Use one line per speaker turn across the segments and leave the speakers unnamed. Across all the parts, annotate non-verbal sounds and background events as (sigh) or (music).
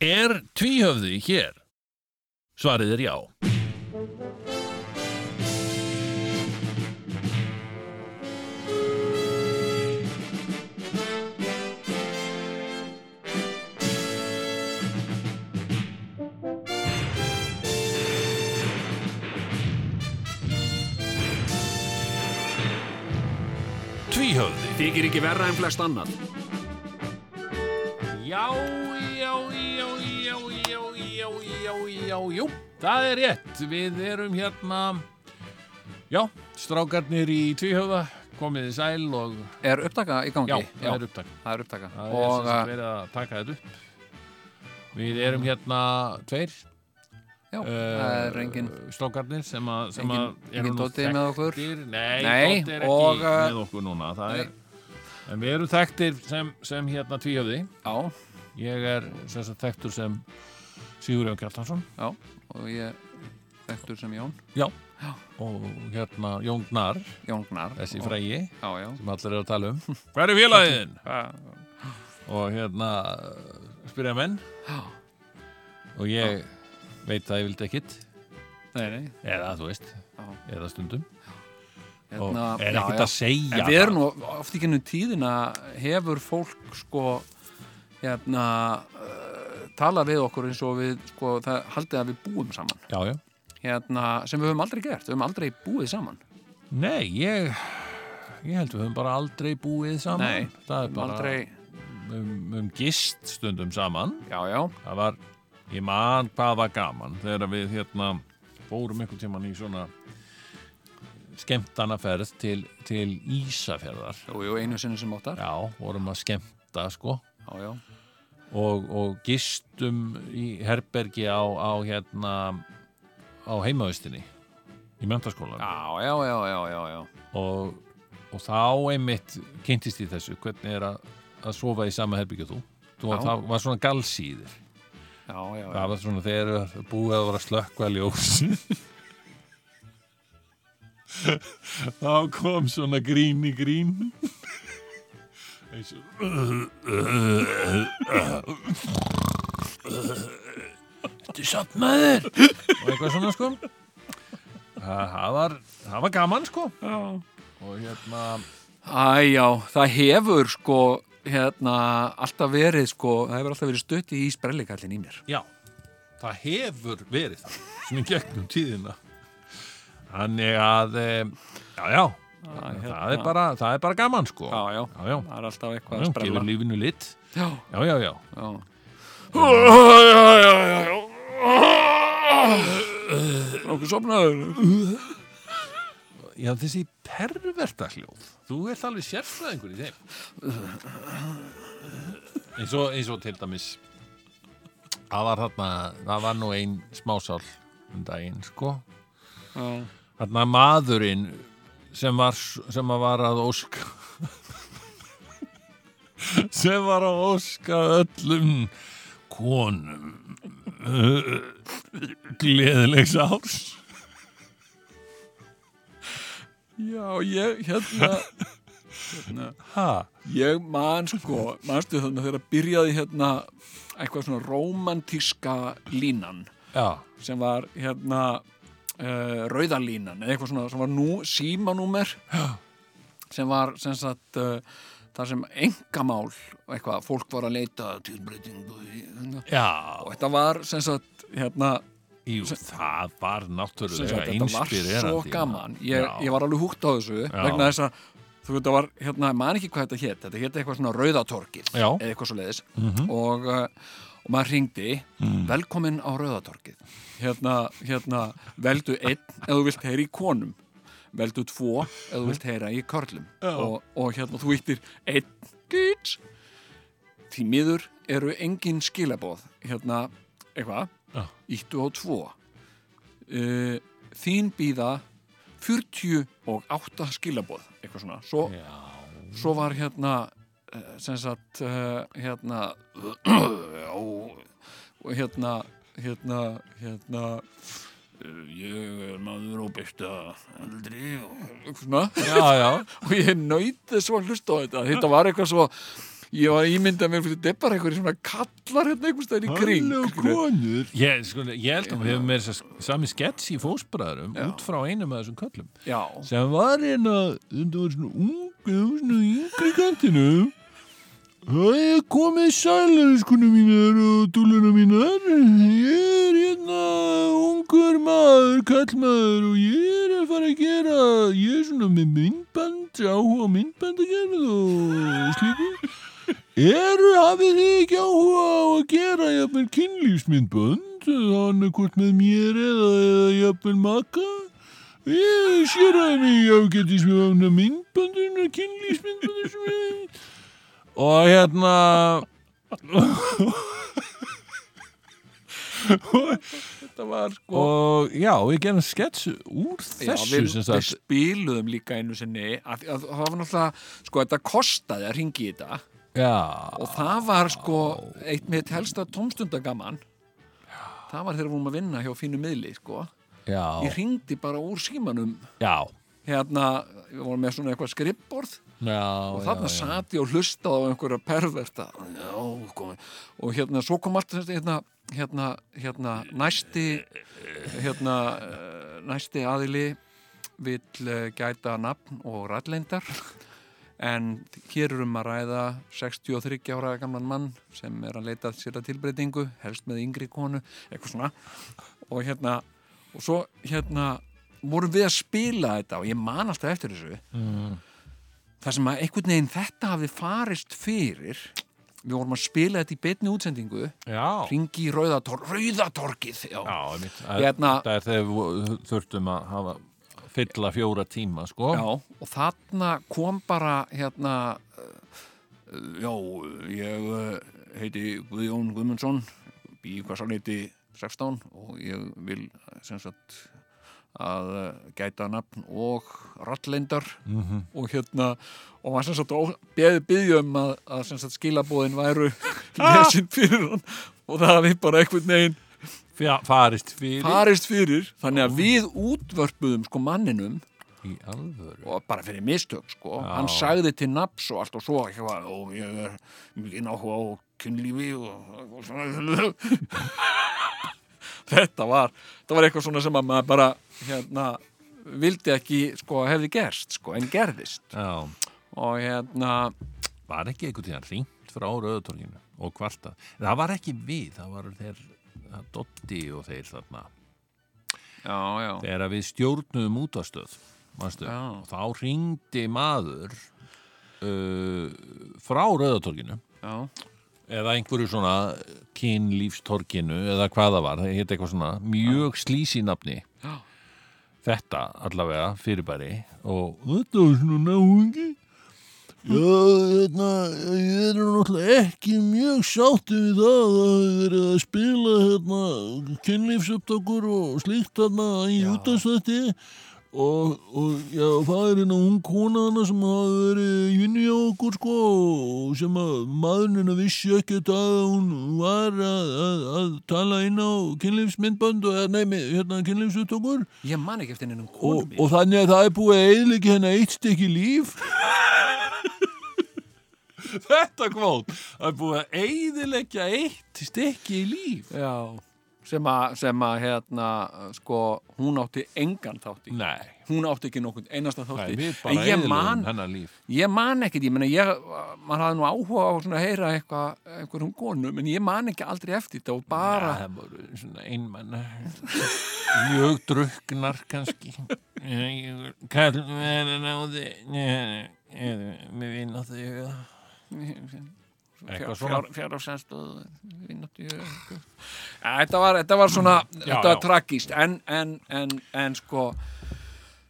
Er tvíhöfði hér? Svarið er já. Tvíhöfði.
Þykir ekki verra en flest annan.
Já, já, já, já, já, já, já, já, jú, það er rétt. Við erum hérna, já, strákarnir í tvíhöfða, komið í sæl og
Er upptaka í gangi?
já, það er upptak.
það er upptaka.
Það er
og
sem sagt
uh,
verið að taka þetta upp. Við erum hérna tveir
já,
uh,
það er engin...
strákarnir sem, a, sem
engin-
að eru
engin
nú
Doddi með okkur.
þekktir. Nei,
Nei,
Doddi er
og,
ekki
uh,
með okkur núna. Það
nei.
er, en við erum þekktir sem, sem hérna tvíhöfði.
Já,
Ég er sem sagt þekktur sem Sigurjón Kjartansson
já, og ég þekktur sem Jón,
og hérna Jón Gnar,
Jón Gnar.
þessi
og-
frægi
Já, já.
sem allir eru að
(laughs)
tala um. Hver er félagin?
Uh,
Og hérna spyrja menn
Já.
og ég veit að ég vildi ekkit
nei, nei,
eða þú veist,
já.
eða stundum
Hérna,
og er ekkit
já,
að segja
En við erum nú oft í gennum tíðina hefur fólk sko hérna uh, tala við okkur eins og við sko það haldið að við búum saman
Já, já.
hérna sem við höfum aldrei gert, við höfum aldrei búið saman
Nei, ég, ég held við höfum bara aldrei búið saman.
Nei,
það er
Við höfum
bara
aldrei,
um, um gist stundum saman.
já já,
það var, ég man hvað var gaman þegar við hérna fórum einhvern tíman í svona skemmtanaferð til, til Ísafjörðar
jú, jú, einu sinni sem áttar já,
já, vorum að skemmta sko
já,
og, og gistum í herbergi á, á hérna á heimaðustinni í menntaskólan
já, já, já, já, já, já.
og, og þá einmitt kynntist í þessu hvernig er að, að sofa í sama herbergi og þú þú
Já.
það var svona galsýðir
Já, já, já.
það var svona þegar búið að vera slökkva ljós (laughs) þá kom svona grín í grín eins og Þetta er satt maður og eitthvað svona sko það það var, það var gaman sko
já.
og hérna
Æ, já, það hefur sko hérna alltaf verið sko, það hefur alltaf verið stutt í sprellikallin í mér
Já, það hefur verið það sem í gegnum tíðina Þannig að e, já, já, það, er bara, það er bara gaman sko
Já, já,
já, já,
það er alltaf eitthvað
já
að
gefur
sprella
lífinu lit
Já,
Já, já, já
já Nókuð sopnaður
Já, þessi perverta hljóð Þú ert alveg sérfræðingur í þeim eins og, eins og til dæmis Það var þarna það var nú ein smásál um daginn, sko Þarna maðurinn sem var, sem að var að óska sem var að óska öllum konum gleðilegs árs
Já, ég, hérna
ha,
Ég man sko, manstu þarna þegar byrjaði hérna eitthvað svona rómantíska línan
já,
sem var hérna uh, rauðalínan eða eitthvað svona sem var nú, símanúmer sem var sem sagt uh, þar sem engamál eitthvað, fólk var að leita til breytingu í- hérna.
já
og þetta var sem sagt hérna
Jú, það var
sem
náttúrulega
sagt, þetta var svo
inspirerandi
gaman ég, ég var alveg húgt á þessu vegna þess að þú veit, það var, hérna, man ekki hvað þetta hétt þetta hétt eitthvað svona rauðatorkið
Já. Mhm.
eða eitthvað svo leiðis og, uh, og maður hringdi,
Mm.
velkomin á rauðatorkið hérna, hérna veldu einn ef þú vilt heyra í konum veldu tvo ef þú vilt heyra í körlum og, og hérna þú vittir einn gýt því miður eru engin skilaboð hérna, eitthvað
Já.
íttu á tvo uh, þín býða 48 skilaboð eitthvað svona svo, svo var hérna eh, sem sagt eh, hérna (clears throat) og og hérna hérna hérna eh, ég er maður á besta aldri (laughs) og eitthvað svona
Já, já,
og ég nöytið svo að hlusta á þetta þetta var eitthvað svo ég var ímyndað mér fyrir þetta er bara einhverjir svona kallar hérna einhvers staðar í kring skilurðu.
konur ég, sko, ég held að við hefum með sami skets í fósbræðurum
Já.
út frá einum af þessum köllum
já,
sem var hérna þetta var svona ung það var svona yngri kantinu það er komið sælæðiskonu mínar og dúluna mínar ég er hérna ungur maður, kallmaður og ég er að fara að gera ég er svona með myndband áhuga á myndband að gera og slíku Eru hafið þið ekki áhuga á að gera jafnvel kynlífsmyndbönd þannig hvort með mér eða, eða jafnvel maka? Ég sér að mig ágættis með ána myndböndun og kynlífsmyndböndun sem ég... Og hérna...
þetta var sko
Og já, við gerum skets úr þessu
við,
sem
við
sagt.
spiluðum líka einu sinni að, að, það var náttúrulega sko þetta kostaði að ringi í þetta
Já,
og það var sko eitt mitt helsta tómstundagaman það var þegar við vorum að vinna hjá fínu miðli sko ég
já,
ringdi bara úr símanum
já.
hérna, við vorum með svona eitthvað skrippborð
Já,
og þarna
já, já.
sat ég og hlustaði á einhverja perverta já, komi. og hérna, svo kom allt þetta, hérna, hérna, hérna næsti hérna, eh, næsti aðili vill eh, gæta nafn og rætleindar en hér erum að ræða 63 ára gamlan mann sem er að leita sér að tilbreytingu helst með yngri konu, eitthvað svona og hérna og svo hérna vorum við að spila þetta og ég man alltaf eftir þessu þar sem að einhvern veginn þetta hafi farist fyrir við vorum að spila þetta í betni útsendingu
Já,
ringi í Rauðatorg, Rauðatorgið já.
já, einmitt.
Hérna-
Það er þegar við þurftum að hafa fylla fjóra tíma, sko.
Já, og þarna kom bara hérna eh, já, ég eh, heiti Guðjón Guðmundsson bý í Kvassaneiti 16 og ég vil eh, sem sagt að eh, gæta nafn og rallendar
Mhm.
og hérna og var sem sagt ó- beð, byggjum að, að sem sagt skilabóðin væru lesin fyrir hann og það hafi bara einhvern veginn
Fja- Farist fyrir
farist fyrir þannig að við útvörpuðum sko manninum
í alvöru.
og bara fyrir mistök sko
Já.
hann sagði til naps og allt og svo eitthvað, og ég er mikið náhuga á kynlífi og, og svona (laughs) þetta var þetta var eitthvað svona sem að maður bara hérna vildi ekki sko hefði gerst sko en gerðist
Já.
og hérna
var ekki einhvern tíðan ringt frá Rauðutorkinu og kvarta. Það var ekki við, það var þeir það Dotti og þeir þarna.
já já
Þegar við stjórnum útastöð, manstu,
Já.
og þá ringdi maður uh, frá Rauðutorkinu
já
eða einhverju svona kynlífstorkinu eða hvað það var, það heit eitthvað svona mjög slísi nafni
Já.
þetta allavega fyrirbæri og þetta var svona náungi já, hérna ég er nú náttúrulega ekki mjög sátti við það að það er verið að spila hérna kynlífsöptakur og slíkt hérna í útastætti og, og já, það er hérna hún kona hana sem hafi verið í vinnu hjá okkur sko og sem að maðurinn hennar vissi ekkert að hún var að, að, að tala inn á kynlífsmyndbönd og nei, með- hérna kynlífsuttökur
ég man ekki eftir neinum
og,
konum í-
og þannig að það er búið að eðliki hennar eitt stykki líf (laughs) Þetta kvót það er búið að eðilegja eitt stykki líf
já sem að, sem að hérna sko hún átti engan þátt í
Nei,
hún átti ekki nokkuð einasta þátt
nei
í
við
en
bara
ég
eðilegum
man
hennar líf
Ég man ekkert, ég meina, ég, maður hafði nú áhuga á svona að heyra eitthvað, einhverjum konum, en ég man ekki aldrei eftir þetta og bara,
Það voru svona einmann mjög druknar (laughs) kannski kallmenn en áði með vinn á því Eitthvað svona.
fjár á sænstöð, vinnáttu, þetta var, þetta var svona, þetta var
já.
tragíst, en, en, en, en sko,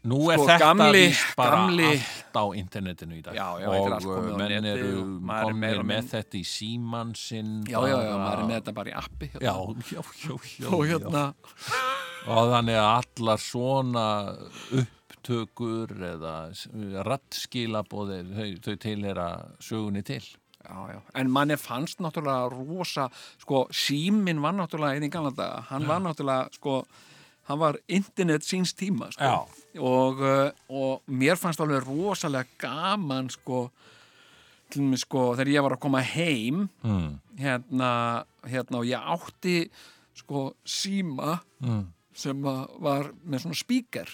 Nú
Sko,
er þetta
gamli-
víst bara
gamli-
allt á internetinu í dag
Já, já, þetta er allt
og
komið
uh,
á
menn
netið
eru
og
komnir
maður er meira og
með
minna-
þetta í símann sinn
já, já, já,
bara-
maður er með þetta bara í appi, hérna.
Ah. Já, já, já, já,
og
já.
hérna,
og þannig að allar svona upptökur eða rattskilabóðir þau, þau tilhera sögunni til
Já, já, en manni fannst náttúrulega rosa, sko, síminn var náttúrulega einn í gamla daga, hann var náttúrulega, sko, hann var internet síns tíma, sko.
Já.
eh, Og, uh, og mér fannst alveg rosalega gaman, sko, til mig sko þegar ég var að koma heim
mm,
hérna, hérna og ég átti sko síma
mm.
sem að var með svona spíker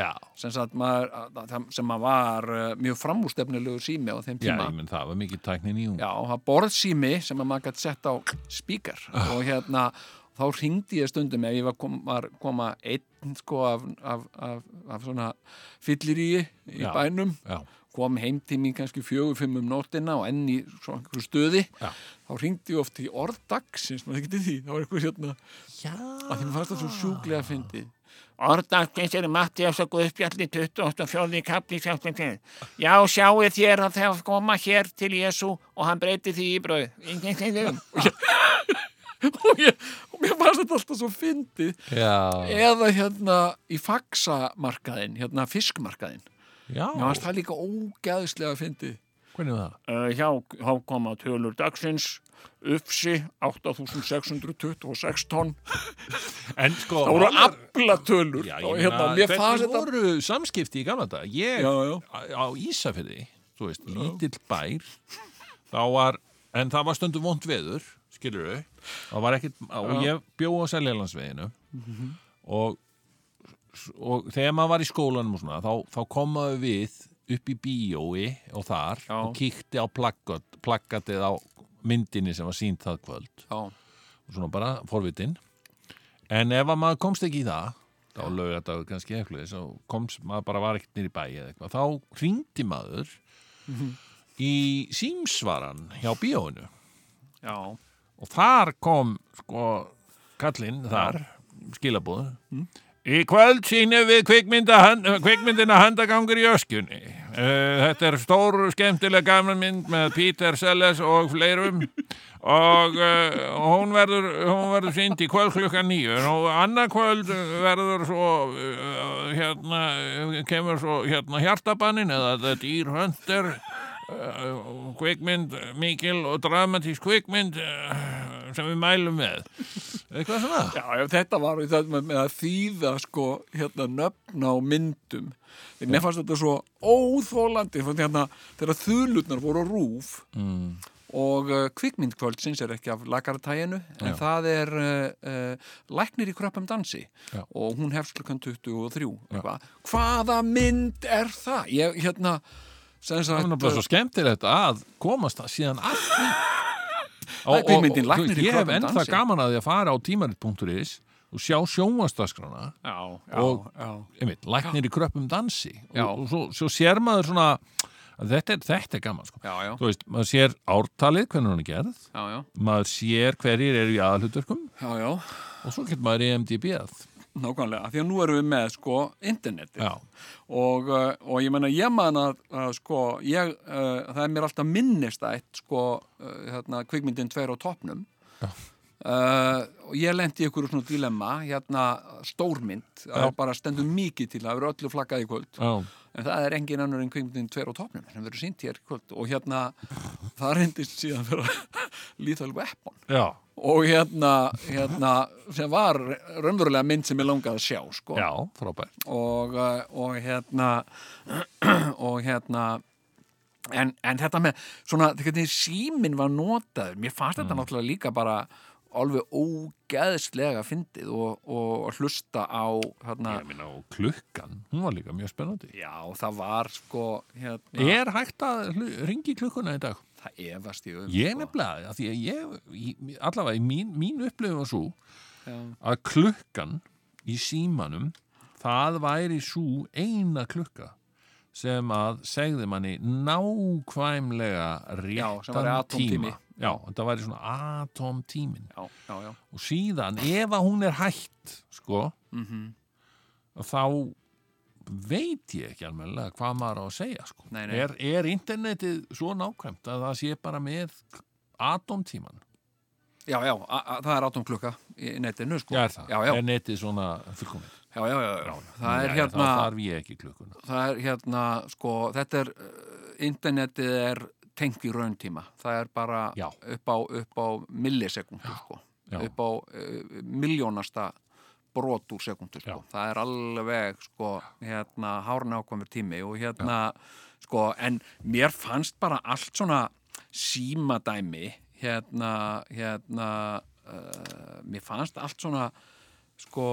Já,
sem, sagt maður, að- að- sem að var eh, mjög framústefnilegu sími á þeim
já,
tíma
ég menn það var mikið tæknin í hún.
Já, það var borðsými sem að maður gætt sett á spíkar
Ah.
og hérna þá ringdi ég stundum ef ég var, kom, var koma einn sko af, af, af, af svona fylliríi í
Já.
bænum
Já,
kom heim til mín kannski fjögur fimm um nóttina og enn í svona einhverju stöði
Já.
þá ringdi ég oft í orðdagsins maður ekki til því, þá var eitthvað hérna
já.
að því mér fannst það svo sjúklega fyndið Orðdagsins er Matti á svo guðspjalli 24. kapli sjálfsmyndin. Já, sjáu þér að það koma hér til Jésu og hann breyti því í brauð. og ég, og mér fannst þetta alltaf svo fyndið.
Já,
Eða hérna í faxamarkaðin, hérna fiskmarkaðin. Mér fannst það líka ógæðislega fyndið.
Hvernig var það?
Uh, hjá, hjá koma tölur dagsins, Ufsi 8626 tonn.
En sko,
Það voru
annar-
aflatölur
Já,
og
ég
hérna,
meina,
mér fannst
hvernig
þetta
voru samskipti í gamla dag? Ég,
Já, já.
á á Ísafirði, þú veist, lítill bær, þá var, en það var stundum vond veður, skilur þau, það var ekkit, og ég bjó á Seljalandsveginu
Mhm.
og, og þegar maður var í skólanum og svona, þá, þá komaðu við upp í bíói og þar
Já.
og kíkti á plakkat, plakkatið á myndinni sem var sínt það kvöld
Já,
og svona bara forvitin en ef að maður komst ekki í það þá lögur þetta kannski eitthvað þess og komst, maður bara var ekkert nýri bæi eða eitthvað þá hringdi maður í símsvaran hjá bíóinu
já,
og þar kom sko kallinn þar skilabúð Í kvöld sínum við kvikmynda, kvikmyndina handagangur í öskjunni. Uh, þetta er stór skemmtileg gamla mynd með Peter Sellers og fleirum og uh, hún verður, hún verður sínd í kvöld klukkan nýju og annað kvöld verður svo, uh, hérna, kemur svo hérna hjartabannin eða The Deer Hunter uh, kvikmynd, mikil og dramatísk kvikmynd uh, sem við mælum með. Eitthvað svona?
já, já, þetta var þetta með, með að þýða sko hérna nöfn á myndum því mér fannst þetta svo óþólandi fannst hérna, þegar þulutnar voru á rúf mm. og uh, kvikmyndkvöldsins er ekki af lagartæginu en
Já.
það er uh, uh, læknir í kröppum dansi
Já.
og hún hefst klukkan 23 eitthvað. hvaða mynd er það? Ég, hérna, sem
Það er
sagt eh,
náttúrulega svo skemmtilegt að komast það síðan að því.
Það er kvikmyndin
Og- og-
Læknir í
Ég hef
krökkum
ennþá
dansi.
gaman að því að fara á tímarit.is og sjá sjónvastaskrana
já, já,
og-
já,
einmitt, læknir í kröppum dansi
Já.
og, og svo, svo sér maður svona að þetta er, þetta er gaman sko.
já, já,
þú veist, maður sér ártalið hvernig hún er gerð
já, já,
maður sér hverjir eru í aðalhuturkum
já, já.
og svo getur maður E í MDB-að
Nákvæmlega, því að nú erum við með sko internetið
Já,
og, uh, og ég menna ég man að, að sko ég, uh, það er mér alltaf minnistætt sko uh, hérna, kvikmyndin tveir á topnum uh, og ég lendi í ykkur svona dilemma hérna stórmynd það er bara stendur mikið til að vera öllu flaggað í kvöld
já,
en það er engin annar en kvikmyndin tveir á topnum sem verður sínt hér í kvöld og hérna (laughs) það reyndist síðan vera (laughs) Lethal Weapon
já,
og hérna, hérna sem var raunverulega mynd sem ég langaði að sjá sko.
já frábært
og, eh, og hérna (clears throat) og hérna en, en þetta með svona, þetta símin var notaður mér fannst þetta náttúrulega líka bara alveg ógeðslega fyndið og, og hlusta á hérna,
Ég meina, og klukkan, hún var líka mjög spennandi
já, það var sko hérna,
Er hægt að ringi klukkuna í dag?
það efast ég um
Ég
sko.
nefnilega, af því að ég, ég allavega í mín, mín upplifun var svo
Já.
að klukkan í símanum, það væri svo eina klukka sem að segði manni nákvæmlega
Já, sem
réttan
væri atómtími.
tíma. Já, þetta væri svona atomtímin.
já, já, já,
Og síðan, ef að hún er hætt, sko,
mm
þá veit ég ekki alveg hvað maður á að segja sko.
Nei, nei.
Er, er internetið svo nákvæmt að það sé bara með atomtíman
já, já a, a, það er átum klukka í netinu sko.
já, er, það?
já, já,
er netið svona fullkomið
já, já, já, já. það er
þá
hérna
þarf ég ekki klukkuna
það er hérna, sko, þetta er uh, internetið er tengt í rauntíma það er bara
Já.
upp á, upp á millisekundu, sko
já.
upp á uh, miljónasta brot úr sekundu, sko
Já.
það er alveg, sko, hérna hárnákvæmur tími og hérna, sko en mér fannst bara allt svona símadæmi hérna, hérna uh, mér fannst allt svona sko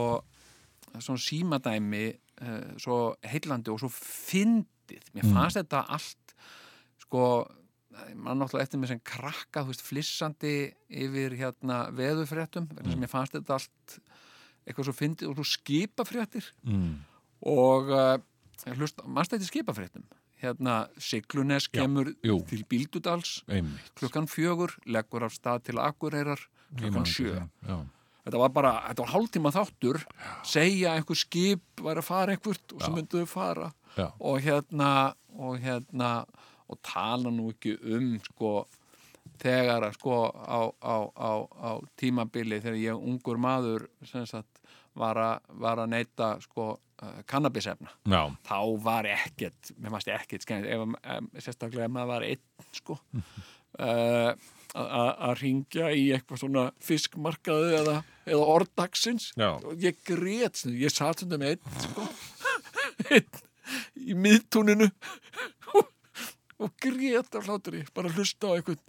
svona símadæmi uh, svo heillandi og svo fyndið
Mm.
mér fannst þetta allt sko, mann náttúrulega eftir mér sem krakka, þú veist, flissandi yfir hérna veðufréttum vegna
Mm.
sem mér fannst þetta allt eitthvað svo fyndið og svo skipafréttir
mm.
og uh, hlust, mannst þetta skipafréttum hérna Siglunes
Já,
kemur
jú.
til Bíldudals
einmitt
klukkan fjögur, leggur af stað til Akureyrar
Ég man
klukkan
eftir
sjö
þeim, já.
þetta var bara, þetta var hálftíma þáttur segja að einhver skip væri að fara einhvert og
Já.
svo myndu þau fara
Já.
og hérna og hérna og tala nú ekki um sko þegar að sko á, á, á, á tímabili þegar ég ungur maður sem sagt var að, var að neyta sko uh, kannabisefna
já,
þá var ekkert, mér fannst ekkert skemmt, ef, em, sérstaklega ef maður var einn sko uh, að ringja í eitthvað svona fiskmarkaðu eða, eða orðdagsins
Já.
og ég grét, stundum. ég satt stundum einn sko einn í miðtúninu og grét af hlátri bara hlusta á einhvern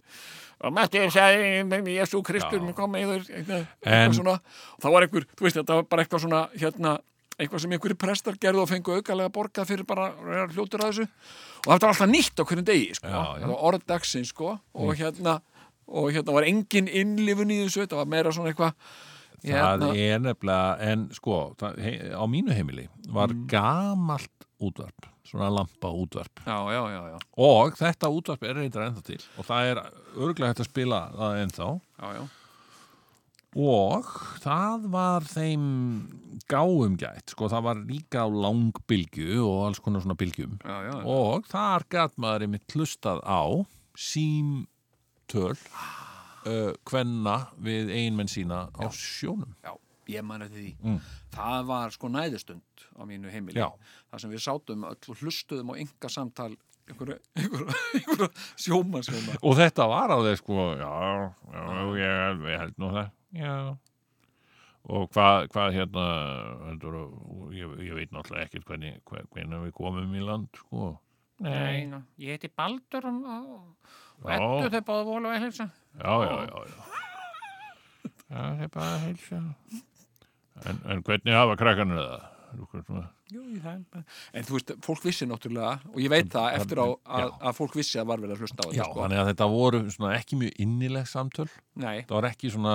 og Matti sagði, Jésu Kristur
Já.
mér kom með þér eitthvað,
En-
eitthvað svona, og það var einhver, þú veist þetta var bara eitthvað svona hérna, eitthvað sem einhverjir prestar gerðu og fengu aukalega borgað fyrir bara að vera hljótur að þessu og þetta var alltaf nýtt á hverjum degi sko.
Já, Mm. já.
Það var orð dagsins sko og hérna, og hérna var engin innlifun í þessu, þetta var meira svona eitthvað hérna.
það er nefnilega en sko, það, he, á mínu heimili var
Mm.
gamalt útvarp svona lampa útvarp
já, já, já, já,
og þetta útvarp er reyndar ennþá til og það er örglega hægt að spila það ennþá
já, já.
og það var þeim gáum gætt sko, það var líka á langbylgju og alls konar svona bylgjum
Já, já, já.
og þar gætt maður einmitt hlustað á símtöl uh, kvenna við einmenn sína á sjónum
Já, ég man eftir því.
Mm.
Það var sko næðustund á mínu heimili.
Já.
Það sem við sátum öll og hlustuðum á ynga samtal einhverja, einhverja, einhverja sjómannsjóma.
og þetta var á þeir sko já, já, ég, ég held nú það já og hvað, hvað hérna heldur, þú- ég, ég veit náttúrulega ekkert hvernig, hve- hvenær við komum í land sko
Nei, ég heiti Baldur og, og, og
Já.
Eddu þau báðu vola og að hilsa.
já, já, já, já. Já, það er bara að heilsa. En, en hvernig hafa krakkanur það? Lúkur svona.
Jú, ég það er bara... En þú veist, fólk vissi náttúrulega, og ég veit það eftir á að, að fólk vissi að var verið að hlusta á þetta.
Já,
sko.
þannig að þetta voru svona ekki mjög innileg samtöl.
Nei,
Það var ekki svona,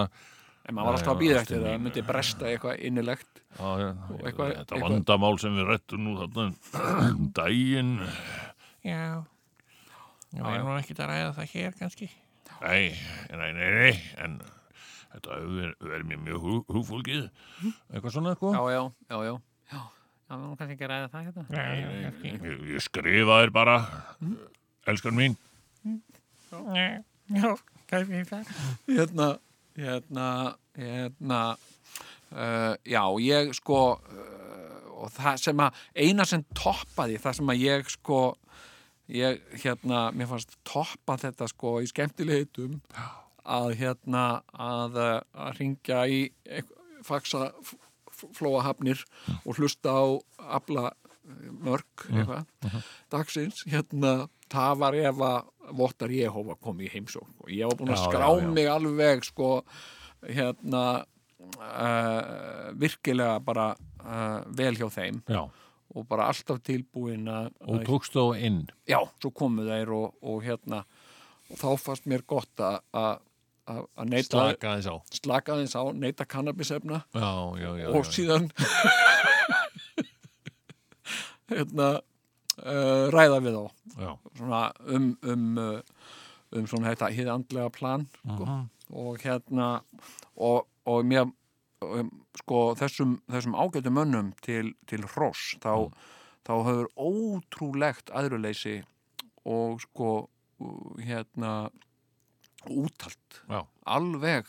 en maður var
Já,
alltaf að
já,
býða eftir
ástin
það,
mín.
myndi bresta í eitthvað innilegt.
á,
eitthvað-
þetta
eitthvað-
vandamál sem við rettum nú þarna um (clears throat) daginn.
Já,
Já, já.
nú ekki að ræða það hér kannski.
Nei, nei, nei, nei, en þetta hefur verið mér mjög hug, hugfólkið. Eitthvað svona, sko.
Já, já, já, já.
Já, nú kannski ekki að ræða það hérna.
Nei, nei, nei, ég, ég skrifa þér bara, elskan mín.
Nei, já, kannski ekki það.
Hérna, hérna, hérna, uh, já, ég sko, uh, og það sem að, eina sem toppaði, það sem að ég sko, ég, hérna, mér fannst toppa þetta sko í skemmtilegitum að hérna, að, uh, að ringja í eitth- faxa f- f- flóahafnir og hlusta á afla mörg, eitthvað, dagsins, hérna, það var ef að Vottar Jehova kom í heimsókn og ég var búin að
Já, já,
skrá
já.
mig alveg sko, hérna uh, virkilega bara uh, vel hjá þeim
Já,
og bara alltaf tilbúin að
og tókst þú inn.
já, svo komu þeir og, og hérna og þá fannst mér gott að að- að að neyta
Slaka þess á.
slaka aðeins á, neyta kannabisefna
Já, já, já. já,
og
já.
síðan (laughs) hérna uh, ræða við þá
Já,
svona um, um, uh, um svona þetta hið andlega plan sko.
Mhm.
og hérna og, og mér um, sko þessum, þessum ágætu mönnum til, til hross þá,
Mm.
þá hefur ótrúlegt aðruleysi og sko uh, hérna útalt
já,
alveg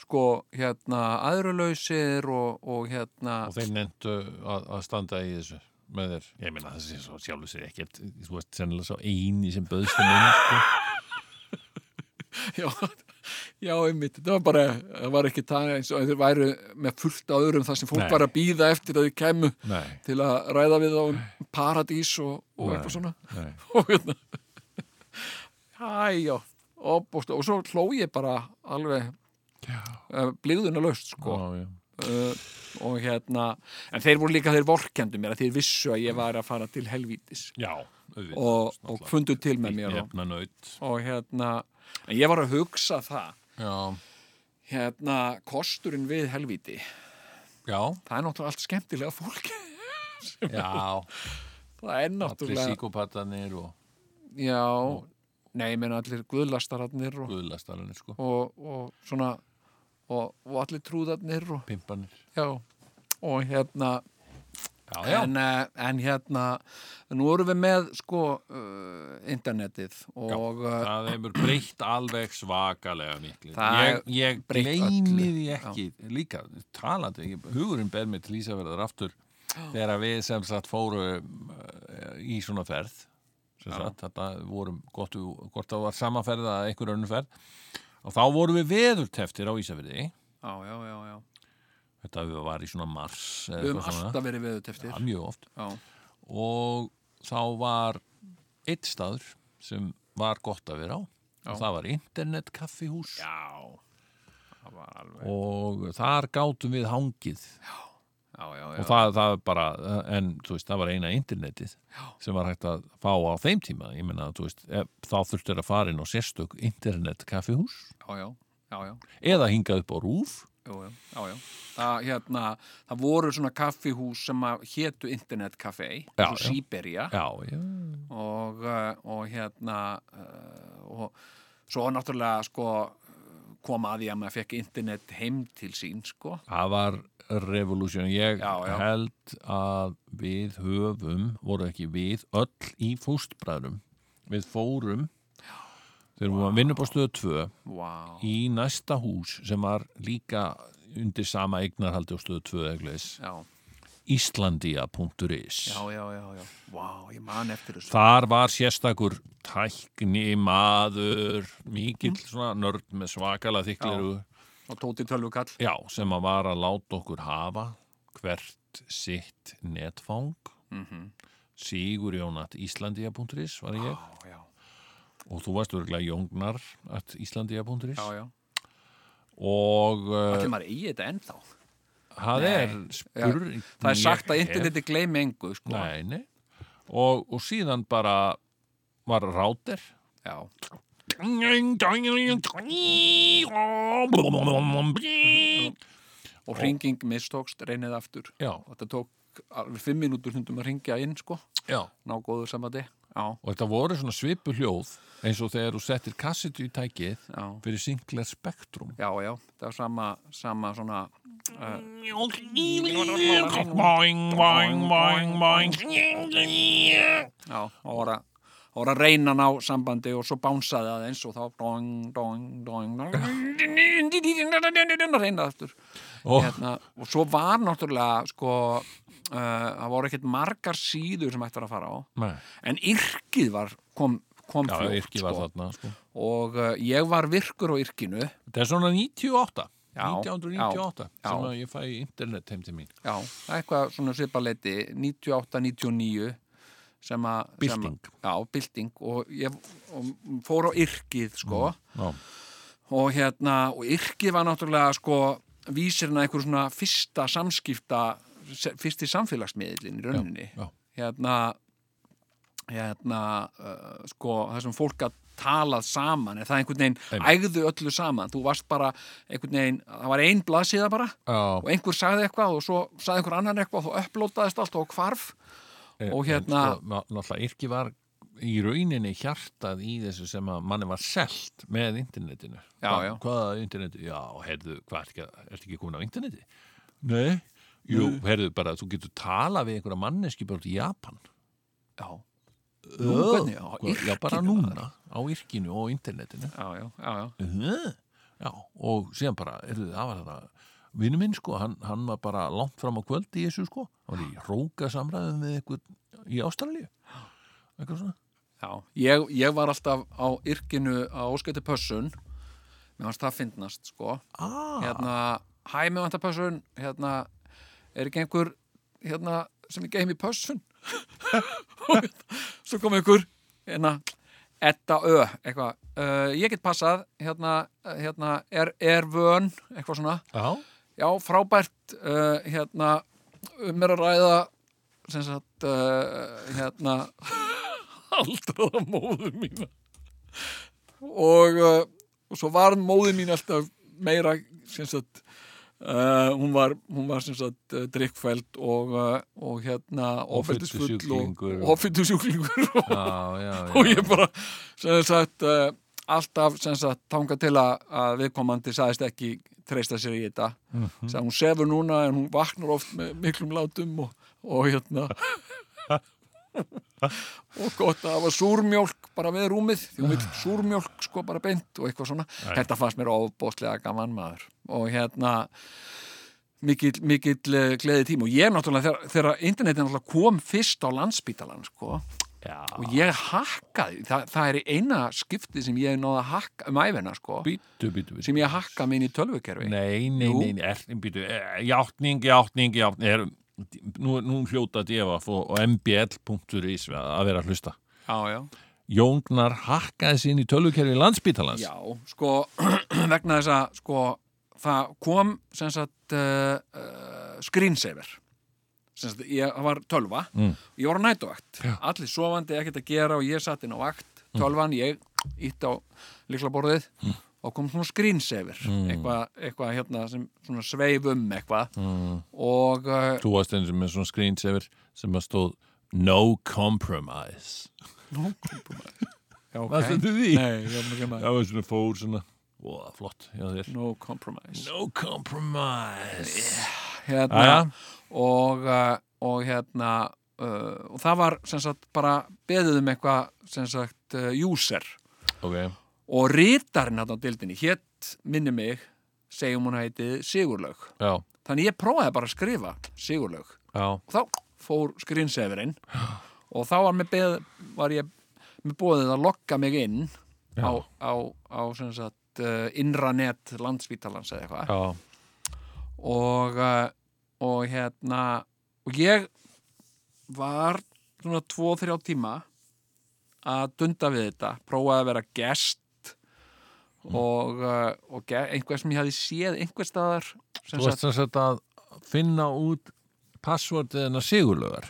sko hérna aðrulausir og, og hérna
og þeir nendu að, að standa í þessu með þér. Ég meina það sé svo sjálfur sér ekkert, þú veist sennilega svo eini sem böðst um inn, sko.
(laughs) Já, já, einmitt, þetta var bara, það var ekki það eins og þeir væru með fullt á öðrum þar sem fólk
Nei.
var að býða eftir að þið kemur
Nei,
til að ræða við þá um paradís og, og
Nei.
eitthvað svona.
nei.
Og hérna, hæ, já, og, bóst, og svo hló ég bara alveg uh, blíðuna löst sko.
já, já.
uh, og hérna en þeir voru líka þeir vorkendu mér að þeir vissu að ég var að fara til helvítis
já auðvitað,
og, og
náttúrulega.
fundu til með mér og,
Nefna naut
og hérna en ég var að hugsa það
Já,
hérna kosturinn við helvíti
já,
það er náttúrulega allt skemmtilega fólk (laughs)
já
það er
Allir
náttúrulega
síkopatarnir og
já, nei, ég meina allir guðlastararnir og,
guðlastararnir sko
og, og svona og, og allir trúðarnir og,
Pimpanir
já, og hérna
Já, já,
en, eh, en hérna nú erum við með sko uh, internetið og uh,
það hefur breytt alveg svakalega miklu
Það
Ég, ég
breytt
gleymi
öllu.
því ekki líka talandi, ég, hugurinn ber mig til Ísafjörðar aftur þegar við sem sagt fóru eh, í svona ferð sem sagt, þetta vorum gott, gott að var samaferð að einhver önnur ferð og þá vorum við veðurteftir á Ísafjörði
já, já, já, já.
þetta við var í svona mars eða
við höfum
eitthvað svona.
alltaf verið veðuteftir
ja, mjög oft
já,
og þá var eitt staður sem var gott að vera á og það var internetkaffihús
já. það var alveg
og þar gátum við hangið
já, já, já,
og það, það er bara, en þú veist, það var eina internetið Já. sem var hægt að fá á þeim tíma, ég meina, þú veist ef, þá þurftir að fara inn á sérstök internetkaffihús
já, já, já, já.
eða hingað upp á rúf
Jú, jú, já, já. Það, hérna, það voru svona kaffihús sem að hétu internetkaffei,
Já,
svo
já.
Sýberja
Já, já,
og, eh, og hérna eh, og svo náttúrulega sko eh, kom að því að maður fekk internet heim til sín sko.
það var revolution ég
Já, já.
held að við höfum, voru ekki við öll í fóstbræðrum við fórum þegar við varum vinnum á stöðu 2
Vá,
í næsta hús sem var líka undir sama eignarhaldi á stöðu 2 eglis
já,
islandia.is
já, já, já, já. Vá, ég man eftir þessu.
Þar var sérstakur tækni, maður,
Mhm.
mikill svona nörd með svakala þykliru
Og Tóti Tölvukall.
Já, sem að var að láta okkur hafa hvert sitt netfang mm
Mhm.
-hmm. sigurjónat.islandia.is var ég
Já, já,
og þú varst örgulega jóngnar.islandia.is
já, já.
og uh,
Allir maður eigi þetta ennþá.
það er spurning
Það er sagt að
ég hef-
interneti gleymi engu sko.
Nei, nei. Og, og síðan bara var rátir
Já,
Já,
og hringing mistókst, reynið aftur. Og þetta tók alveg fimm mínútur hundum að ringja inn sko.
já
ná góðu sambandi já,
og þetta voru svona svipu hljóð eins og þegar þú settir kassitu í tækið
já,
fyrir Sinclair Spectrum
já, já það var sama, sama svona eh,
Boing, boing, boing, boing
já, það voru að það voru að reyna að ná sambandi og svo bánsaði það eins og þá dong, dong, dong, dong reyna aftur
Og-
hérna, og svo var náttúrulega sko, uh, það voru ekkert margar síður sem ætti var að fara á
Nei,
en yrkið var, kom, kom
Já,
fljótt
yrki var
sko.
þarna sko.
og uh, ég var virkur á yrkinu
Þetta er svona 98
Já,
1998
já,
sem
já.
að ég fæ internet heim til mín
Já, það er eitthvað svona svipaleiti 98-99 sem að sem
Bylting.
að- Já, bylting og ég og fór á yrkið sko
Já,
og hérna, og yrkið var náttúrulega sko vísirinn að einhver svona fyrsta samskipta se- fyrsti samfélagsmiðlinn í rauninni
já.
hérna hérna, uh, sko það sem fólk að talað saman en það einhvern veginn ægðu öllu saman þú varst bara einhvern veginn það var ein blaðsíða bara
já
og einhver sagði eitthvað og svo sagði einhver annan eitthvað og þú upplótaðist allt og hvarf
En-
Og
en
hérna-
sko, ná- náttúrulega yrki var í rauninni hjartað í þessu sem að manni var selt með internetinu
Já,
Hva-
já.
hvaða interneti, já, heyrðu, hvað ertu ekki, að- ertu ekki komin á interneti nei, jú, heyrðu bara þú getur tala við einhverja manneski bara út í Japan
já, Nú, hvernig, já,
Hvað- já, bara
yrkinu
núna á yrkinu og internetinu
já, já, já, já,
uh, já, og síðan bara heyrðu, það var þetta vinnu minn sko, hann, hann var bara langt fram á kvöldi í þessu sko, hann var í róka samræðum við eitthvað í Ástralíu eitthvað svona
já. Ég, ég var alltaf á yrkinu á óskætti pössun mér fannst það fyndnast sko
Ah,
hérna, hæ mig vantar pössun hérna, er ekki einhver hérna, (laughs) sem ég geim í pössun svo kom einhver hérna, Edda Ö, eitthvað uh, ég get passað, hérna, hérna er, er vön, eitthvað svona
Já,
já, frábært uh, hérna, um er að ræða sem sagt uh, hérna haldraða móður mína og, uh, og svo var móður mín alltaf meira sem sagt Uh, hún var, hún var sem sagt uh, drikkfæld og, uh, og hérna ofeldisfull og
Offitusjúklingur.
ofeldisjúklingur og,
já, já, já.
og ég bara sem sagt uh, alltaf sem sagt tanga til að, að viðkomandi sagðist ekki treysta sér í þetta mm hún sefur núna en hún vaknar oft með miklum látum og, og hérna og gott að hafa súrmjólk bara við rúmið því hún vil súrmjólk sko bara beint og eitthvað svona þetta fannst mér ofbóðslega gaman maður og hérna mikill, mikill eh, gleði tíma og ég náttúrulega þegar, þegar internetin náttúrulega kom fyrst á landsbítalan sko
já.
og ég hakkaði, Þa, það er í eina skipti sem ég hef náða að hakka um æfina sko,
Býtu, býtu, býtu.
sem ég hakka minn í tölvukerfi
Nei, nei,
Jú.
nei, nei, er, býtu, eh, játning, játning, játning, er, nú, nú hljóta DFF og, og mbl.is að vera að hlusta.
já, já.
Jóngnar hakkaði sín í tölvukerfi landsbítalans.
já, sko (clears throat) vegna þess að sko, það kom sem sagt uh, uh, screensaver sem sagt, ég það var tölva
Mm.
ég var á nætuvakt,
Já. Mm.
allir sofandi ekkert að gera og ég satt inn á vakt, tölvan ég ítt á liklaborðið og kom svona screensaver
Mm.
eitthvað, eitthvað hérna sem svona sveifum eitthvað
Mm.
og uh,
Þú varst eins og með svona skrýnsever sem að stóð No Compromise.
No compromise. Já, ok.
Varstu til því?
Nei, ég var ekki með.
Það var svona fór svona, ó, flott, já þér.
No compromise.
No Compromise.
Hérna,
Jæja.
og, uh, og hérna, uh, og það var sem sagt bara beðið um eitthvað sem sagt uh, user
Ok,
og rítarinn hann á dildinni hétt minni mig, segjum hún heitið Sigurlaug.
já,
Þannig ég prófaði bara að skrifa Sigurlaug
já,
og þá fór
(gasps)
screensaverinn og þá var, mér beð, var ég með bóðið að lokka mig inn á,
Já.
á, á sem sagt uh, innranett landsvítalans eða eitthvað
já,
og, uh, og hérna og ég var svona 2-3 tíma að dunda við þetta prófaði að vera gest
Mhm.
og, uh, og ge- einhver sem ég hefði séð einhver staðar sem
þú varst
sagt,
sem sagt að finna út passvortið hennar sigurlögar.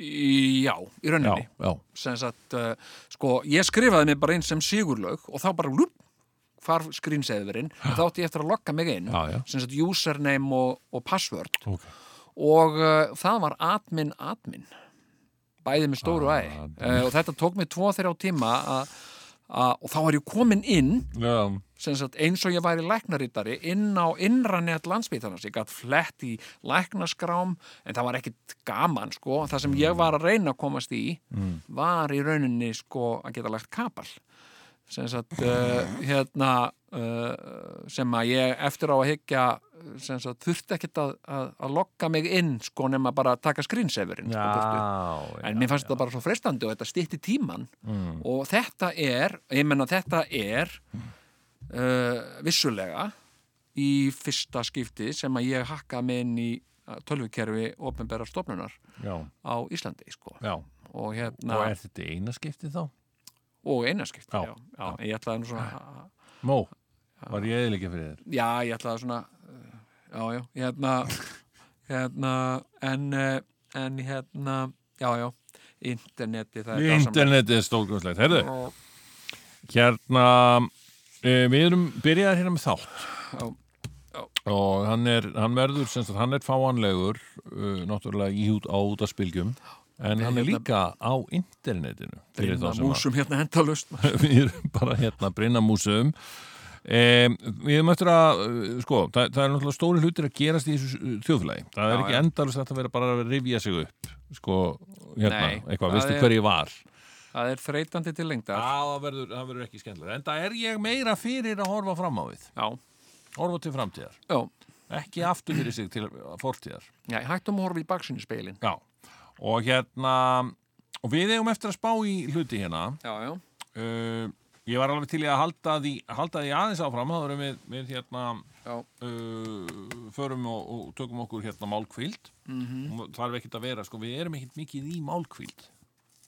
í, já, í
Já,
rauninni
já,
sem sagt, uh, sko, ég skrifaði mig bara inn sem sigurlaug og þá bara lúp, hvar skrýnseðurinn þá átti ég eftir að lokka mig inn
já, já,
sem sagt username og, og password
ok.
og uh, það var admin admin bæði með stóru æ
Ah, Admin.
uh, og þetta tók mig 2-3 tíma að að- og þá var ég komin inn
Já,
sem sagt, eins og ég væri læknarítari inn á innranett landsbytarnas ég gætt flett í læknaskrám en það var ekkit gaman sko það sem ég var að reyna að komast í var í rauninni sko að geta lagt kapal sem sagt uh, hérna uh, sem að ég eftir á að hyggja sem sagt þurfti ekkit að, að, að lokka mig inn sko nema bara að taka skrýnseifurinn sko, burtu.
já,
En mér fannst þetta bara svo frestandi og þetta stýtti tíman
Mm.
og þetta er, ég menna þetta er uh, vissulega í fyrsta skipti sem að ég hakka mig inn í uh, tölvukerfi ofnbæra stofnunar
já,
á Íslandi sko.
já.
og
Og
hérna,
er þetta í eina skipti þá?
og einaskipti
Já,
já, já, ég ætlaði nú svona
Mó, var ég eðilega fyrir þér?
já, ég ætlaði svona uh, já, já, hérna
(laughs)
hérna, en eh, en hérna, já, já interneti, það er dásamlegt.
Internetið er stórgjóðslegt, heyrðu,
Og-
hérna, e, við erum byrjaðar hérna með þátt
Já. Já.
og hann er, hann verður, semst að hann er fáanlegur, uh, náttúrulega í út á út af spilgjum, en hann er
hérna-
líka á internetinu fyrir þá
Brinna
sem að
músum hérna endalust
(laughs) við erum bara hérna brinnamúsum Um, við erum eftir að, eh, sko, það, það er náttúrulega stóri hlutir að gerast í þessu eh, þjóðfélagi. Það er
Já,
ekki
já.
endalist að það vera bara að rifja sig upp, sko, hérna,
Nei,
eitthvað,
það
veistu
er-
hver ég var?
Það er þreytandi til
Já,
lengdar
það verður, það verður ekki skemmtilega. En það er ég meira fyrir að horfa fram á við,
Já,
horfa til framtíðar,
já,
ekki aftur fyrir sig til fortíðar.
já hættum að horfa í baksinni speilin
Já, og hérna, og við eigum eftir að spá í hluti hérna.
Já, já,
uh, ég var alveg til í að halda því, halda því aðeins áfram þá erum við, við hérna
já,
uh, förum og, og tökum okkur hérna málkvíld mm -hmm. þarf ekkert að vera, sko, við erum ekkert mikið í málkvíld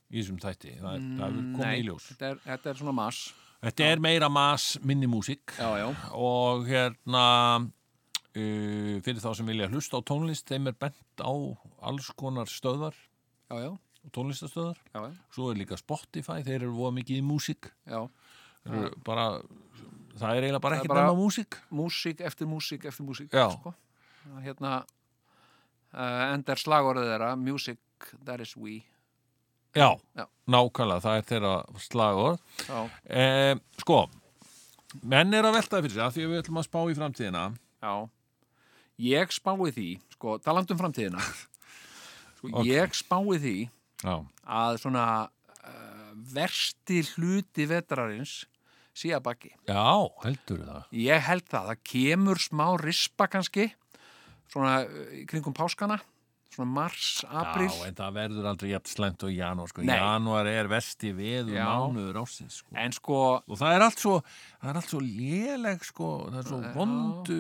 í þessum þætti það, mm, það hefur komið í ljós
þetta er, þetta er svona mas
Þetta er meira mas minni músík
Já, já,
og hérna uh, fyrir þá sem vilja hlusta á tónlist þeim er bent á alls konar stöðar
já, já,
og tónlistastöðar
já, já,
svo er líka Spotify, þeir eru voða mikið í músík
já.
Þeir eru bara, Mm. það er eiginlega bara
Það er
ekkert
bara-
bara... nema músík
Músík eftir músík eftir músík
Já.
sko. Það, Hérna uh, Endar slagorðið þeirra Music, that is we
Já,
Já.
nákvæmlega, það er þeirra slagorð
Já,
eh, Sko, menn er að velta fyrir sig af því að við ætlum að spá í framtíðina
já Ég spái því, sko, talandum
(laughs)
framtíðina Sko,
Ok.
ég spái því
Já,
að svona uh, versti hluti vetrarins sé að baki
Já heldur það
Ég held það, það kemur smá rispa kannski, svona eh, í kringum páskana, svona mars, april.
Já, en það verður aldrei jafn slæmt og í janúar sko.
Nei.
Janúar er vesti veður
Já.
mánuður ásins sko.
En sko,
og það er allt svo það er allt svo léleg sko það er svo vondu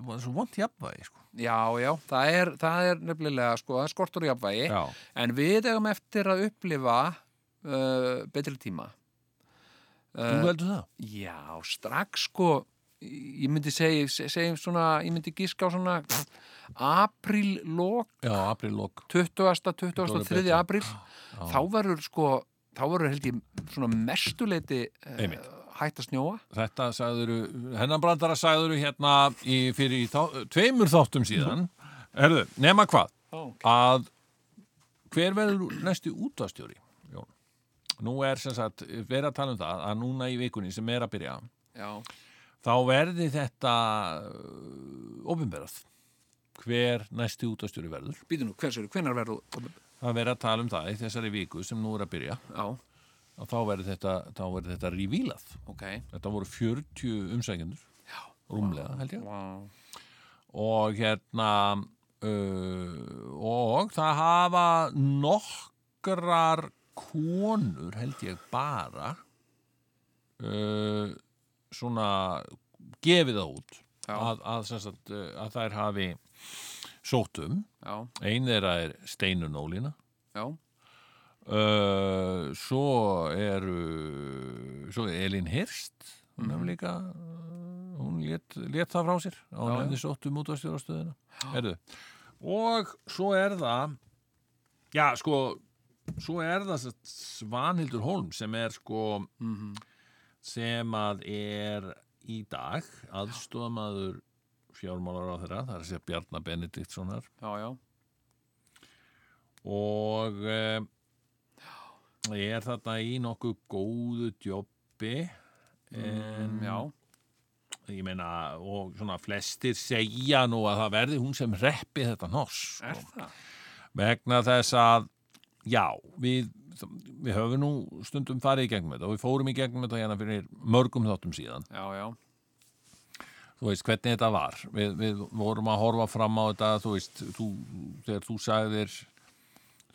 það er svo vond jafnvægi sko
já, já, það er, það er nefnilega sko, það er skortur í afvægi,
já,
en við eigum eftir að upplifa uh, betri tíma.
þú
Uh,
heldur það
já, strax sko, ég myndi segja, segja svona, ég myndi gíska á svona april lók
já, april lok
20. 23.
betra.
apríl þá verður sko þá verður held ég svona mestuleiti uh,
Einmitt.
hætt að snjóa
þetta sagður, hennan brandara sagður hérna í, fyrir í þá, tveimur þáttum síðan erðu, nema hvað
oh.
að hver verður næstu útastjóri Jón? nú er sem sagt, verið að tala um það að núna í vikunni sem er að byrja
já,
þá verði þetta ofinberað hver næstu útastjóri verður
býtu nú, hvers eru, hvenar verður
Það verður að tala um það í þessari viku sem nú er að byrja
já,
og þá verður þetta, þá verður þetta revílað.
ok
Þetta voru 40 umsækjendur, rúmlega held ég.
wow.
Og hérna, uh, og það hafa nokkrar konur held ég bara uh, svona gefið það út
Já.
að, að, sem sagt, uh, að þær hafi sótum.
já,
Ein þeirra er Steinun Ólína.
já,
Uh, svo eru svo er Elín Hirst hún hefur líka uh, hún let, let það frá sér á
Mhm. Já, já.
nefndi sóttum út á stjórastöðina Herðu. og svo er það já sko svo er það sem sagt Svanhildur Holm sem er sko
mhm,
sem að er í dag aðstofamaður fjármálar á þeirra það er að segja Bjarnar Benediktssonar
já, já
og eh, ég er þarna í nokkuð góðu djópi en
Mm, já,
ég meina og svona flestir segja nú að það verði hún sem reppi þetta hnoss
er það
vegna þess að já, við, við höfum nú stundum farið í gegnum þetta og við fórum í gegnum þetta hérna fyrir mörgum þáttum síðan
já, já,
þú veist hvernig þetta var við, við vorum að horfa fram á þetta þú veist, þú, þegar þú sagðir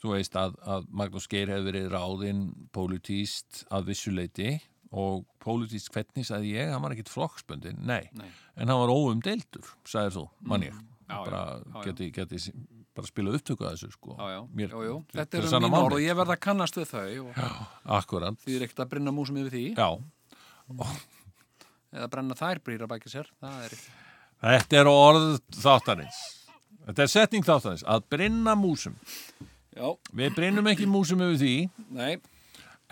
þú veist að, að Magnús Geir hefði verið ráðinn pólitíst að vissuleiti og pólitíst hvernig sagði ég hann var ekkit flokksbundin, nei,
Nei. Mm.
en hann var óumdeildur, sagðir þú, mann ég
Já, já,
bara
já, já.
geti, geti s- bara spila upptöku að þessu sko
já, já,
Mér-
já, já.
til-
þetta
til
eru
sanna
mín orð
málið.
og ég verð að kannast við þau og
Akkúrat.
því er ekkert að brenna músum yfir því
já,
eða brenna þær brýra baki sér það er
þetta er orð þáttarins þetta er setning þáttarins að brinna músum
já,
við brinnum ekki músum yfir því
nei,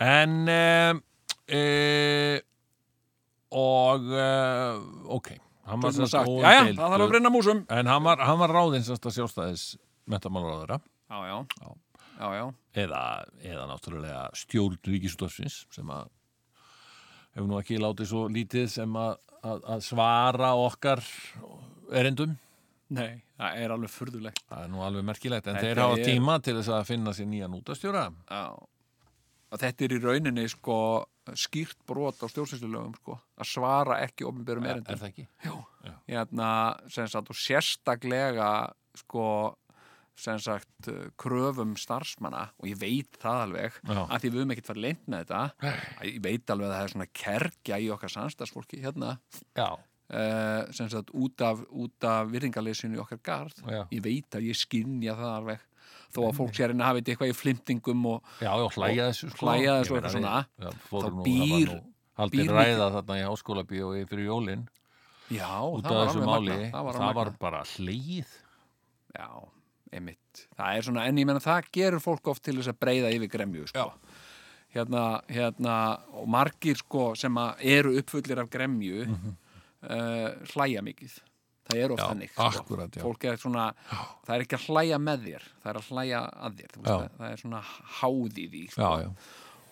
En uh, uh, og uh, ok hann var
það
sem sagt
sagt, já, já,
óumdeildur.
það þarf að brenna músum
en hann var, hann var ráðinn sem sagt að sjálfstæðis mentamálaráðara
já, já,
Já.
já, já,
eða, eða náttúrulega stjórn ríkisútafsins sem að hefur nú ekki látið svo lítið sem að, að, að svara okkar erindum
nei, það er alveg furðulegt
það er nú alveg merkilegt en
Þetta
þeir hafa
er-
tíma til þess að finna sér nýjan útastjóra
Já. Og þetta er í rauninni sko skýrt brot á stjórnstjórnstjórnlögum sko, að svara ekki ofinbjörnum
er,
erindum.
það ekki?
Hérna, sem sagt, og sérstaklega sko, sem sagt, uh, kröfum starfsmanna og ég veit það alveg
Já.
að því við höfum ekkert farið leint með þetta að ég veit alveg að það er svona kergja í okkar samstagsfólki hérna
Já,
uh, sem sagt út af, út af virðingarleysinu í okkar garð
já,
ég veit að ég skinja það alveg þó að fólk sér henni hafið eitthvað í flimtingum og
já, já, hlæja þessu sko.
Hlæja
Ég
þessu
meina,
eitthvað svona.
við- já, fórum
Þá
nú- það
býr-
var nú haldin
býr
ræða þarna í háskóla bíói fyrir jólin
já,
út
það
af
var
þessu
alveg
máli
magnað,
það var,
alveg magnað.
bara hlýð
Já, einmitt. Það er svona, en ég menna það gerur fólk oft til þess að breyða yfir gremju, sko. Hérna, hérna, og margir, sko, sem að eru uppfullir af gremju, mm hlæja mikið. Það er oft
Mhm. Já,
þannig, sko.
akkúrat, já.
Fólk er svona, það er ekki að hlæja með þér, það er að hlæja að þér, þú veist,
Já.
það, það er svona háð í því, sko.
já, já,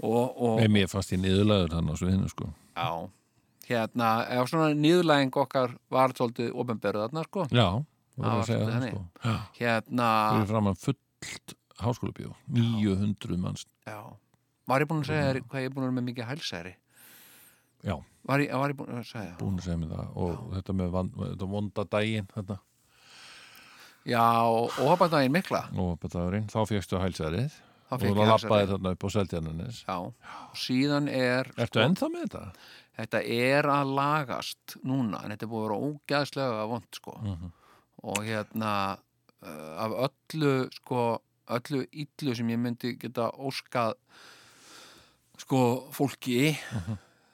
Og, og,
Nei, mér fannst ég niðurlaður þannig á sviðinu sko
já, hérna, eða svona niðurlæging okkar var svolítið ofinberð þarna, sko.
já, það var
var
að segja
svolítið
það
þannig.
sko já,
Hérna,
fyrir framan fullt háskóla 900 manns
já. Var ég búin að segja þér hvað ég er búin að vera með mikið hælsæri?
Mhm. já,
Var ég, var ég búin að segja það?
búin að segja mér það og þetta með van, þetta vonda daginn þetta,
Já, og hoppandaginn mikla.
og betagurinn, þá fjöxtu hælsærið
Þá
og
fékk
þú
ég Sko.
lappaði
hælsæri.
þarna upp á seldjarnanis
Já, og síðan er,
Ertu ennþá með þetta?
þetta er að lagast núna, en þetta er búið að vera ógæðslega vond, sko. Og hérna, uh, af öllu, sko, öllu illu sem ég myndi geta óskað, sko, fólki,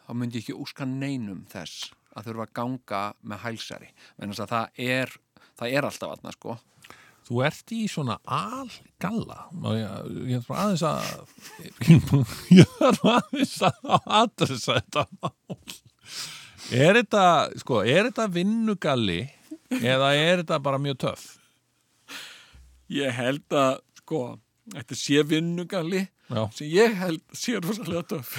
þá myndi ég ekki óska neinum þess að þurfa að ganga með hælsæri. Menni að það er, það er alltaf aðna, sko.
Þú ert í svona algalla Má ég, ég þarf aðeins að ég þarf aðeins að adressa þetta mál Er þetta, sko, er þetta vinnugalli eða er þetta bara mjög töff?
Ég held að, sko, þetta sé vinnugalli
Já.
sem ég held sé rosalega töff.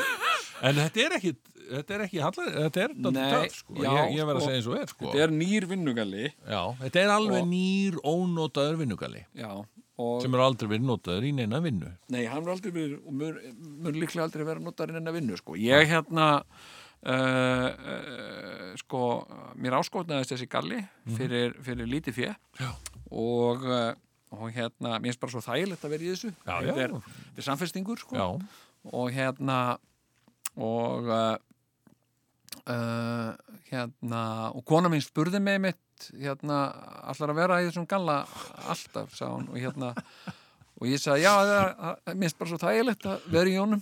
En þetta er ekki þetta er ekki hallar, þetta er þetta
Nei,
töff sko.
já,
ég, ég verð að
sko.
segja eins og er sko.
Þetta er Sko. nýr vinnugalli.
Já, þetta er alveg
Og-
nýr ónótaður vinnugalli
Já, og
sem er aldrei verið nótaður í neina vinnu
nei, hann er aldrei verið, og mun, mun líklega aldrei vera notarinn en að vinnu, sko. Ég hérna, uh, uh, sko, mér áskotnaðist þessi galli fyrir, fyrir lítið
Mhm.
fjö
Já.
og, uh, og hérna, mér finnst bara svo þægilegt að vera í þessu.
Já,
þetta
já.
er, þetta er samfestingur, sko.
Já,
og hérna og uh, uh, hérna og kona mín spurði mig mitt hérna, allar að vera í þessum galla alltaf, sá hún og hérna og ég sagði, já, það er- það er minnst bara svo þægilegt að vera í honum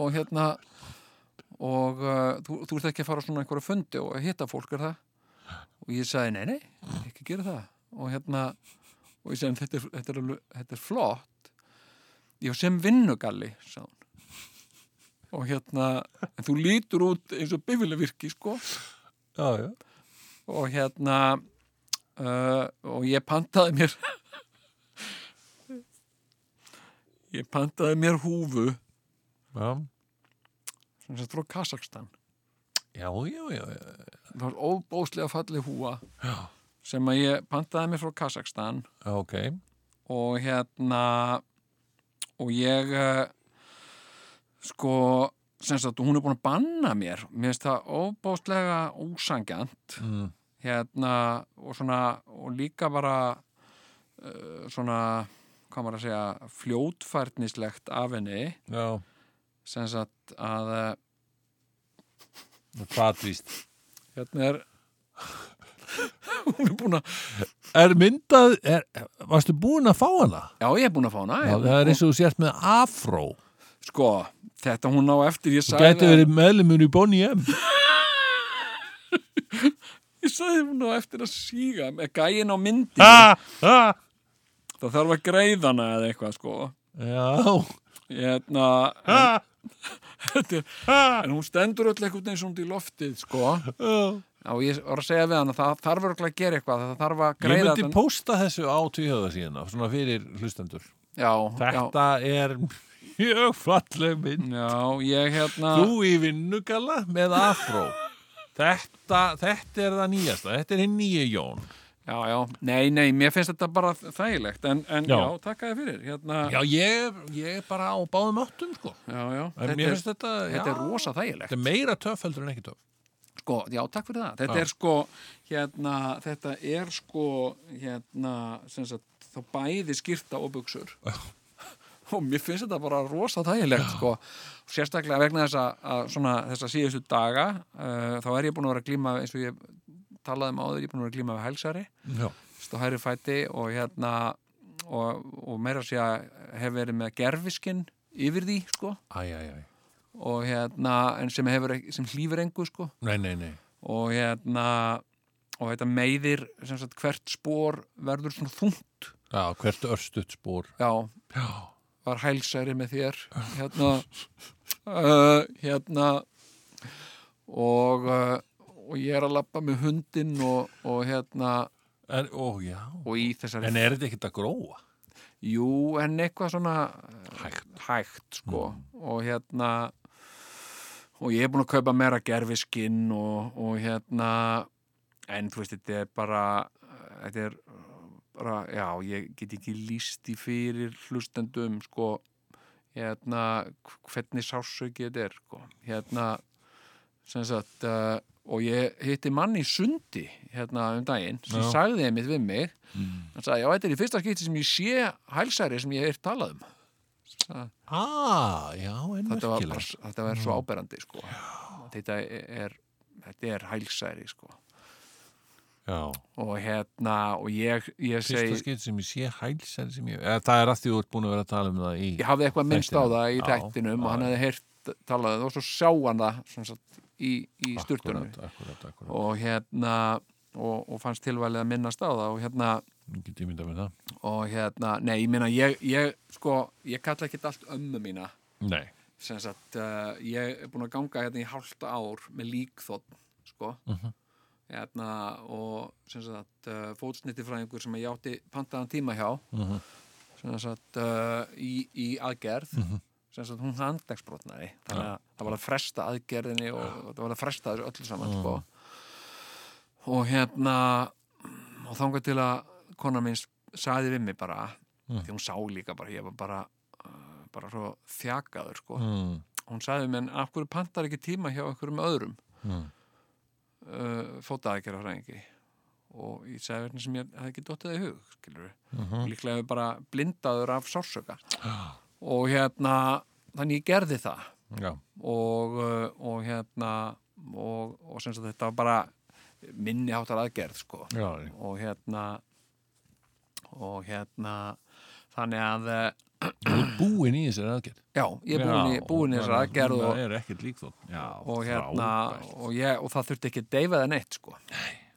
og hérna og uh, þú, þú ert ekki að fara á svona einhverja fundi og hitta fólk er það og ég sagði, nei, nei, ekki gera það og hérna og ég sagði, "En þetta er, þetta er, alveg, þetta er flott ég var sem vinnugalli sá hún og hérna, en þú lítur út eins og bifilevirki, sko
já, já
og hérna uh, og ég pantaði mér (laughs) ég pantaði mér húfu
Já,
sem sett frá Kazakstan
já, já, já, já.
það var óbóðslega falleg húa Já. sem að ég pantaði mér frá Kazakstan
Já, ok
og hérna og ég eh, sko sem sagt, hún er búin að banna mér mér finnst það óbóðslega ósangjant
mm.
hérna og svona og líka bara uh, svona hvað maður að segja fljótfærnislegt af henni
Já,
sem sagt að eh,
hvað víst
hérna er (laughs) hún er búin að
Er myndað, er, varstu búin að fá hana?
já ég er búin að fá hana
Já,
já,
það er eins og þú sért með afró
sko þetta hún á eftir ég
Þú
sagði
gæti verið meðlumur í Bonnie M
ég sagði hún á eftir að síga með gæin á myndi
(laughs) ha, ha.
það þarf að greiða hana eða eitthvað sko
Já,
hérna,
ha,
en, (laughs) þetta er-
ha.
en hún stendur öll eitthvað eins og hún í loftið sko og ég var að segja við hann að það þarf örugglega að gera eitthvað það þarf að
Ég
greiða
myndi pósta þessu á tvíhjóða síðan svona fyrir hlustendur
já,
Þetta er mjög falleg mynd
já, já, ég hérna
Þú í vinnugalla með afró Þetta, þetta er það nýjasta Þetta er hinn nýju Jón
já, já, nei, nei, mér finnst þetta bara þægilegt en, en
Já.
já. takk að þið fyrir hérna,
Já, ég, ég er bara á báðum áttum sko.
já, já,
En
þetta
mér
er,
finnst þetta
þetta er
já,
rosa þægilegt
Þetta er meira töff heldur en ekki töff
sko, já, takk fyrir það þetta
Já.
er sko, hérna, þetta er sko hérna, sem sagt, þá bæði skýrta og buksur (laughs) og mér finnst þetta bara rosa þægilegt sko, sérstaklega vegna þess að- að svona þessa síðustu daga uh, þá er ég búin að vera að glíma eins og ég talaði um áður, ég er búin að vera að glíma við hælsari
Já,
stó hæri fæti og hérna og, og meira að segja hef verið með gerfiskinn yfir því sko
Æ, æ, æ.
og hérna, en sem, hefur, ekki- sem hlýfur engu sko
Nei, nei, nei.
og hérna og þetta meiðir sem sagt hvert spór verður svona þungt
Já, hvert örstutt spór.
já,
Já.
var hælsæri með þér hérna uh, hérna og, uh, og ég er að lappa með hundinn og, og hérna
En, ó, já.
og í þessari
En er þetta ekkert að gróa?
jú, en eitthvað svona eh,
Hægt. Mm.
hægt sko og hérna og ég er búin að kaupa meira gerfiskinn og, og hérna en þú veist, þetta er bara þetta er bara, já, ég get ekki líst í fyrir hlustendum sko hérna, hvernig sásauki þetta er sko. hérna sem sagt, uh, og ég hitti mann í sundi hérna um daginn sem
Já.
sagði einmitt við mig hann sagði, já, þetta er í fyrsta skipti sem ég sé hælsæri sem ég hef heyrt talað um Sa,
Ah, já, en
þetta, var bara,
merkilegt.
þetta var
Mm.
svo áberandi sko. þetta er þetta er hælsæri sko.
Já.
og hérna, og ég, ég
Fyrsta
segi
skeitt sem ég sé hælsæri sem ég... Eða, það er að því þú ert búin að vera að tala um það í...
ég hafði eitthvað minnst á
Þættinum.
það í
Já,
tættinum og
já,
hann hefði heyrt talað um það og svo sjá hann það sem sagt, í, í styrtunum
Akkurat, akkurat, akkurat.
og hérna og, og fannst tilvælið að minnast á það og hérna,
Ég get ímynda með það.
og hérna nei, ég minna, ég, ég sko ég kalla ekkert allt ömmu mína
Nei.
sem sagt, uh, ég er búin að ganga hérna í hálfta ár með líkþótt sko
Mhm,
hérna, og sem sagt uh, fótsnittifræðingur sem ég átti pantaðan tíma hjá
Mhm.
sem sagt uh, í, í aðgerð
Mhm.
sem sagt hún handlegsbrotnaði þannig að það var að fresta aðgerðinni og, og það var að fresta þessu öllu saman sko.
Mm.
og hérna og þangað til að kona mín saði við mig bara
Mm.
því hún sá líka bara, ég var bara uh, bara svo þjakaður sko
Mm.
hún sagði mér, af hverju pantar ekki tíma hjá einhverjum öðrum
Mm.
uh, fótaðakera fræðingi og ég sagði hvernig sem ég hafði ekki dottið í hug, skilur við
Mm. mhm.
líklega hefur bara blindaður af sársöka og hérna þannig ég gerði það
Já.
og, uh, og hérna og, og sem sagt þetta var bara minni háttar aðgerð sko
Já.
og hérna og hérna þannig að eh,
Þú ert búin í þessari aðgerð.
já, ég er búin í,
Já,
búin í þessar
bara-
aðgerð og,
Það er ekkert lík þó. Já.
og hérna
frábært.
og, ég, og það þurfti ekki að deyfa það neitt sko.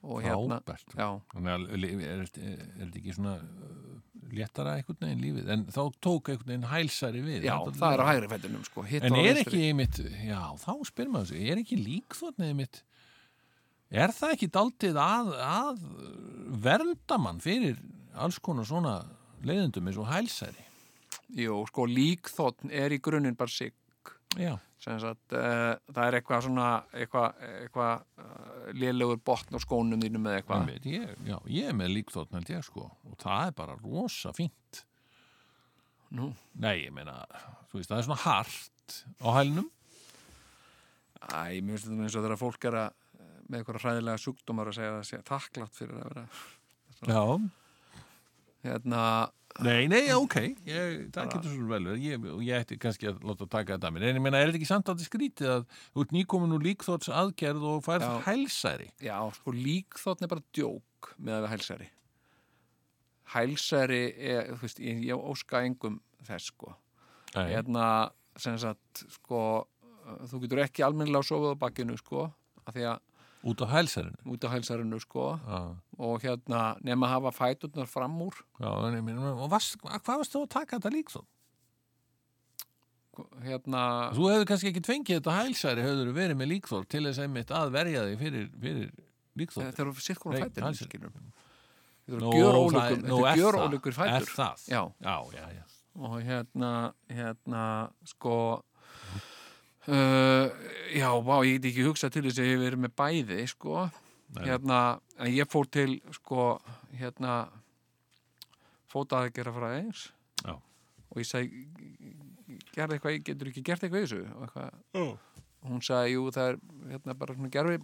og hérna
Frábært.
já,
Þannig að li- er, þetta- er þetta ekki svona uh, léttara einhvern veginn lífið en þá tók einhvern veginn hælsæri við
já,
Þetta-
það er á hægri fættunum sko. hitt
en
og á
er
vinstri.
ekki einmitt, já þá spyr maður sig er ekki líkþotnið einmitt er það ekki daldið að, að vernda mann fyrir alls konar svona leiðendum eins og hælsæri
Jú, sko, líkþóttn er í grunninn bara sig
já,
sem sagt, uh, það er eitthvað svona eitthvað eitthva, uh, lélegur botn á skónum þínum eða eitthvað
einmitt, ég, já, ég er með líkþotn held ég sko og það er bara rosa fínt
Nú.
nei, ég meina, þú veist, það er svona hart á hælnum
Æ, mér finnst þetta eins og þegar fólk er að eh, með eitthvað hræðilega sjúkdómar að segja það sé þakklátt fyrir að vera
já,
hérna,
Nei, nei, já, ok, ég, það getur svo vel verið, ég, og ég ætti kannski að láta taka þetta að mér, en ég meina, er þetta ekki samt að þetta skrítið að þú ert nýkomin úr líkþóts aðgerð og færð
Já.
hælsæri?
já, sko, líkþóttn er bara djók með að vera hælsæri hælsæri er, þú veist, ég, ég óska engum þess, sko
Nei,
hérna, sem sagt, sko uh, þú getur ekki almennilega sofið á bakkinu, sko, af því að
út af hælsærinu.
út af hælsarinu, sko
Já,
og hérna, nema að hafa fæturnar fram úr
já, en ég meina, og varst, hvað varst þú að taka þetta líkþótt?
hérna,
Þú hefur kannski ekki tvengið þetta hælsæri, hefur þú verið með líkþótt til þess einmitt að verja þig fyrir, fyrir líkþótt.
þetta eru sitt konar
Nei,
fætur
hælsæri.
skilur þetta eru gjör ólíkur þetta eru gjör ólíkur
Er
fætur
það?
já,
Já, já, já.
og hérna, hérna sko uh, já, vá, ég get ekki hugsað til þess að ég hef verið með bæði, sko
Nei.
hérna, en ég fór til sko, hérna fótaði gera frá eins
Já.
og ég sagði gerði eitthvað, getur ekki gert eitthvað í þessu og eitthvað
Já.
hún sagði, jú, það er hérna bara svona gerfi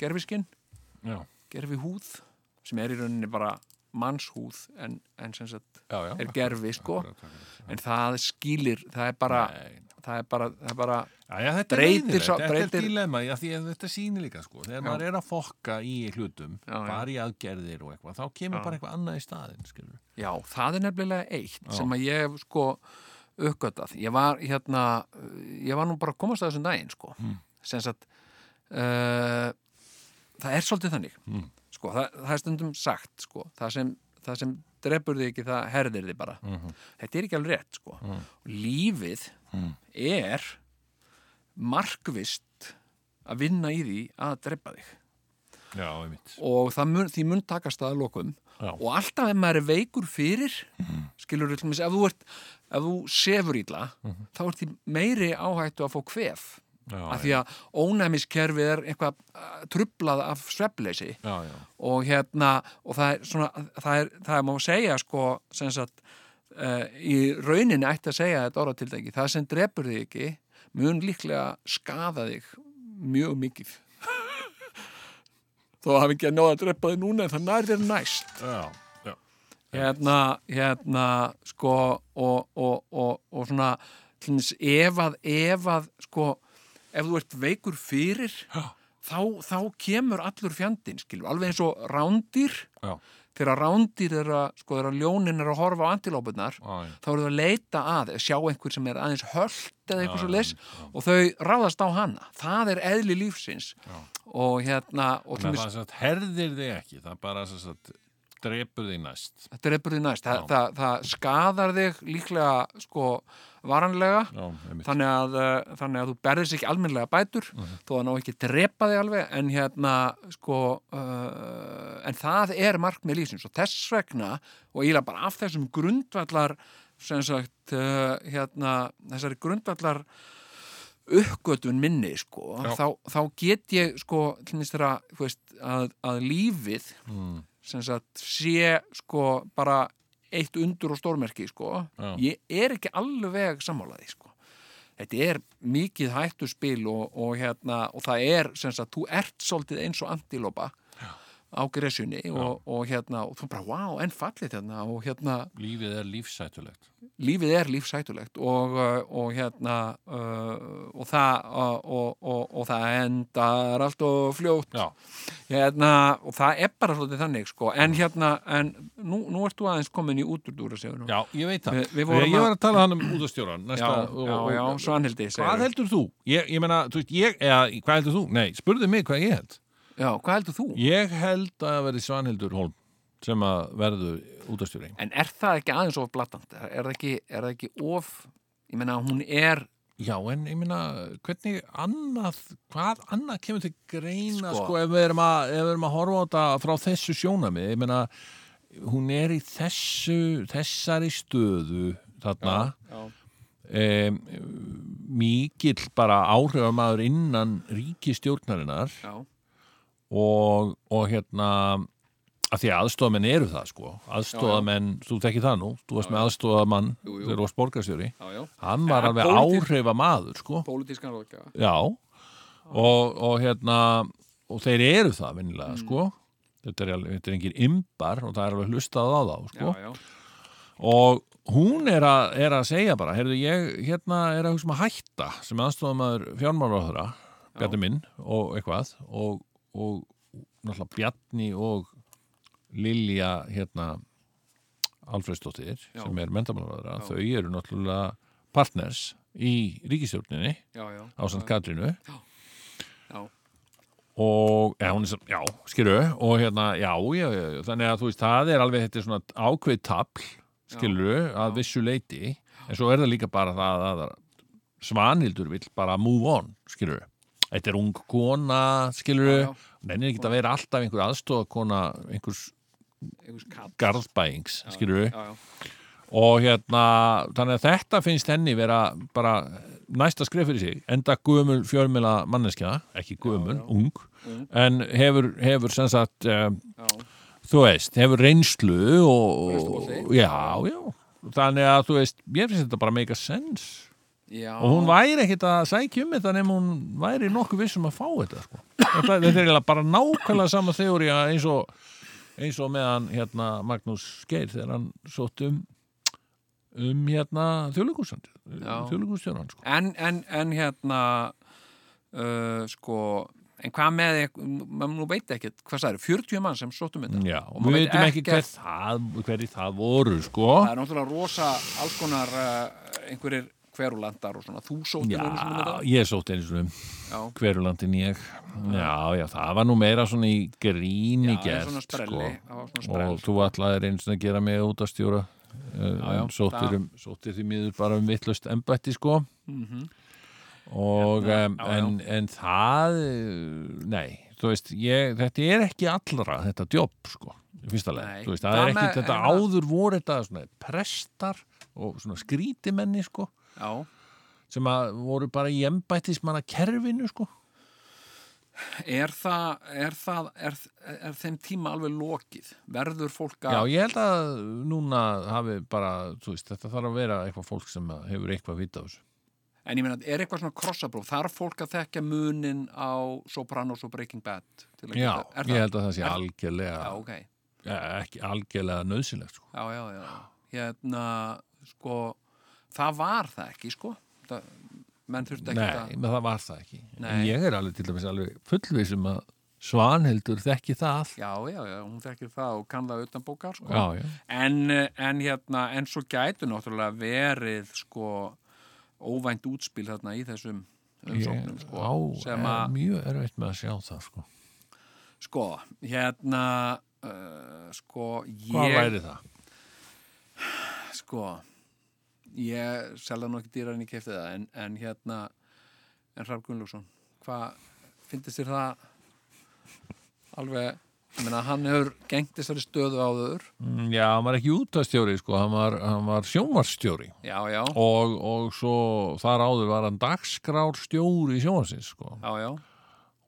gerfiskinn,
Já,
gerfi húð sem er í rauninni bara mannshúð en, en sem sagt
já, já.
er gerfi, sko
Akkurat, akkurat.
en það skilir, það er bara
Nei,
það er bara, það er bara
Jæja, þetta er
Breytir
leiðilegt,
sá-
þetta
breytir-
er dilemma já, því að þetta sýnir líka sko, þegar
Já.
maður er að fokka í hlutum,
Já, já.
bara í aðgerðir og eitthvað, þá kemur
Já.
bara eitthvað annað í staðinn skilur.
Já, það er nefnilega eitt sem að ég hef sko uppgötað. Ég var hérna, ég var nú bara að komast að þessum daginn sko. Mm. Sens að uh, það er svolítið þannig. Mm. Sko, það, það er stundum sagt sko. Það sem, það sem drefur þig ekki, það herðir þig bara. Þetta er ekki alveg rétt sko. Lífið er markvist að vinna í því að drepa þig.
já, einmitt
og það mun, því mun takast það að lokum
Já.
og alltaf ef maður er veikur fyrir skilur við ef þú ert ef þú sefur ítla þá ert því meiri áhættu að fá kvef
Mhm. já,
af því að ónæmiskerfið er eitthvað uh, trublað af svefleysi
já, já,
og hérna og það er svona, það er, það er má segja sko, sem sagt uh, í rauninni ætti að segja þetta orðatildæki það sem drepur þig ekki mun líklega skafa þig mjög mikið (laughs) þó hafi ekki að náða að drepa þig núna en það nær þér næst
já, já.
hérna, hérna sko og, og, og, og svona tlins, ef að, ef að sko, ef þú ert veikur fyrir þá, þá kemur allur fjandinn, skilur, alveg eins og rándýr
já.
þegar rándýr er að, sko, þegar ljónin er að horfa á antilópunar
Ah, Já, já.
þá eru þau að leita að, sjá einhver sem er aðeins höllt eða eitthvað svo les og þau ráðast á hana, það er eðli lífsins og hérna
Þannig
og
að
tlumis,
það sem sagt herðir þig ekki það bara sem sagt drepur þig næst
þetta er eppur því næst það,
Já.
það, það skadar þig líklega sko varanlega
já, einmitt Mhm.
þannig að, uh, þannig að þú berðis ekki almennlega bætur þó að ná ekki drepa þig alveg en hérna sko uh, en það er markmið lífsins og þess vegna og ég bara af þessum grundvallar sem sagt uh, hérna þessari grundvallar uppgötun minni sko
Já.
þá, þá get ég sko til minnst þeirra þú veist, að, að lífið
mm,
sem sagt sé sko bara eitt undur og stórmerki sko
Já.
ég er ekki alveg sammálaði sko þetta er mikið hættuspil og, og hérna og það er sem sagt þú ert svolítið eins og antilópa á gresjunni og, og hérna og þú bara wow en fallið hérna og hérna
lífið er lífsætulegt
lífið er lífsætulegt og, uh, og hérna uh, og, það, og, og, og, og það endar allt og fljótt
já,
hérna, og það er bara svolítið þannig sko. en hérna, en nú, nú ert þú aðeins komin í úturdúra segur
já, ég veit það
Vi- við
ég,
vorum
ég
að-
var að tala hann um útastjóran
já,
næsta, og-
já,
og-
já Svanhildi
hvað
segirðu.
heldur þú? Ég, ég meina, þú veist, ég, eða, hvað heldur þú? Nei, spurðu mig hvað ég held
já, hvað heldur þú?
Ég held að það verði Svanhildur Holm sem að verður útastjóri
En er það ekki aðeins of blatant? Er, er, það, ekki, er það ekki of ég meina, hún er
Já, en ég meina, hvernig annað, hvað annað kemur til greina,
Sko.
sko, ef, við erum að, ef við erum að horfa á þetta frá þessu sjónami, ég meina, hún er í þessu, þessari stöðu þarna,
já.
um, mikill bara áhrifamaður innan ríkistjórnarinnar
Já,
og, og hérna, að því að aðstofamenn eru það, sko, aðstofamenn, þú tekir það nú, þú varst með aðstofamann,
Jú, jú.
þegar þú varst borgarstjóri,
já, já.
hann var
Ja,
alveg
pólitísk-
áhrifamaður, sko.
Pólitískan ráðgjafa
Já, og, og hérna, og þeir eru það vinnilega,
Mm.
sko. Þetta er, alveg- þetta er engin ymbar og það er alveg hlustað á þá, sko.
já.
Og hún er, a, er að segja bara, heyrðu, ég hérna er að hugsa um að hætta sem aðstofamaður fjármálaráðara, Bjarni minn og eitthvað, og, og náttúrulega Bjarni og Lilja, hérna, Alfredsdóttir,
Já.
sem er mentamálaráðara,
Já.
þau eru náttúrulega partners í ríkistjórninni
Já, já.
ásand Katrinu
Já.
og, já, hún er sem, já, skilur og hérna, já, já, já, já, þannig að þú veist það er alveg, þetta er svona ákveð tapl skilur, að vissu leiti en svo er það líka bara það að Svanhildur vill bara move on skilur, þetta er ung kona
Já,
skilur,
já.
hún ennir ekki að vera alltaf einhver aðstofakona, einhvers
Einhvers kall.
garðbæings, skilur
Já, já.
og hérna, þannig að þetta finnst henni vera bara næsta skrif fyrir sig, enda gömul fjölmila manneskja, ekki gömul, ung
Ung.
en hefur, hefur sem sagt, um,
Já,
þú veist hefur reynslu og,
Reynslubolti.
já, já, þannig að þú veist ég finnst þetta bara make a sense
já.
og hún væri ekkit að sækja um þetta nema hún væri nokkuð vissum að fá þetta sko. þetta, þetta er eiginlega bara nákvæmlega sama þeóri eins og eins og meðan hérna Magnús Geir þegar hann sótt um um hérna þjóðleikúsand
Já.
þjóðleikústjónan sko.
en, en, en hérna uh, sko en hvað með, maður nú veit ekki hvað það eru, 40 mann sem sóttum þetta
Já,
Og
við
maður veit
veitum ekki hver
ekkert-
það, hverji það voru, sko.
það er náttúrulega rosa alls konar uh, einhverjir hverulandar og svona þú sóttir
Já,
einu sinni með það
ég sótt einu svona um
já,
hverjulandin ég. Já, já, það var nú meira svona í gríni
það er
gert,
svona
sko.
sprelli það var svona
Og
sprell
þú allar einu svona að gera mig út að stjóra.
Já, já,
Uh, sóttir,
það-
um, sóttir því miður bara um vittlust embætti, sko. og
Mhm. Hérna,
um,
já, já.
en, en það uh, nei, þú veist ég, þetta er ekki allra, þetta djóp sko, í fyrsta
Nei.
leið, þú veist, það
Það
er ekki
með-
þetta
en-
áður voru þetta svona prestar og svona skrítimenni sko,
já,
sem að voru bara í embættismanna kerfinu sko
er það, er það er, er þeim tíma alveg lokið verður fólk
já,
að
ég held að núna hafi bara, þú veist, þetta þarf að vera eitthvað fólk sem að hefur eitthvað vita á þessu
en ég meina, er eitthvað svona krossabróf þarf fólk að þekka munin á Sopranos og Breaking Bad til að
já,
geta- er
ég
það?
held að það sé
Er-
algjörlega
já, ok,
ja, ekki algjörlega nöðsilegt sko
já, já, já hérna, sko það var það ekki, sko það, menn þurfti ekki
Nei, menn það var það ekki. En
Nei.
Ég er alveg til dæmis alveg fullvísum að Svanhildur þekki það.
Já, já, já, hún þekkir það og kann það utan bókar sko.
Já, já.
En, eh, en hérna, en svo gætu náttúrulega verið sko óvænt útspil þarna í þessum umsóknum
Ég- eh,
sko,
á,
sem
er
að,
mjög erfitt með að sjá það, sko.
sko, hérna uh, sko,
Hvað
ég
væri það?
sko, ég selða nú ekki dýrar en ég kefti það en, en hérna, en Hrafn Gunnlaugsson hvað, fyndist þér það alveg ég meina, hann hefur gengt þessari stöðu áður
Mm, Já, hann var ekki útastjóri, sko. Hann var, hann var sjónvarsstjóri.
já, já,
Og, og svo þar áður var hann dagskrárstjóri í sjónvarsins, sko.
já, já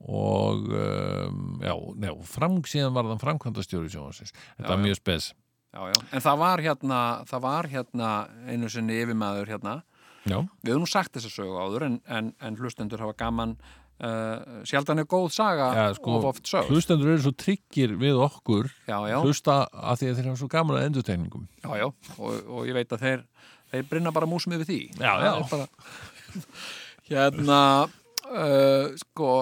Og, um, já, njá, fram, síðan var hann framkvæmdastjóri í sjónvarsins. Þetta
Já,
er
já.
mjög spes.
Já, já. En það var hérna, það var hérna einu sinni yfirmaður hérna.
Já.
Við höfum nú sagt þessa sögu áður en, en, en hlustendur hafa gaman uh, sjaldan er góð saga
Já, sko,
of oft sög.
Hlustendur eru svo tryggir við okkur
Já, já,
hlusta að því að þeir hafa svo gaman að endurtegningum
já, já. Og, og ég veit að þeir, þeir brinna bara músum yfir því.
Já,
Það
já.
er Bara, (laughs) hérna, uh, sko,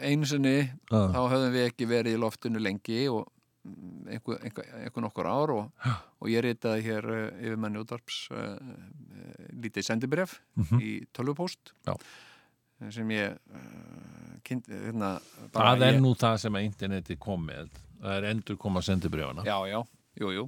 einu sinni
Já.
þá höfum við ekki verið í loftinu lengi og mm, einhver, einhver, einhver nokkur ár og, og ég ritaði hér uh, yfir manni útvarps uh, uh, lítið sendibref í tölvupóst
Mhm.
Eh,
Já.
sem ég uh, kynnt, hérna, bara
Það er
ég,
nú það sem að interneti kom með það er endur koma sendibrjóna
Já, já, jú, jú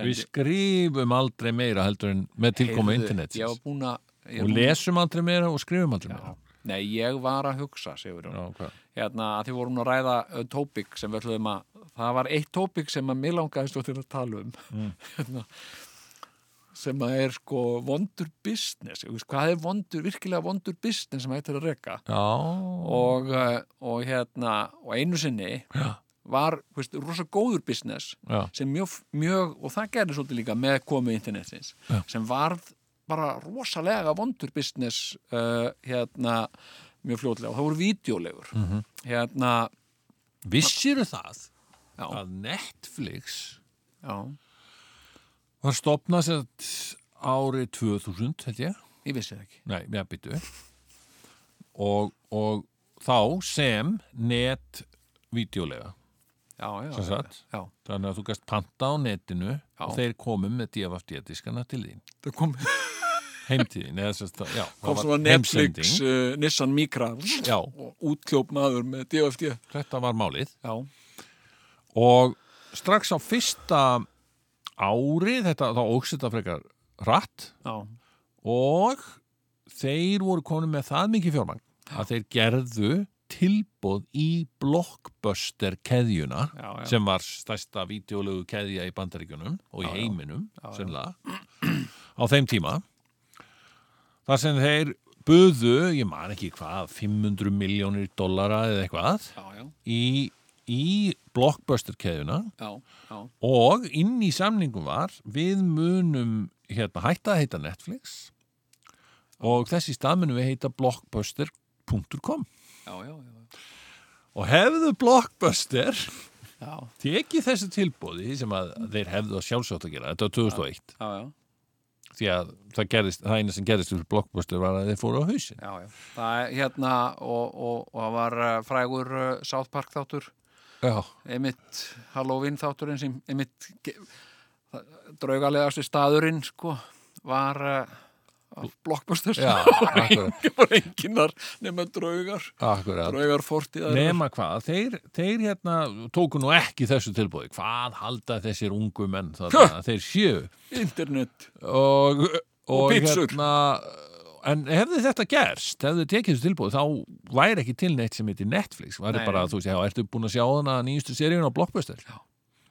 Við skrifum aldrei meira heldur en með tilkoma
Heyrðu, Ég
internetsins
var búin að
og
ég var búinn-
lesum aldrei meira og skrifum aldrei meira
Já. Nei, ég var að hugsa, segur hún
Já, hvað?
hérna, að því vorum að ræða uh, tópik sem við ætluðum að, það var eitt tópik sem að mér langaði stóttir að tala um (laughs) hérna, sem að er sko vondur business, ég veist, hvað er vondur, virkilega vondur business sem hægt er að reka
Já.
og, uh, og hérna, og einu sinni
Já.
var, þú veist, rosa góður business
Já.
sem mjög, mjög, og það gerði svolítið líka með komu internetsins,
Já.
sem varð bara rosalega vondur business uh, hérna mjög fljótlega og það voru vídeolegur -hmm. hérna,
Vissiru það
já,
að Netflix
já,
var stopnað sér árið 2000 held ég
ég vissi það ekki
Nei, já, byttu og, og þá sem net videolega
já, já,
Sem sagt?
já,
Þannig að þú gæst panta á netinu og
Já.
þeir komum með DFFD-diskana til þín.
það kom,
Heimtíðin, eða sérst að, já,
kom
það
svona
var
Netflix
heimsending.
uh, Nissan Micra
Já,
og útkljóp maður með DFD
þetta var málið.
já,
Og strax á fyrsta ári, þetta, þá ógst þetta frekar hratt
já,
og þeir voru konum með það mikið fjármagn að þeir gerðu tilbóð í blockbuster keðjuna
já, já,
sem var stærsta videolegu keðja í bandaríkjunum og í
Já, já.
heiminum
Já, já.
sennilega á þeim tíma þar sem þeir buðu, ég man ekki hvað 500 miljónir dollara eða eitthvað
já, já,
í, í blockbuster keðjuna
já, já,
og inn í samningum var við munum hérna, hætta að heita Netflix og þessi stað munum við heita blockbuster.com
já, já, já,
og hefðu blockbuster
já,
tekið þessu tilbóði sem að þeir hefðu að sjálfsagt að gera, þetta var 2001
já, já.
því að það gerðist, það eina sem gerðist fyrir blockbuster var að þeir fóru á hausin
já, já. Það er hérna og, og, og það var eh, frægur eh, South Park þáttur
já,
einmitt Halloween þátturinn sem einmitt ge- það- draugalegasti staðurinn sko var uh, blockbuster
já,
(laughs)
akkurat,
það var enginn þar nema draugar
akkurat.
draugar fortíðar
nema hvað, þeir, þeir hérna tóku nú ekki þessu tilbúði hvað halda þessir ungu menn þarna, þeir séu
internet
og, og,
Og pítsur.
hérna, en hefði þetta gerst hefði tekið þessu tilbúð þá væri ekki til neitt sem heitir Netflix væri
Nei.
bara, þú veist, já, ertu búin að sjá hana nýjustu seríun á Blockbuster já,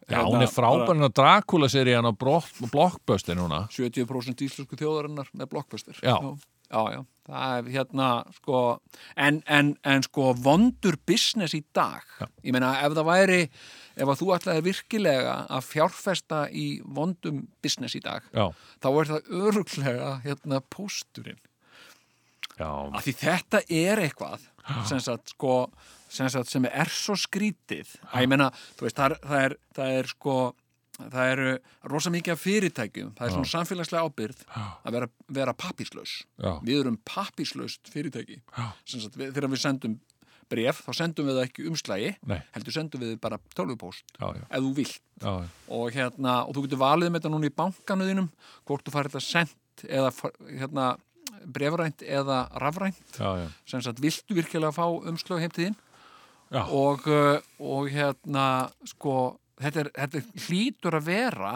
Hérna,
hún er frábær hérna Dracula seríun á Bro- Blockbuster núna
70% íslensku þjóðarinnar með blockbuster
Já.
já, já. það er hérna sko, en, en, en sko vondur business í dag
Já.
ég meina ef það væri ef að þú ætlaði virkilega að fjárfesta í vondum business í dag
já,
þá er það öruglega hérna pósturinn
já,
af því þetta er eitthvað sem, sagt, sko, sem, sagt, sem er svo skrítið að ég meina, þú veist, það er, það er, það er sko það eru rosa mikið af fyrirtækjum það er svona samfélagslega ábyrð að vera, vera pappíslaus
já,
við erum pappíslaust fyrirtæki
Já.
Sem sagt, við, þegar við sendum bref þá sendum við það ekki umslægi
Nei.
heldur sendum við bara tölvupóst
já, já,
ef þú vilt
já,
og, hérna, og þú getur valið með þetta núna í bankanu þínum hvort þú farið þetta sent eða fa- hérna, brefrænt eða rafrænt
já, já,
sem sagt viltu virkilega fá umslög heim til þín
Já.
og, uh, og hérna sko þetta, er, þetta er- hlýtur að vera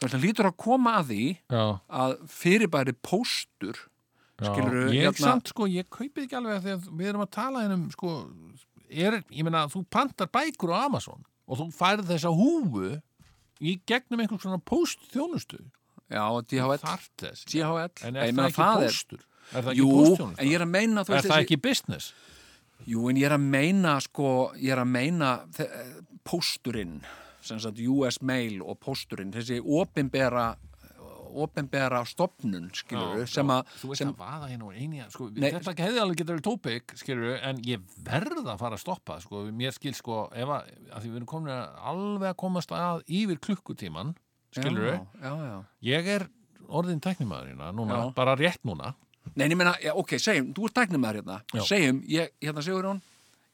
þetta hlýtur að koma að því
já,
að fyrirbæri póstur
já.
Skilurðu,
ég
hérna-
samt sko, ég kaupið ekki alveg af því að við erum að tala hennum sko, er, ég meina þú pantar bækur á Amazon og þú færð þessa húfu í gegnum einhvers svona póstþjónustu
já, DHL,
þarf þess
DHL.
en
Ég
er það
meina,
ekki póstur? Er það ekki
Jú,
póstþjónusta?
en ég er að meina þú
Er
veist,
það
þessi-
ekki business?
Jú, en ég er að meina, sko, ég er að meina þe- eh, pósturinn, sem sagt US Mail og pósturinn, þessi opinbera, opinbera stopnun, skilur,
Já,
sem
já,
að,
Þú veist
sem,
að vaða hérna og eini að- sko,
Nei.
Þetta hefði alveg getur verið tópik skilur, en ég verð að fara að stoppa sko, mér skil sko ef að, að því við erum komin að alveg að komast að yfir klukkutíman skilur
já, já, já.
ég er orðin teknimaðurina núna,
Já.
bara rétt núna
Nei, en ég meina, já, ok, segjum, þú ert tæknir maður hérna,
Já.
segjum, ég, hérna Sigurjón,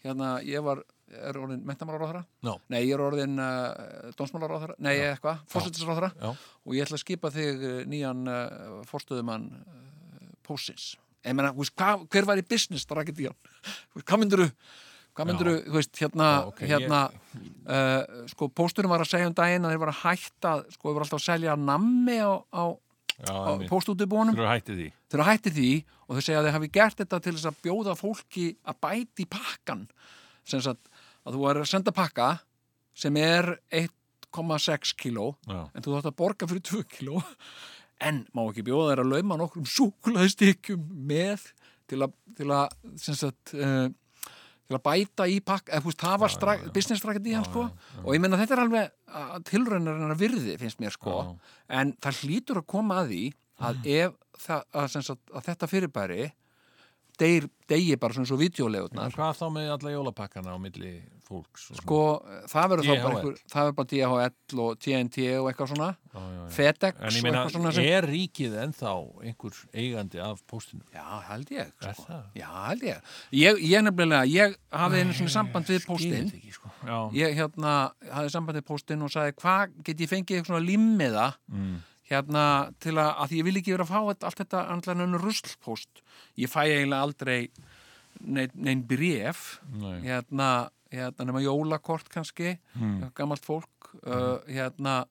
hérna, ég var, er orðin mentamálaráðara,
Já.
nei, ég er orðin uh, dónsmálaráðara, nei, eitthvað, fórsetisráðara,
Já.
og ég ætla að skipa þig eh, nýjan uh, forstöðumann uh, pósins en menna, veist, hva, hver var í business þar að geta í hann hvað myndir hvað myndir þú veist, hérna,
Já, ok,
hérna uh, sko, pósturinn var að segja um daginn að þeir var að hætta, sko, þeir var alltaf að selja nammi á, á,
Já,
á
einmitt. Þú
póstútibúanum
eru hættið því
þeir eru að hætti því og þau segja að þeir hafi gert þetta til þess að bjóða fólki að bæti í pakkan sem sagt, að þú er að senda pakka sem er 1,6 kíló
Já.
en þú þátt að borga fyrir 2 kíló en má ekki bjóða þær að lauma nokkrum súkulaðstykkjum með til að, til að, sem sagt, uh, til að bæta í pakka eða þú veist, það var
Já,
strak,
já, já.
business strakkandi í hann
Já,
sko
já,
og ég meina þetta er alveg tilraunarinnar virði finnst mér sko
Já. Mm.
en það hlýtur að koma að því að ef það, að, sem sagt, að þetta fyrirbæri deyr, degi bara svona svo
En
videolegurnar
Hvað þá með alla jólapakkana á milli fólks? og
sko, það verður þá bara
DHL.
einhver, það verður bara DHL og TNT og eitthvað svona
svona? Já, já, já.
FedEx
En ég
og
meina, e-
eitthvað svona sem,
er ríkið ennþá einhver eigandi af póstinu?
já, held ég
Er
sko.
það?
já, held ég ég, ég nefnilega, ég hafði einu svona samband við
Skil
póstinn
þetta ekki, sko. Já,
ég hérna hafði samband við póstinn og sagði hvað get ég fengið eitthvað svona limmiða
mm.
hérna til að, að því ég vil ekki vera að fá þetta, allt þetta andlan önnu ruslpóst ég fæ eiginlega aldrei neinn nein bref
Nei.
hérna, hérna nema jólakort kannski
Mm.
gammalt fólk uh, hérna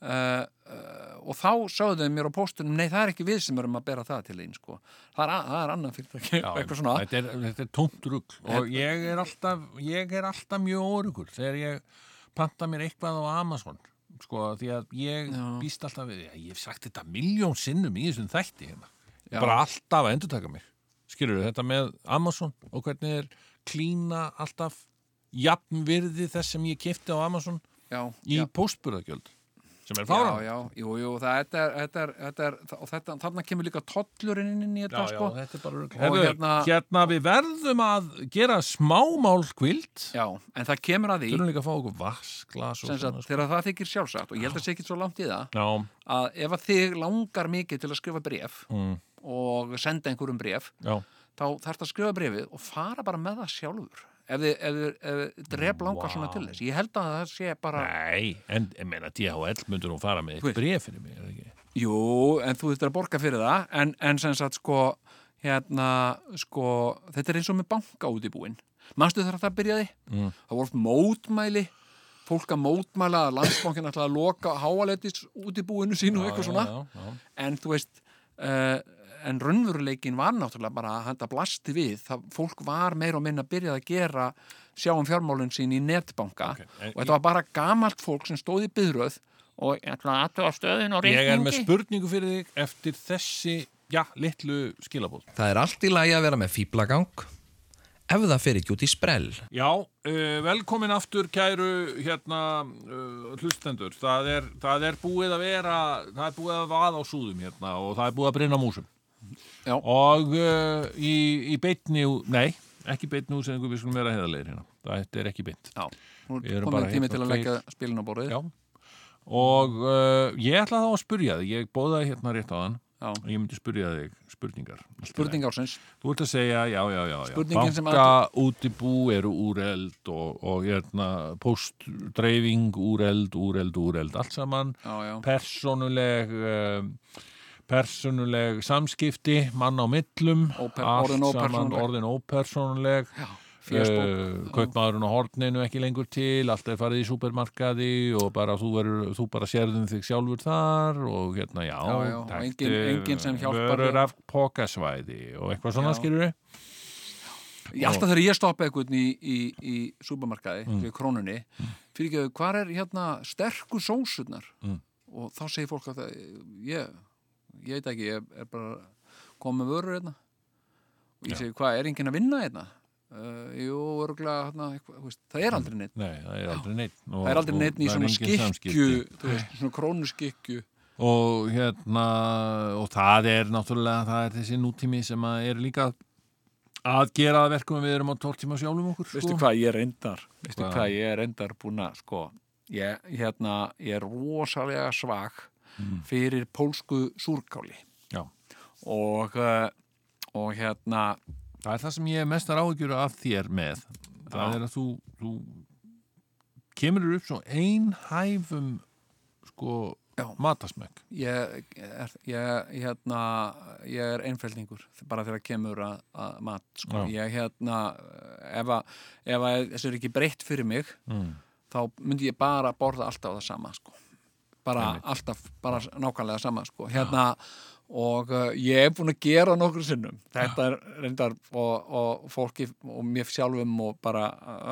uh, uh, og þá sögðu þau mér á póstunum nei það er ekki við sem erum að bera það til einn sko. það, er, a- það er annan fyrirtæki
Já,
(laughs) eitthvað svona
þetta er, þetta er tómt rugg og ég er alltaf, ég er alltaf mjög órugur þegar ég panta mér eitthvað á Amazon sko, því að ég
Já.
býst alltaf við, ég hef sagt þetta miljón sinnum í þessum þætti hérna
Já.
bara alltaf að endurtaka mér skilur þetta með Amazon og hvernig er klína alltaf jafnvirði þess sem ég kefti á Amazon
já,
í
já,
póstburðagjöld sem er
Já,
fára
já, jú, jú, það, þetta er, þetta er, þetta er, og þetta, þarna kemur líka tollurinn inn í þetta, sko.
þetta er bara rugl.
Og
Herðu, hérna,
hérna-
við verðum að gera smámál kvild
Já, en það kemur að því,
þurfum líka að fá okkur vasklas og
sem sagt,
svona sko.
þegar það þykir sjálfsagt, og ég held að sé ekki svo langt í það,
já,
að ef að þig langar mikið til að skrifa bref
mm,
og senda einhverjum bref,
já,
þá þarf það að skrifa brefið og fara bara með það sjálfur. Ef þið, ef þið, ef þið dref langar
Vá.
svona til þess. Ég held að það sé bara,
Ah. nei en ég meina DHL myndur hún fara með
Guð.
eitt bref fyrir mig, er það ekki?
jú, en þú þurftir að borga fyrir það, en, en sem sagt, sko, hérna, sko, þetta er eins og með banka út í búin. Manstu þegar það byrjaði?
Mm.
Það voru oft mótmæli, fólk að mótmæla að landsbankin ætlaði að loka háaleitis út í búinu sínu og
Já,
eitthvað
já,
svona.
já, já.
en þú veist uh, en raunveruleikin var náttúrulega bara að þetta blasti við, það, fólk var meir og minna að byrjað að gera sjá um fjármálun sín í netbanka
Ok, en
og þetta var bara gamalt fólk sem stóð í byrjöð og hérna, ég ætla að aðtöfa stöðin og
Ég er með
reikningi
spurningu fyrir þig eftir þessi, já, litlu skilabóð.
Það er allt í lagi að vera með fýblagang ef það fer ekki út í sprell.
Já, uh, velkomin aftur kæru hérna uh, hlustendur. Það er, það er búið að vera, það er búið að vaða á súðum hérna og það er búið að brinna músum.
Já.
Og uh, í, í beitni, úr- nei, ekki beitni útsendingu, við skulum vera heðalegir hérna. Þetta er ekki beint.
Já, nú
Við
er
erum bara
komin tími
hérna
til að
tveir.
leggja spilin á borðið
Já. Og uh, ég ætla þá að spurja þig, ég bóðaði hérna rétt á þann.
Já.
Ég myndi spurja þig spurningar. Allt í lagi.
Spurning ársins
Þú ert að segja, já, já, já, já.
Spurningin sem
banka útibú eru úreld og, og hérna, postdreifing úreld, úreld, úreld, allt saman,
Já, já,
persónuleg, um, persónuleg samskipti, mann á millum,
Óper-
allt
orðin
saman,
ópersónuleg.
orðin ópersónuleg,
fjöspók
eh, kaupmaðurinn á horninu ekki lengur til, allt er farið í supermarkaði og bara þú, verður, þú bara sérðum þig sjálfur þar og hérna, já,
Já, já, og
taktu
enginn- enginn sem hjálpar
vörur
þér.
af pokasvæði og eitthvað svona
Já.
skilur við.
Ég alltaf þegar ég stoppa einhvern í, í, í súbamarkaði, mm. krónunni fyrir ekki að hvað er hérna sterku sósurnar
Mm.
og þá segir fólk að það, ég ég veit ekki, ég er bara komið með vörur hérna og ég
Já.
segi, hvað, er enginn að vinna hérna? Uh, jú, örgulega, hérna, eitthvað, þú veist, það er aldrei neitt
Nei, það er aldrei neitt Mm. og,
það er aldrei neitt í
og það
svona
er engin
skikju
samskipti.
þú veist, svona krónuskikju
og hérna og það er náttúrulega það er þessi nútími sem að er líka að gera að verkum að við erum á 12 tíma sjálfum okkur sko.
Veistu hvað ég er endar? Veistu
Hvað?
hvað ég er endar búin að, sko, ég, hérna, ég er rosalega svag
Mm.
fyrir pólsku súrkáli.
Já.
Og, eh, og hérna,
það er það sem ég er mestar áhyggjur af þér með það
Já.
er að þú, þú kemur upp svo einhæfum sko
Já.
matasmekk
ég er, ég, hérna, ég er einfældingur bara þegar kemur að, að mat, sko.
Já.
Ég, hérna, ef að, ef að þessu er ekki breytt fyrir mig,
mm.
þá myndi ég bara borða alltaf það sama sko. bara
Einmitt.
alltaf, bara nákvæmlega sama sko. hérna og uh, ég er búin að gera nokkur sinnum þetta er reyndar og, og fólki og mér sjálfum og bara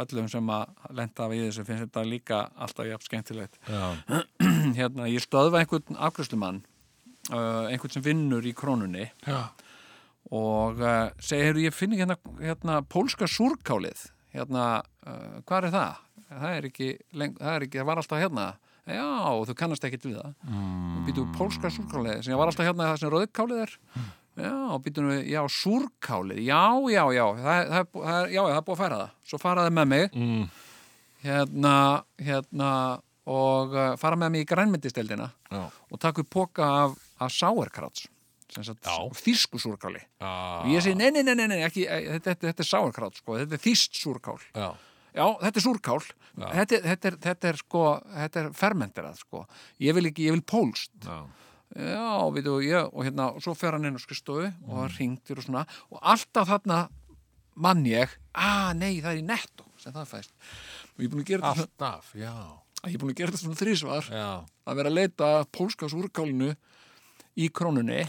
öllum sem að lenda við þessu finnst þetta líka alltaf jafn skemmtilegt
Já.
(clears throat) hérna, ég stöðva einhvern afgjörslumann uh, einhvern sem vinnur í krónunni
Já.
og uh, segi, heyrðu, ég finn ekki hérna, hérna pólska súrkálið hérna, uh, hvað er það? Það er ekki, leng, það er ekki, það var alltaf hérna já, þú kannast ekkit við það mm. býtu pólska súrkálið, sem var alltaf hérna það sem rauðkálið er já, býtu nú, já, súrkálið já, já, já, það, það, er bú- það, er- já, já, það er búið að færa það, svo faraði með mig
Mm.
hérna, hérna og uh, fara með mig í grænmyndisteldina
Já.
og taka upp póka af, af sáerkrats þýsku súrkáli
Ah.
og ég segi, nei, nei, nei, nei, nei ekki, eh, þetta, þetta, þetta er sáarkrát, sko, þetta er þýst súrkál.
Já.
Já, þetta er súrkál, þetta, er- þetta, er, þetta er, sko, þetta er fermenterað, sko. Ég vil ekki, ég vil pólst.
Já.
Já, við þú, ég, og hérna, og svo fer hann inn á skristofu
Mm.
og hann ringtir og svona og alltaf þarna mann ég, ah, nei, það er í netto, sem það fæst. Og ég er búin að gera þetta, svona-
alltaf, já,
ég er búin að gera þetta svona þrísvar,
já.
að vera að leita að pólska súrkálinu í krónunni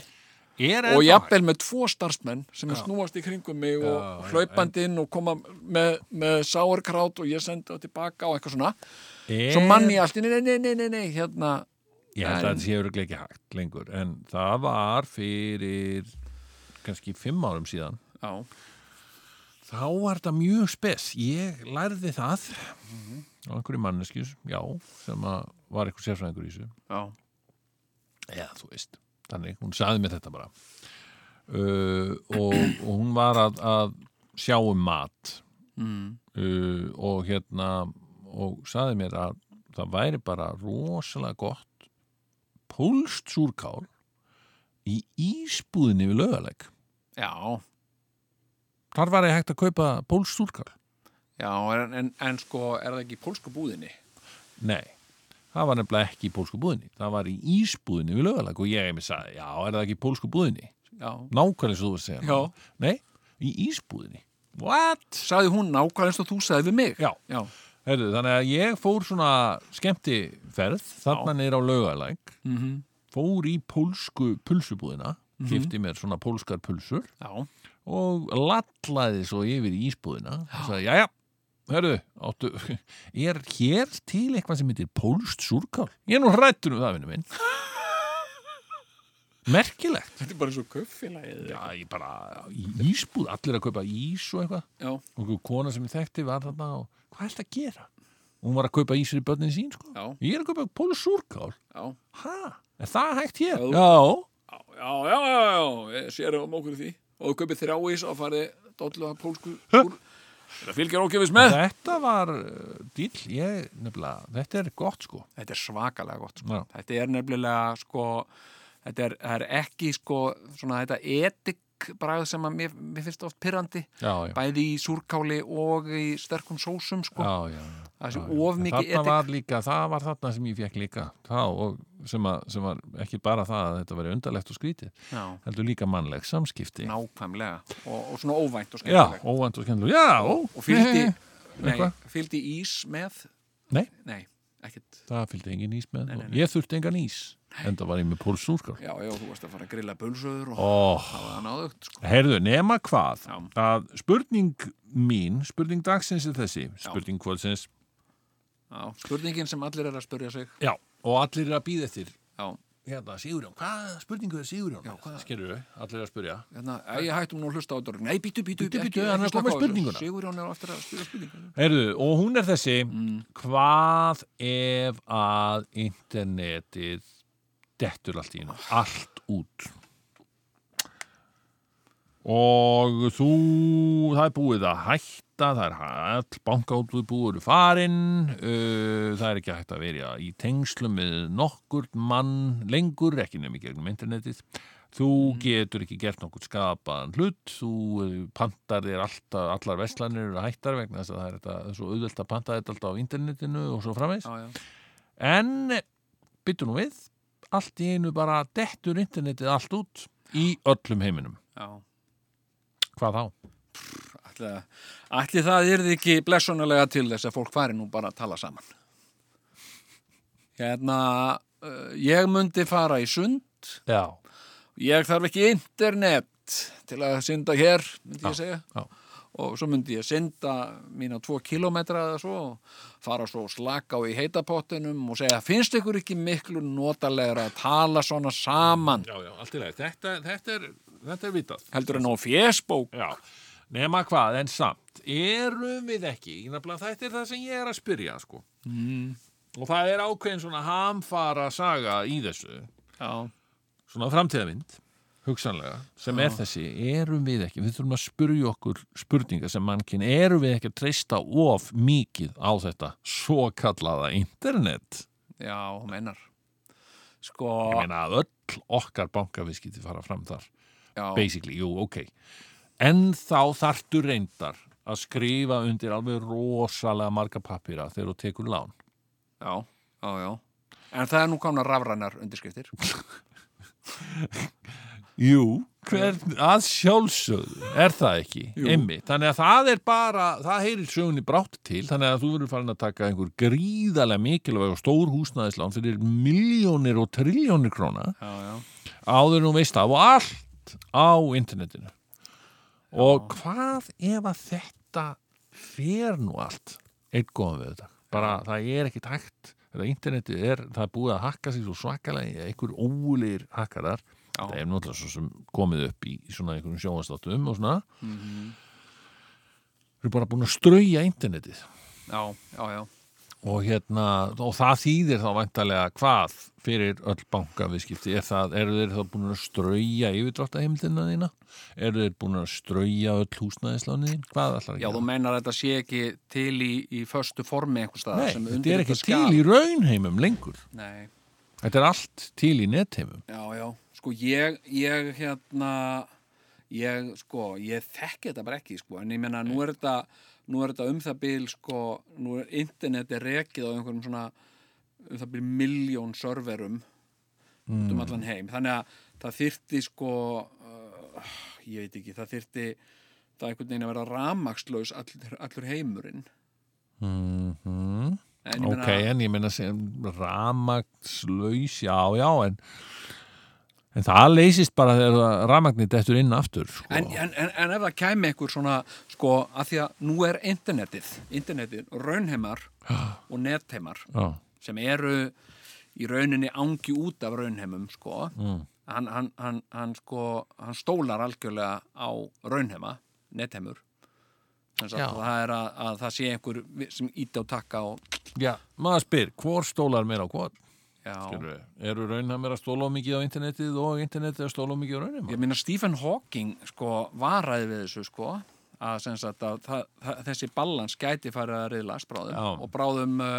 Er
og
ennþá-
jafnvel með tvo starfsmenn sem snúast í kringum mig og
Já, já,
hlaupandi inn og koma með, með sáarkrát og ég sendi það tilbaka og eitthvað svona
er...
svo mann ég allt, í einu, nei, nei, nei, nei, nei, hérna
Ég held að
En-
þetta sé örugglega ekki hægt lengur en það var fyrir kannski fimm árum síðan
já,
Þá var þetta mjög spes. Ég lærði það á einhverju manneskjus, já, sem að var eitthvað sérfræðingur í þessu.
já,
Já, þú veist. Þannig, hún sagði mér þetta bara. Uh, og, og hún var að, að sjá um mat
Mm.
uh, og hérna og sagði mér að það væri bara rosalega gott pólst súrkál í ísbúðinni við lögaleg.
já,
Þar var ég hægt að kaupa pólst súrkál.
já en, en, en sko, er það ekki í pólsku búðinni?
Nei, það var nefnilega ekki í pólsku búðinni. Það var í ísbúðinni við lögalag og ég einmitt sagði, já, er það ekki í pólsku búðinni?
Já,
Nákvæmlega svo þú var að segja.
Já.
Nei, í ísbúðinni. What?
sagði hún nákvæmlega eins og þú sagði við mig
Já.
já,
Heyrðu, þannig að ég fór svona skemmtiferð, þarna niður á lögalæk,
mm
fór í pólsku pulsubúðina, kifti mér svona pólskar pulsur
já.
og lallaði svo yfir í ísbúðina og sagði, jæja, hörðu, áttu, (laughs) er hér til eitthvað sem heitir pólst súrkál? Ég er nú hrættur um það, vinnu (laughs) minn. Merkilegt.
þetta er bara eins og kaufélagið já,
Já, ég bara, í ísbúð, allir að kaupa ís og eitthvað.
já,
Og einhver kona sem ég þekkti var þarna og hvað er þetta að gera? Og Hún var að kaupa ís fyrir börnin sín, sko.
já,
Ég er að kaupa pólst súrkál.
já
Hæ? Er það hægt hér?
Já.
Já.
já, já, já, já, ég sér um okkur í því og þú kaupið þrjá ís og farið dollu að pólsku úr þetta fylgir ókjöfis með
Þetta var uh, dýll, ég nefnilega, þetta er gott, sko.
þetta er svakalega gott sko.
Já.
þetta er nefnilega sko, þetta er, það er ekki sko, svona þetta etik bragð sem að mér, mér finnst oft pyrrandi
Já, já.
bæði í súrkáli og í sterkum sósum sko.
Já, já, já.
það
já,
sé
já.
of
En
mikið
þarna
etik
var líka, það var þarna sem ég fekk líka þá og sem, að, sem var ekki bara það að þetta verið undarlegt og skrítið
já,
heldur líka mannleg samskipti
nákvæmlega og, og svona óvænt
Já,
og skemmtilega
óvænt og skemmtilega Já,
og (laughs) fylgdi, nei,
Eitthvað?
fylgdi ís með
Nei.
ekkert
(laughs) það fylgdi engin ís með
Nei, nei,
og
nei.
ég þurfti engan ís en það var ég með sko. pólsúrskál
já, já, þú varst að fara að grilla bulsöður og
Ó,
það var náðugt sko.
Oh, heyrðu, nema hvað
Já.
að spurning mín spurning dagsins er þessi, spurning kvöldsins
já, spurningin sem allir er að spurja sig
Já, og allir er að býða eftir
já,
hérna, Sigurjón, hvað spurningu er Sigurjón?
Já, hvað-
Skerðu, allir er að spurja
hérna, æ, ég hættum nú að hlusta á þetta nei, býtu, býtu,
Bíddu, bíddu, hann er að koma með spurninguna.
Sigurjón er á eftir að spyrja spurninguna
Heyrðu, og hún er þessi Hvað ef að internetið dettur allt í hennu, allt út og þú það er búið að hætta það er all bankaútluð búið farin uh, það er ekki hægt að verja í tengslum með nokkur mann lengur, ekki nefnir gegnum internetið þú getur ekki gert nokkur skapaðan hlut þú eh, pantar þér alltaf, allar veslanir eru hættar vegna þess að það er þetta það er svo auðvelt að panta þetta alltaf á internetinu og svo framvegs
já, já,
en byttu nú við allt í einu bara dettur internetið allt út í öllum heiminum
já
hvað þá?
ætli, að- ætli það yrði ekki blessunulega til þess að fólk fari nú bara að tala saman hérna uh, ég myndi fara í sund
Já,
ég þarf ekki internet til að synda hér, myndi ég
Já,
segja
já.
og svo myndi ég synda mína tvo kilometra eða svo og fara svo og slaka á í heitapottinum og segja, finnst ykkur ekki miklu notalegra að tala svona saman
já, já, allt í leið þetta, þetta, er, þetta er vitað
heldur en á fjesbók
Já, nema hvað, en samt erum við ekki, ég nefnilega þetta er það sem ég er að spyrja sko. mm. og það er ákveðin svona hamfara saga í þessu
já,
svona framtíðavind hugsanlega, sem er þessi, erum við ekki við þurfum að spyrja okkur spurninga sem mannkinn, erum við ekki að treysta of mikið á þetta svo kallaða internet
já, mennar sko,
ég meina að öll okkar bankaviskiti fara fram þar
já,
basically, jú, ok en þá þartu reyndar að skrifa undir alveg rosalega marga pappýra þegar þú tekur lán
já, já, já en það er nú komna rafrænar undirskriftir
Jú, hver, að sjálfsögðu er það ekki,
Jú.
emmi þannig að það er bara, það heyrir sögunni brátt til, þannig að þú verður farin að taka einhver gríðarlega mikilvæg og stór húsnæðislán fyrir miljónir og triljónir króna
já, já,
áður en þú veist það og allt á internetinu og hvað ef að þetta fer nú allt einn góðan við þetta bara það er ekkit hægt þetta internetið er, það er búið að hakka sig svo svakalega einhver óulegir hakkarar
Já.
það er náttúrulega svo sem komið upp í, í svona einhverjum sjónvastátum og svona eru bara búin að strauja internetið
já, já, já,
og, hérna, og það þýðir þá væntalega hvað fyrir öll bankaviðskipti er það, eru þeir þá búin að strauja yfirdráttaheimildina þína eru þeir búin að strauja öll húsnæðislánið þín hvað ætlar að
já, þú meinar að þetta sé ekki til í, í föstu formi einhver staðar
Nei,
sem
þetta er ekki
undirritað skal.
til í raunheimum lengur
Nei,
þetta er allt til í netheimum
já, já, sko ég, ég hérna ég, sko, ég þekki þetta bara ekki sko, en ég meina nú er þetta nú er þetta um það bil, sko nú er interneti rekið á einhverjum svona um það bil miljón serverum út um allan heim þannig að það þyrfti sko uh, ég veit ekki, það þyrfti það einhvern veginn að vera ramakslaus allur, allur heimurinn
mm -hmm.
en ég
ok, en ég meina sem ramagslaus, já, já en, en það leysist bara þegar ramagnit eftir inn aftur sko.
En, en, en, en ef það kæmi einhver svona, sko, að því að nú er internetið, internetið, raunheimar og netheimar
já,
sem eru í rauninni angi út af raunheimum, sko,
mm.
hann, hann, hann, hann, sko, hann stólar algjörlega á raunheima, netheimur, þannig
Já.
að það er að, að það sé einhver vi- sem íti á takka og,
já, maður spyr, hvor stólar meira á hvað?
já,
Skilurðu? Eru raunheimir að stóla of mikið á internetið og internetið að stóla of mikið á raunheimar?
ég meina Stephen Hawking, sko, varaði við þessu, sko, að, sem sagt, að það, það, þessi ballans gæti farið að riðlast bráðum
Já.
og bráðum uh,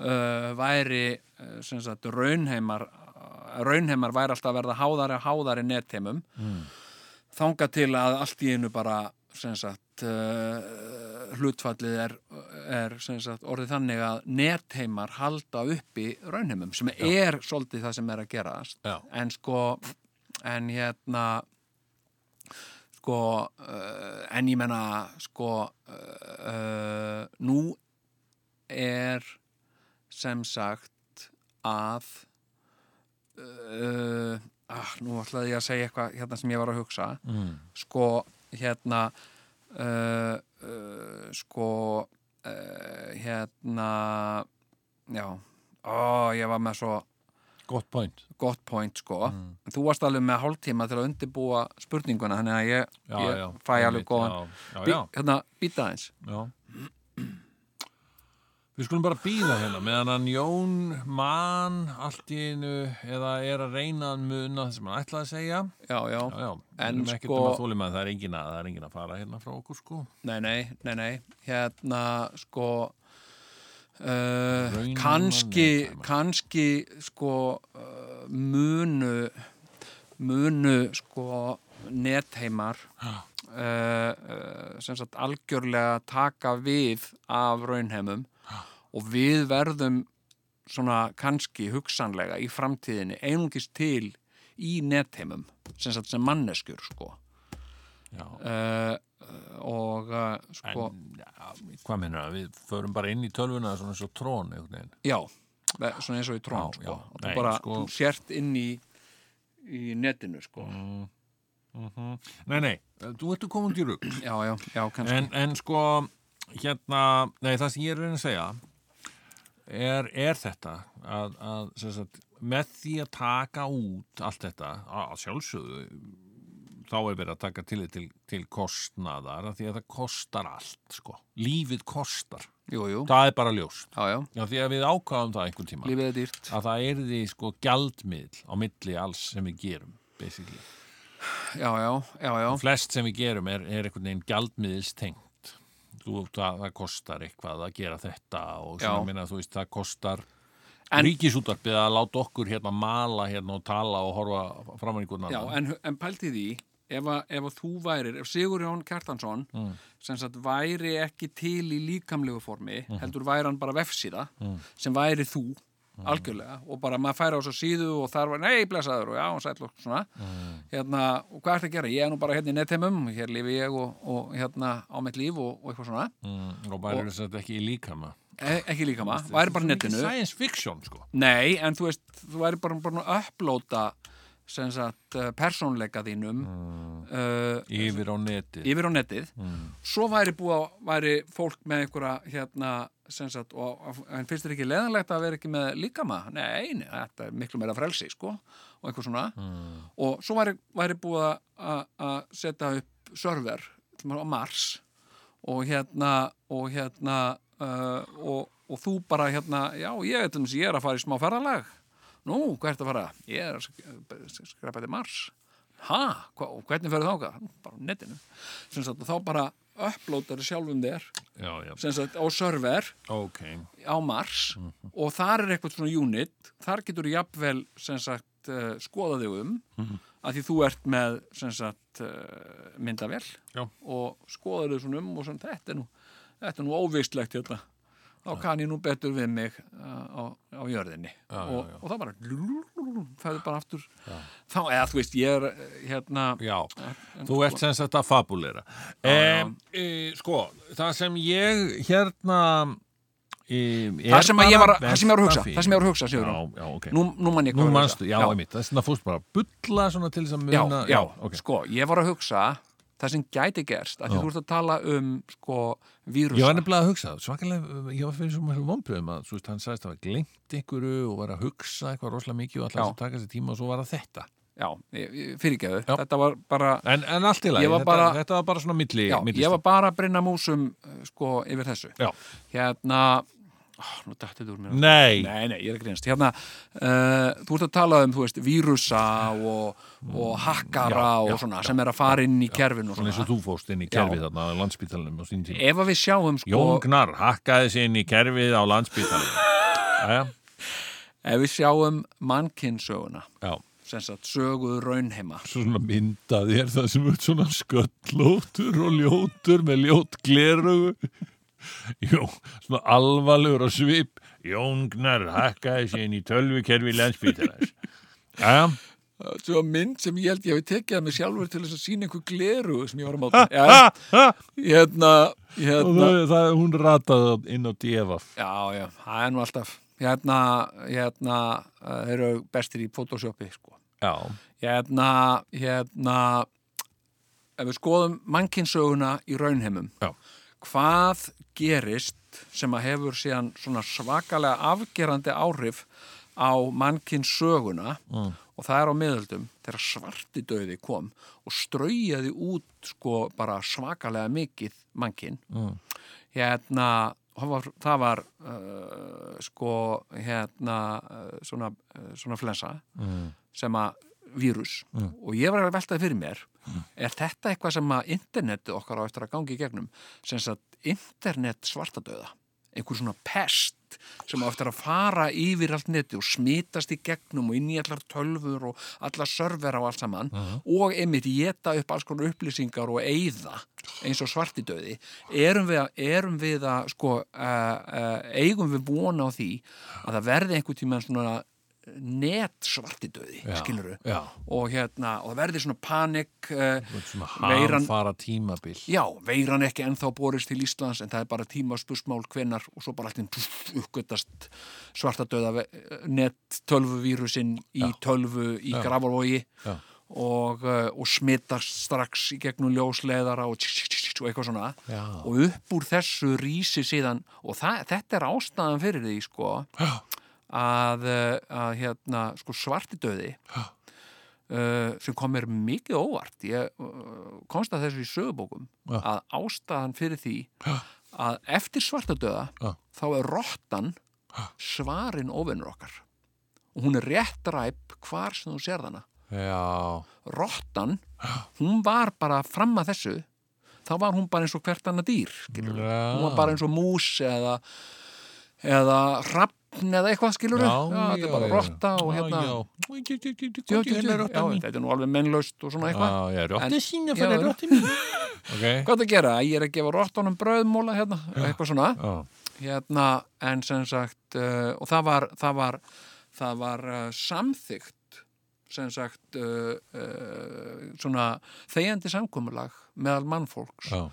uh, væri uh, sem sagt, raunheimar uh, raunheimar væri alltaf að verða háðari og háðari netheimum mm.
Hmm.
þanga til að allt í einu bara sem sagt uh, hlutfallið er, er sem sagt, orðið þannig að netheimar halda uppi raunheimum sem er svolítið það sem er að gerast
Já.
en sko en hérna sko uh, en ég menna sko uh, uh, nú er sem sagt að uh, ah, nú ætlaði ég að segja eitthvað hérna sem ég var að hugsa
Mm.
sko hérna uh, uh, sko uh, hérna já, ó, ég var með svo
Gott point. Mm.
gott point sko þú varst alveg með hálftíma til að undirbúa spurninguna þannig að ég,
Já,
ég
já.
fæ alveg
einmitt,
góðan
Já,
Bí,
já, já.
hérna, býta aðeins
já. Við skulum bara býða hérna meðan hann Jón mann allt í einu eða er að reyna að muna það sem hann ætlaði að segja.
já, já,
Já, já.
En
En sko...
sko-
Um að þolinmæði, það er engin að, það er engin að fara hérna frá okkur sko.
nei, nei, nei, nei hérna, sko uh,
Raunar
kannski
mannheimar.
kannski, sko uh, munu munu, sko netheimar uh, uh, sem sagt algjörlega taka við af raunheimum og við verðum svona kannski hugsanlega í framtíðinni einungis til í netheimum sem, sagt, sem manneskjur sko
Já.
uh, og uh,
En
sko,
ja, hvað minnur það? Við förum bara inn í tölvuna svona eins og trón einhvern veginn.
já ve- svona eins og í trón
Já, já.
sko, Að þú
Nei,
bara
sko-
þú sért inn í í netinu sko
Mm. Nei, nei, þú ertu komin til rugg.
já, já, já, kannski
En, en sko, hérna, nei, það sem ég er að reyna að segja er, er þetta að, að sem sagt, með því að taka út allt þetta, að sjálfsögðu, þá er verið að taka til, til, til kostnaðar, af því að það kostar allt, sko. Lífið kostar.
jú, jú,
Það er bara ljós.
já, já,
Já, því að við ákvaðum það einhvern tíma.
lífið er dýrt
Að það er því, sko, gjaldmiðl á milli alls sem við gerum, basically.
já, já, já, já,
flest sem við gerum er, er einhvern veginn gjaldmiðilstengt þú, það, það kostar eitthvað að gera þetta og
Já.
svona minna þú veist það kostar
En-
ríkisútarpið að láta okkur hérna mala hérna og tala og horfa fram einhvern
já
annan
en, en pælti því ef að, ef að þú værir, ef Sigurjón Kjartansson
Mm.
sem sagt væri ekki til í líkamlegu formi,
Mhm.
heldur væri hann bara vefsíða,
Mm.
sem væri þú algjörlega, og bara maður færi á svo síðu og þar var, nei, blessaður og já, og sæll og svona,
Mm.
hérna, og hvað ertu að gera ég er nú bara hérna í nettheimum, hér lifi ég og, og hérna á mitt líf og, og eitthvað svona
mm, og væri þess að þetta ekki í líkama
e ekki líka maður, væri bara á
Mikið
netinu
science fiction sko
Nei, en þú veist, þú væri bara búin að upplóta sem sagt persónleika þínum
Mm.
uh,
yfir á neti
yfir á netið svo væri búið að væri fólk með einhverja hérna sem sagt, og, og- en finnst þér ekki leðanlegt að vera ekki með líkama? Nei, nei, þetta er miklu meira frelsi, sko, og einhver svona og svo væri, væri búið að- að að setja upp server til dæmis á Mars og hérna og hérna uh, og, og þú bara hérna já, ég, til dæmis, ég er að fara í smá ferðalag nú, hvað ertu að fara? ég er að sk- skrepa til Mars ha, hva, og hvernig ferðu þáka? bara á netinu sem sagt, og þá bara upplótar sjálfum þér
já, já,
sem sagt, á server
ok
á Mars
Mhm.
og þar er eitthvað svona unit þar getur þú jafnvel sem sagt uh, skoða þig um
Mhm.
að því þú ert með sem sagt uh, myndavél
Já.
og skoða þig svona um og svona þetta er nú, þetta er nú óvistlegt hérna þá kann ég nú betur við mig uh, á, á jörðinni
Já, já,
og,
já.
og það bara fæður bara aftur þá eða þú veist ég er eh, hérna
Já, þú ert sem sagt að fabulera
sko- já.
um, e, Sko, það sem ég hérna e,
það sem, að ég var, að- það sem ég var að hugsa það sem ég var að hugsa,
Já,
Sigurður
já, ok
nú, nú man ég
Nú
hvað ég var að
manstu,
hugsa.
já, einmitt, það er svona fórst bara að bulla svona til þess að
já,
muna
já,
ok.
sko, ég var að hugsa það sem gæti gerst, af því
Já.
þú ert að tala um sko, vírusa
Ég var nefnilega að hugsa, svakalega, ég var fyrir svo mjög vombriðum að, svo veist, hann sagðist að hafa glengt einhverju og var að hugsa eitthvað rosalega mikið og
Já.
alltaf að taka sér tíma og svo var það þetta.
já, ég- ég- fyrirgefðu,
Já.
þetta var bara
En, en allt í lagi,
Ég var
þetta,
bara-
þetta var bara svona milli,
já,
milli
ég var bara að brinna músum eh, sko, yfir þessu
Já.
hérna, ó, nú dætti þú úr mér
Nei,
Nei, nei, ég er að grínast. Hérna, uh, þú ert að tala um, þú veist, vírusa og, og hakkara
Mm. Já,
og
já,
svona
já,
sem er að fara inn í kerfinu og
svona
svona.
eins og þú fórst inn í kerfið þarna á landsbítalunum á sín tíma.
Ef að við sjáum, sko,
Jón Gnar hakkaði sér inn í kerfið á (laughs) landsbítalunum. Jæja,
ef við sjáum mannkinsöguna,
já,
sem sagt, söguð raunheima,
svo svona myndaði er það sem er svona sköllóttur og ljótur með ljót glerugu. Jó, svona alvarlegur og svip. Jón Gnar hakkaði sér inn í tölvukerfi landsbítalans. Jæja,
Svo mynd sem ég held ég hafi tekið að mig sjálfur til þess að sína einhver gleru sem ég var að máta. Já, hérna,
og
hérna,
það, það, hún rataði inn á divaf.
já, já, það er nú alltaf. Hérna, hérna, uh, þeir eru bestir í Photoshopi, sko.
Já,
Hérna, hérna, ef við skoðum mannkinsöguna í raunheimum,
já.
hvað gerist sem að hefur síðan svona svakalega afgerandi áhrif á mannkinsöguna mm. og það er á miðöldum þegar svartidauði kom og straujaði út sko bara svakalega mikið mannkinn mm. hérna það var, það var uh, sko hérna uh, svona, uh, svona flensa mm. sem að vírus og ég var að velta því fyrir mér er þetta eitthvað sem að internetið okkar á eftir að gangi í gegnum sem að internet svartadauða einhver svona pest sem á eftir að fara yfir allt neti og smitast í gegnum og inn í allar tölfur og allar server á allt saman og einmitt geta upp alls konar upplýsingar og eyða eins og svartidauði erum við að, erum við að sko, uh, uh, eigum við vona á því að það verði einhver tíma svona net svartidauði, skilur við
Já,
og hérna, og það verði svona panik uh,
svona
Veiran-
hamfara tímabil.
já, veiran ekki ennþá borist til Íslands en það er bara tíma spursmál hvenar og svo bara alltaf uppgötast svartadauða net tölvuvírusinn eh, í tölvu í já. grafarvogi
Já.
og, eh, og smitast strax í gegnum ljósleðara og, tsk, tsk, tsk, tsk og eitthvað svona
Já.
og upp úr þessu rísi síðan og það, þetta er ástæðan fyrir því sko að, eh, að hérna, sko, svartidauði uh, sem kom mér mikið óvart ég uh, komst að þessu í sögubókum
Já.
að ástæðan fyrir því að eftir svartadauða
Já.
þá er rottan svarinn óvinnur okkar og hún er rétt ræp hvar sem þú sér þana
Já,
rottan, hún var bara fram að þessu, þá var hún bara eins og hvert annað dýr, skilur
Já.
hún var bara eins og mús eða eða rappn eða eitthvað, skilur þetta er bara rotta og hérna
já,
Djú, djú,
já,
djú,
hérna er rotta
já,
mín
þetta er nú alveg mennlaust og svona eitthvað
já, rotta
En-
sína
já,
fyrir
já.
rotta
(laughs)
mín ok,
hvað það gera, ég er að gefa rottunum bröðmóla hérna, eitthvað svona
já,
hérna, en sem sagt uh, og það var, það var, það var uh, samþygt sem sagt uh, uh, svona þegjandi samkomulag meðal mannfólks
já,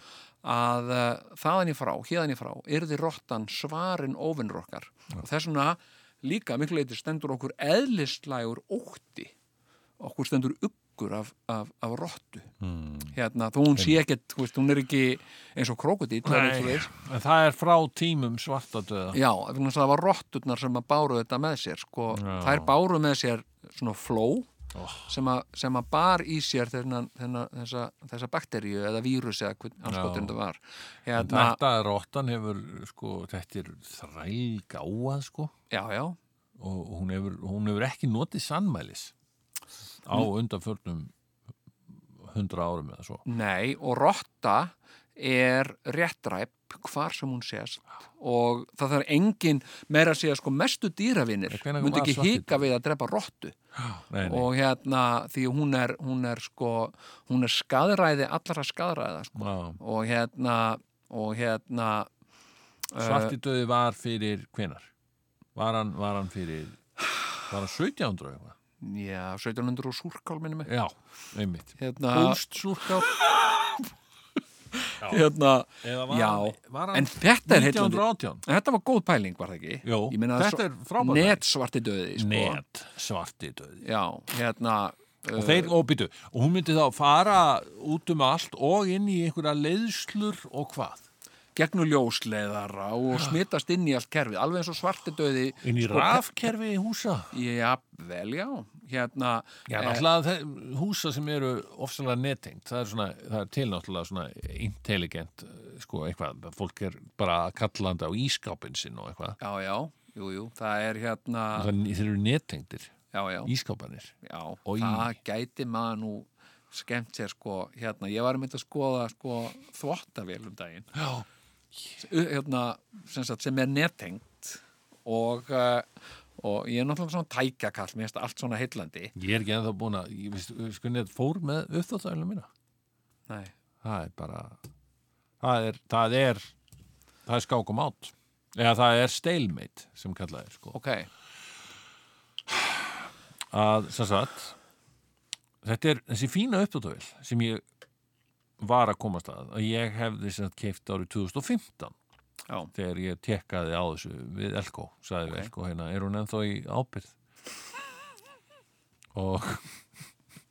að uh, þaðan í frá, hérðan í frá yrði rottan svarinn óvinnur okkar og þess vegna líka miklu leiti stendur okkur eðlislægur ótti okkur stendur uggur af, af, af rottu
Hmm.
hérna, þó hún sé ekkert, þú veist, hún er ekki eins og krokodil
Nei, en það er frá tímum svartadöða
Já, vegna þess að það var rotturnar sem að báru þetta með sér sko.
Já. Oh.
þær báru með sér svona fló sem, að, sem að bar í sér þennan, þennan, þessa, þessa bakteríu eða vírus eða hvern anskotin þetta var hérna,
Þetta rottan hefur, sko, þetta er þræl gáað, sko
já, já,
og hún hefur, hún hefur ekki notið sannmælis á undanförnum hundra árum eða svo
nei og rotta er réttræp hvar sem hún sést og það þarf engin meira að segja sko mestu dýravinir
Nei, hvenær
myndi
var
ekki
svartidauði?
hika við að drepa rottu
nei, nei.
og hérna því hún er, hún er sko hún er skaðræði allra skaðræða sko.
Já.
og hérna og hérna Eh,
Svartidauði var fyrir hvenar? Var hann, var hann fyrir var hann 1700 eitthvað?
já, 1700 og súrkál minni mig
Já, einmitt
hérna,
Húst súrkál
hérna,
eða
já,
var
en
hann
þetta er heitlandi
1918?
þetta var góð pæling var það ekki
Jó,
Ég meina,
þetta
svo-
er frábært.
net svarti döði sko.
Net svartidauði
já, hérna
og þeir, og býtu, og hún myndi þá fara út um allt og inn í einhverja leiðslur og hvað?
gegnum ljósleiðara og smittast inn í allt kerfið, alveg eins og svarti döði
Ah. Inn í Sko, rafkerfi húsa
já, vel já hérna,
Já,
eh,
náttúrulega þe- húsa sem eru ofsalega nettengt, það er svona, það er til náttúrulega svona intelligent, eh, sko, eitthvað, að fólk er bara kallandi á ískápin sinn og eitthvað.
já, já, jú, jú, það er hérna
Þannig þeir eru nettengtir,
já, já,
ískápanir.
já,
Oj.
það gæti maður nú skemmt sér sko, hérna, ég var með að skoða sko þvottavél um daginn
Já.
hérna, sem, sagt, sem er nettengt og, uh, og ég er náttúrulega svona tækjakall, mér finnst allt svona heillandi
Ég er ekki ennþá búin að, ég veist, sko, net fór með uppþáttavélum mína.
Nei.
Það er bara, það er, það er, það er skákum átt. Eða það er stalemate sem kallað er, sko.
Ok,
að sem sagt þetta er þessi fína uppdóttavél sem ég var að komast að að ég hefði sem sagt keift árið 2015
já,
þegar ég tekkaði á þessu við Elko sagði við
Ok.
Elko hérna, er hún ennþá í ábyrð og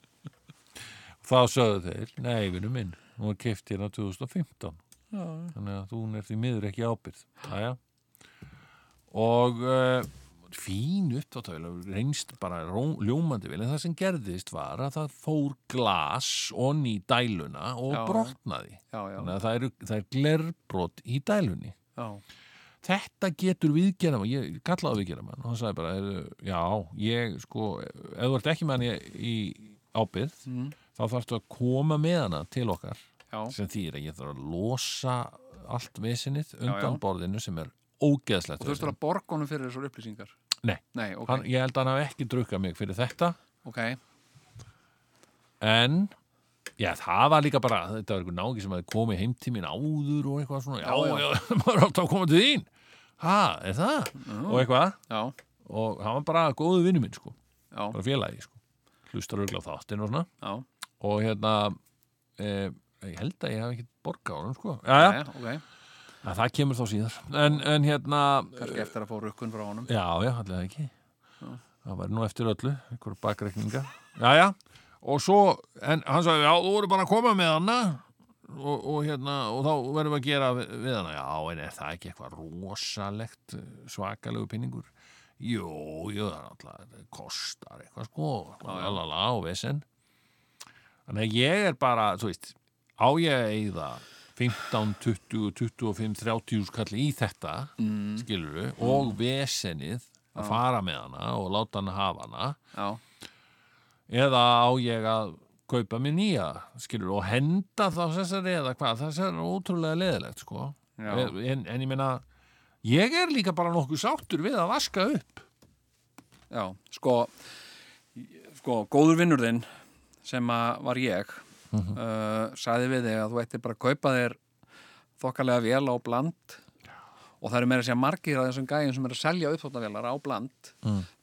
(laughs) þá sögðu þeir nei, vinnu minn, hún var keift hérna 2015 Já. þannig að hún er því miður ekki í ábyrð Æja. og uh, fín uppdáttöfél reynst bara ró, ljómandi vel en það sem gerðist var að það fór glas onni í dæluna og
Já.
brotnaði
já, já,
þannig að það eru, það er glerbrot í dælunni
já,
þetta getur viðgerðamann ég kallaði viðgerðamann og hann sagði bara "Heyrðu, já, ég sko ef þú ert ekki með hann í, í ábyrð
Mm.
þá þarfstu að koma með hana til okkar
já,
sem þýr að ég þarf að losa allt vesinið
Já,
undan
já.
borðinu sem er ógeðslegt
og þú veist
vesen.
að borga honum fyrir þessar upplýsingar
Nei.
Nei, ok,
hann, ég held að hann hafi ekki drukkað mig fyrir þetta
ok,
en Já, það var líka bara, þetta var einhver nági sem hefði komið heim til mín áður og eitthvað svona, já,
Já,
já, (laughs)
já.
maður er alltaf að koma til þín. Ha, er það? Og eitthvað,
já,
og hann var bara góðu vinnu minn, sko.
já,
bara félagi sko. hlustar örgla á þáttinn og svona
já,
og hérna e, ég held að ég hef ekki borga á hann sko. já, já,
Jæja, Eh, ok,
að það kemur þá síðar en, en hérna,
kannski eftir að fá rukkun frá honum
já, já, allir það ekki það var nú eftir öllu einhverju bakreikninga, já, já og svo, en hann sagði, já, þú voru bara að koma með hana og, og hérna, og þá verðum við að gera við, við hana, já, en er það ekki eitthvað rosalegt svakalegu pinningur jú, jú, það er alltaf það kostar eitthvað sko lalala og vesen þannig að ég er bara, þú veist á ég að eigða 15, 20, 25, 30 skalli í þetta, mm. skilur og vesenið að fara með hana og láta hana hafa hana
Já,
eða á ég að kaupa mér nýja, skilur, og henda þá þessari eða hvað, þessari er ótrúlega leðilegt, sko.
Já.
En, en ég meina, ég er líka bara nokkuð sáttur við að vaska upp.
já, sko sko, góður vinnur þinn sem að var ég uh sagði við þig að þú ættir bara að kaupa þér þokkalega vél á bland og það eru meira að segja margir af þessum gæjum sem eru að selja uppþóttavélar á bland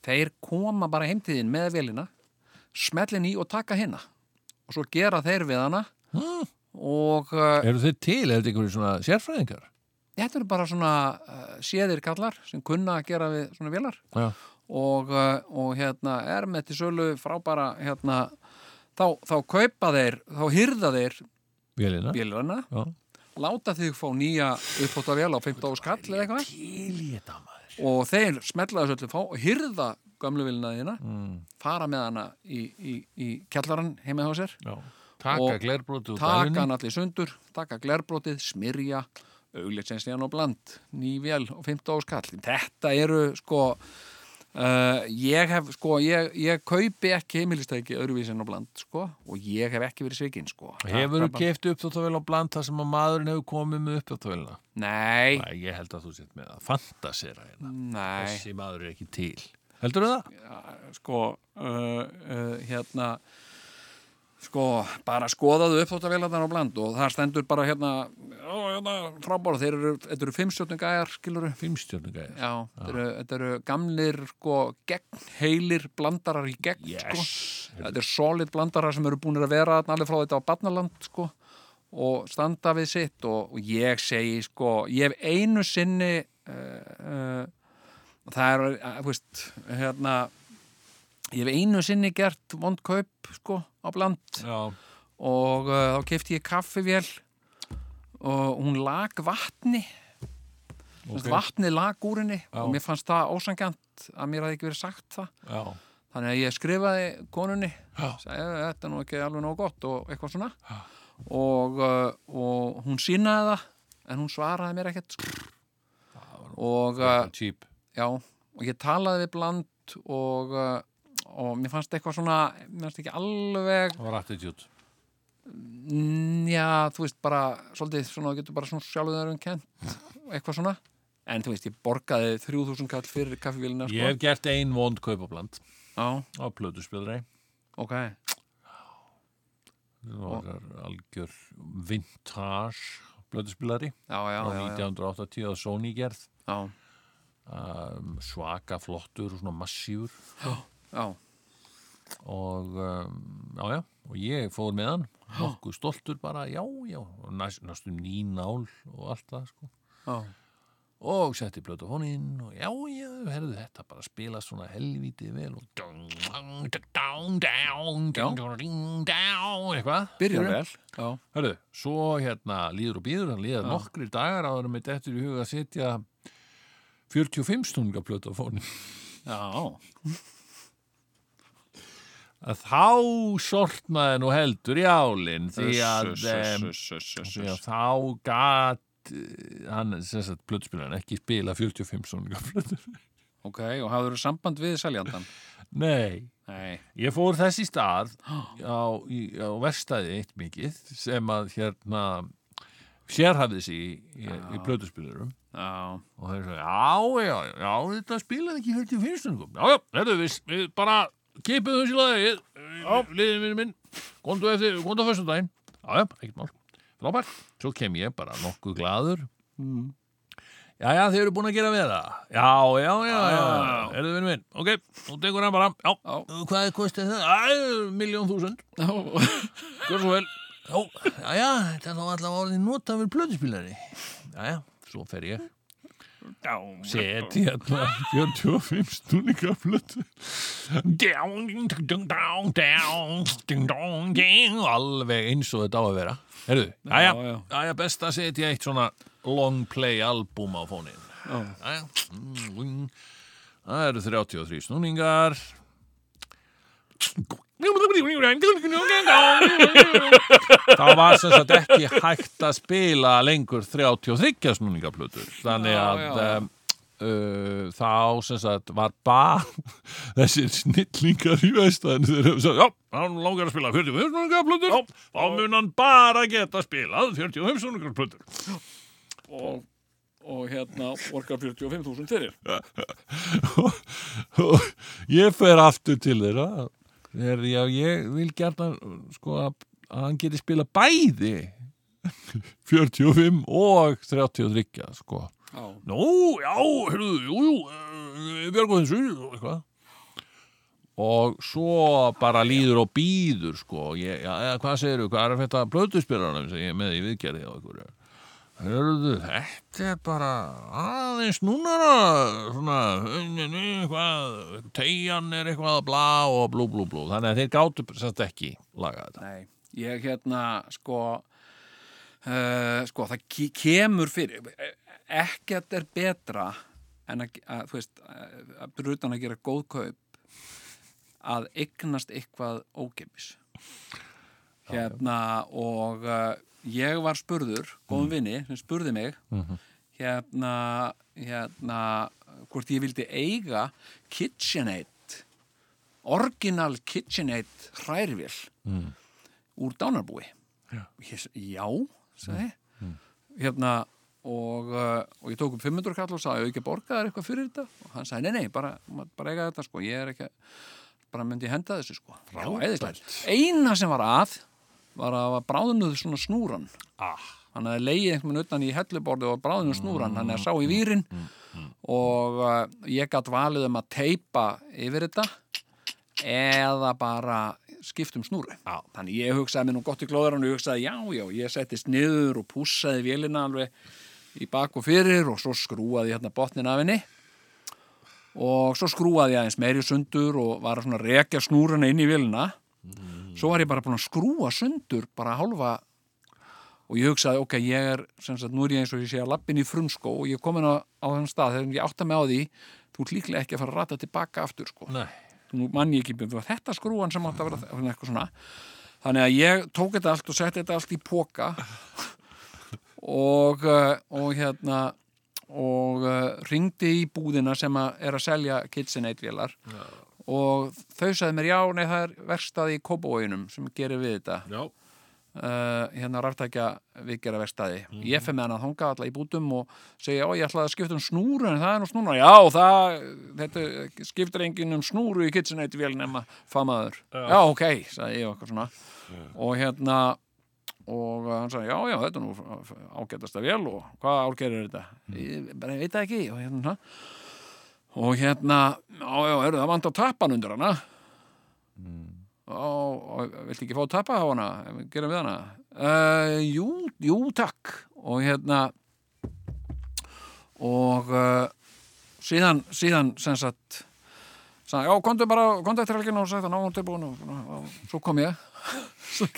þeir koma bara heimtíðin með vélina smellin í og taka hinna og svo gera þeir við hana
Mm.
og uh,
Eru þeir til, er þetta einhverju svona sérfræðingar?
þetta eru bara svona uh, séðir kallar sem kunna að gera við svona vélar
Já.
og, uh, og hérna er með til sölu frábæra hérna þá, þá kaupa þeir, þá hyrða þeir
Vélina?
bílarna
Já.
láta þig fá nýja uppbótavél á 15 ára skall eða eitthvað
Til í þetta maður
og þeir smetla þessu öllu fá og hyrða gömlu vilina þína fara með hana í, í, í kjallaran heima hjá sér
Já. Taka
Og
glerbrotu úr
taka
dælunni
hann allir sundur, taka glerbrótið, smyrja, auglitsensnýjan og bland, nývél og 15 áskall. Þetta eru sko, uh, ég hef sko, ég, ég kaupi ekki heimilistæki öðruvísin og bland sko og ég hef ekki verið svikinn sko.
Hefur þú
Þetta-
keft uppþóttavél á bland þar sem að maðurinn hefur komið með uppþóttavélina?
Nei,
Nei, ég held að þú sett með að fantasera hérna.
nei,
Þessi maður er ekki til. Heldur þú það?
sko, uh, uh, hérna, sko, bara skoðaðu upp þótt að á bland og það stendur bara hérna, ó, hérna, frábára, þeir eru, þetta eru fimmstjóttin gæjar, skiluru,
Fimmstjörnugæðir.
Já, þetta eru, þetta eru gamlir sko, gegn heilir blandarar í gegn sko.
Yes.
þetta er solid blandarar sem eru búinir að vera þarna alveg frá þetta á Barnaland sko, og standa við sitt og, og ég segi sko, ég hef einu sinni uh, uh, það er uh, veist, hérna ég hef einu sinni gert vond kaup sko, á bland
Já.
og uh, þá kefti ég kaffivél og hún lag vatni okay.
Ok.
vatni lag úr henni
Já.
og mér fannst það ósangjant að mér hafði ekki verið sagt það
Já.
þannig að ég skrifaði konunni
Já.
sagði "Eh, þetta er nú ekki alveg nóg gott og eitthvað svona og, uh, og hún sínaði það en hún svaraði mér ekkert sko. og uh,
Cheap.
já, og ég talaði við bland og, uh, og mér fannst eitthvað svona mér fannst ekki alveg
Það var attitude.
Mm, Já, þú veist bara svolítið svona, þú getur bara svona sjálfðarum kent eitthvað svona en þú veist, ég borgaði 3000 kall fyrir kaffivélina sko.
Ég hef gert ein vond kaup á bland
Já,
á plötuspilri.
ok
Það var algjör vintage plötuspilari
Já, já,
á
já, já,
1980 að Sony gerð.
já,
Um, svaka flottur og svona massífur
já,
og um, já, já, og ég fór með hann nokkuð stoltur bara, já, já og næst, næstum nýnál og allt það sko.
já.
og setti blötafónin og já, já, herðu þetta bara spilast svona helvítið vel og dung, dung, dung, dung, dung, dung, dung, eitthvað
Byrjar vel Já,
Hörðu, svo hérna líður og býður, hann líður nokkri dagar áður með dettur í huga að setja 45 stunga plötu á fónin.
já,
Að Þá sortnaði nú heldur í álinn því að,
Uss,
em,
uss, uss, uss,
því að
uss.
þá gat eh, hann, sem sagt, plötuspilurinn ekki spila 45 stunga plötu.
Ok, og hafður samband við seljandan
(laughs) Nei,
Nei,
ég fór þess í stað á, í, á verstaði eitt mikið sem að hérna sérhafði sig í, í, í plötuspilurum.
já,
og þeir sagði, já, já, já, þetta spilaði ekki 45 stundum, já, já, þetta við, við bara kipið þessi lagi liðin minn minn, komdu eftir komdu á fyrstum daginn, já, já, ekkert mál frábært, svo kem ég bara nokkuð gladur mm. já, já, þeir eru búin að gera við það já, já, já, já, já, erðu minn minn ok, nú tekur hann bara, já,
Já. (laughs)
hvað kostið það, miljón þúsund Gjör svo vel Já, já, já, þetta er þá allavega orðin notafur plötuspilari Já, já, svo fer ég Set hérna 45 stúninga plötu Down, ding, down, down Ding, dong, ding Alveg eins og þetta á að vera Herðu, já, já,
já.
já, já, best að setja eitt svona long play album á fónin
Já.
já, mm, mm. Það eru 33 snúningar Það var sem sagt ekki hægt að spila lengur 33 snúningaplötur þannig
Já,
að
já,
já,
já.
Uh, þá sem sagt var bara (laughs) þessir snillingar í vestæðinu þeir hefur sagt, já, hann langar að spila 45 snúningaplötur, þá mun hann bara geta spilað 45 snúningaplötur (laughs)
og, og hérna orkar 45.000 fyrir
og ég fer aftur til þeirra þegar já, ég vil gert að sko að að hann geti spila bæði (laughs) 45 og 33 sko
Já,
Nú, já, hörðu, jú, eh, jú Björgóð þessu, og eitthvað og svo bara líður og býður sko, ég, já, eða hvað segirðu hvað er að fætta blöðuspyrranum sem ég er með í viðgerði á ykkur hörðu, þetta er bara aðeins núnara svona, unni, unni, eitthvað tegjan er eitthvað að bla og blú, blú, blú, þannig að þeir gátu sérst ekki laga þetta
nei, ég hérna sko uh, sko, það ke- kemur fyrir E-, ekkert er betra en að, að þú veist að- að brutan að gera góð kaup að eignast eitthvað ógemis hérna og uh, ég var spurður, góðum vini sem spurði mig hérna, hérna hvort ég vildi eiga KitchenAid orginal KitchenAid hrærvél úr dánarbúi
Já.
ég, s- já, sagði ég. hérna og, uh, og ég tók um 500 kall og sagði, "Á ég ekki að borga þær eitthvað fyrir þetta og hann sagði, nei, nei, bara, ma- bara eiga þetta sko, ég er ekki, að- bara myndi ég henda þessu sko Já, æðislegt. eina sem var að var að var bráðunuð svona snúran
Ah, Mm,
hann hafði leiðið einhvern veginn utan í helluborðu og bráðinu snúran, hann hafði sá í výrin og uh, ég gætt valið um að teipa yfir þetta eða bara skiptum snúru.
Já.
Þannig ég hugsaði mér nú gott í glóðarann og ég hugsaði já, já, ég settist niður og pússaði vélina alveg í bak og fyrir og svo skrúaði ég hérna botnin af henni og svo skrúaði ég aðeins meiri sundur og var að svona rekja snúruna inn í vélina svo var ég bara búin að skrúa sundur bara hálfa og ég hugsaði, ok, ég er sem sagt, nú er ég eins og ég sé að lappin í frumskó og ég er komin á, á þann stað þegar ég átta mig á því þú ert líklega ekki að fara að rata tilbaka aftur sko.
nei.
nú mann ég ekki, betur, var þetta skrúan sem átt að vera þe- svona eitthvað svona þannig að ég tók þetta allt og setti þetta allt í póka og, eh, og hérna og uh, ringdi í búðina sem að er að selja KitchenAid-vélar og þau sagði mér já, nei það er verstaði í Kópavóginum sem gerir við þetta
Já.
uh, hérna ráftækja vikjara verstaði ég fer með hann að þanga alla í bútum og segja, já ég ætlaði að skipta um snúru en það er nú snúna, já það þetta skiptir enginn um snúru í kitchenæti vel nema famaður já. ok, sagði ég og eitthvað svona og hérna og hann sagði, já, já, þetta er nú ágætast að vel og hvað árgerður þetta? Ég bara veit það ekki og hérna og hérna, já, já, heyrðu, það vant á tappan undir hana og, og viltu ekki fá að tappa á hana gera við hana uh, jú, jú, takk og hérna og uh, síðan, síðan sem sagt sagði, já, komdu bara, komdu eftir helginu og sagði það, ná, hún tilbúin og, og, og svo kom ég (laughs) Svo-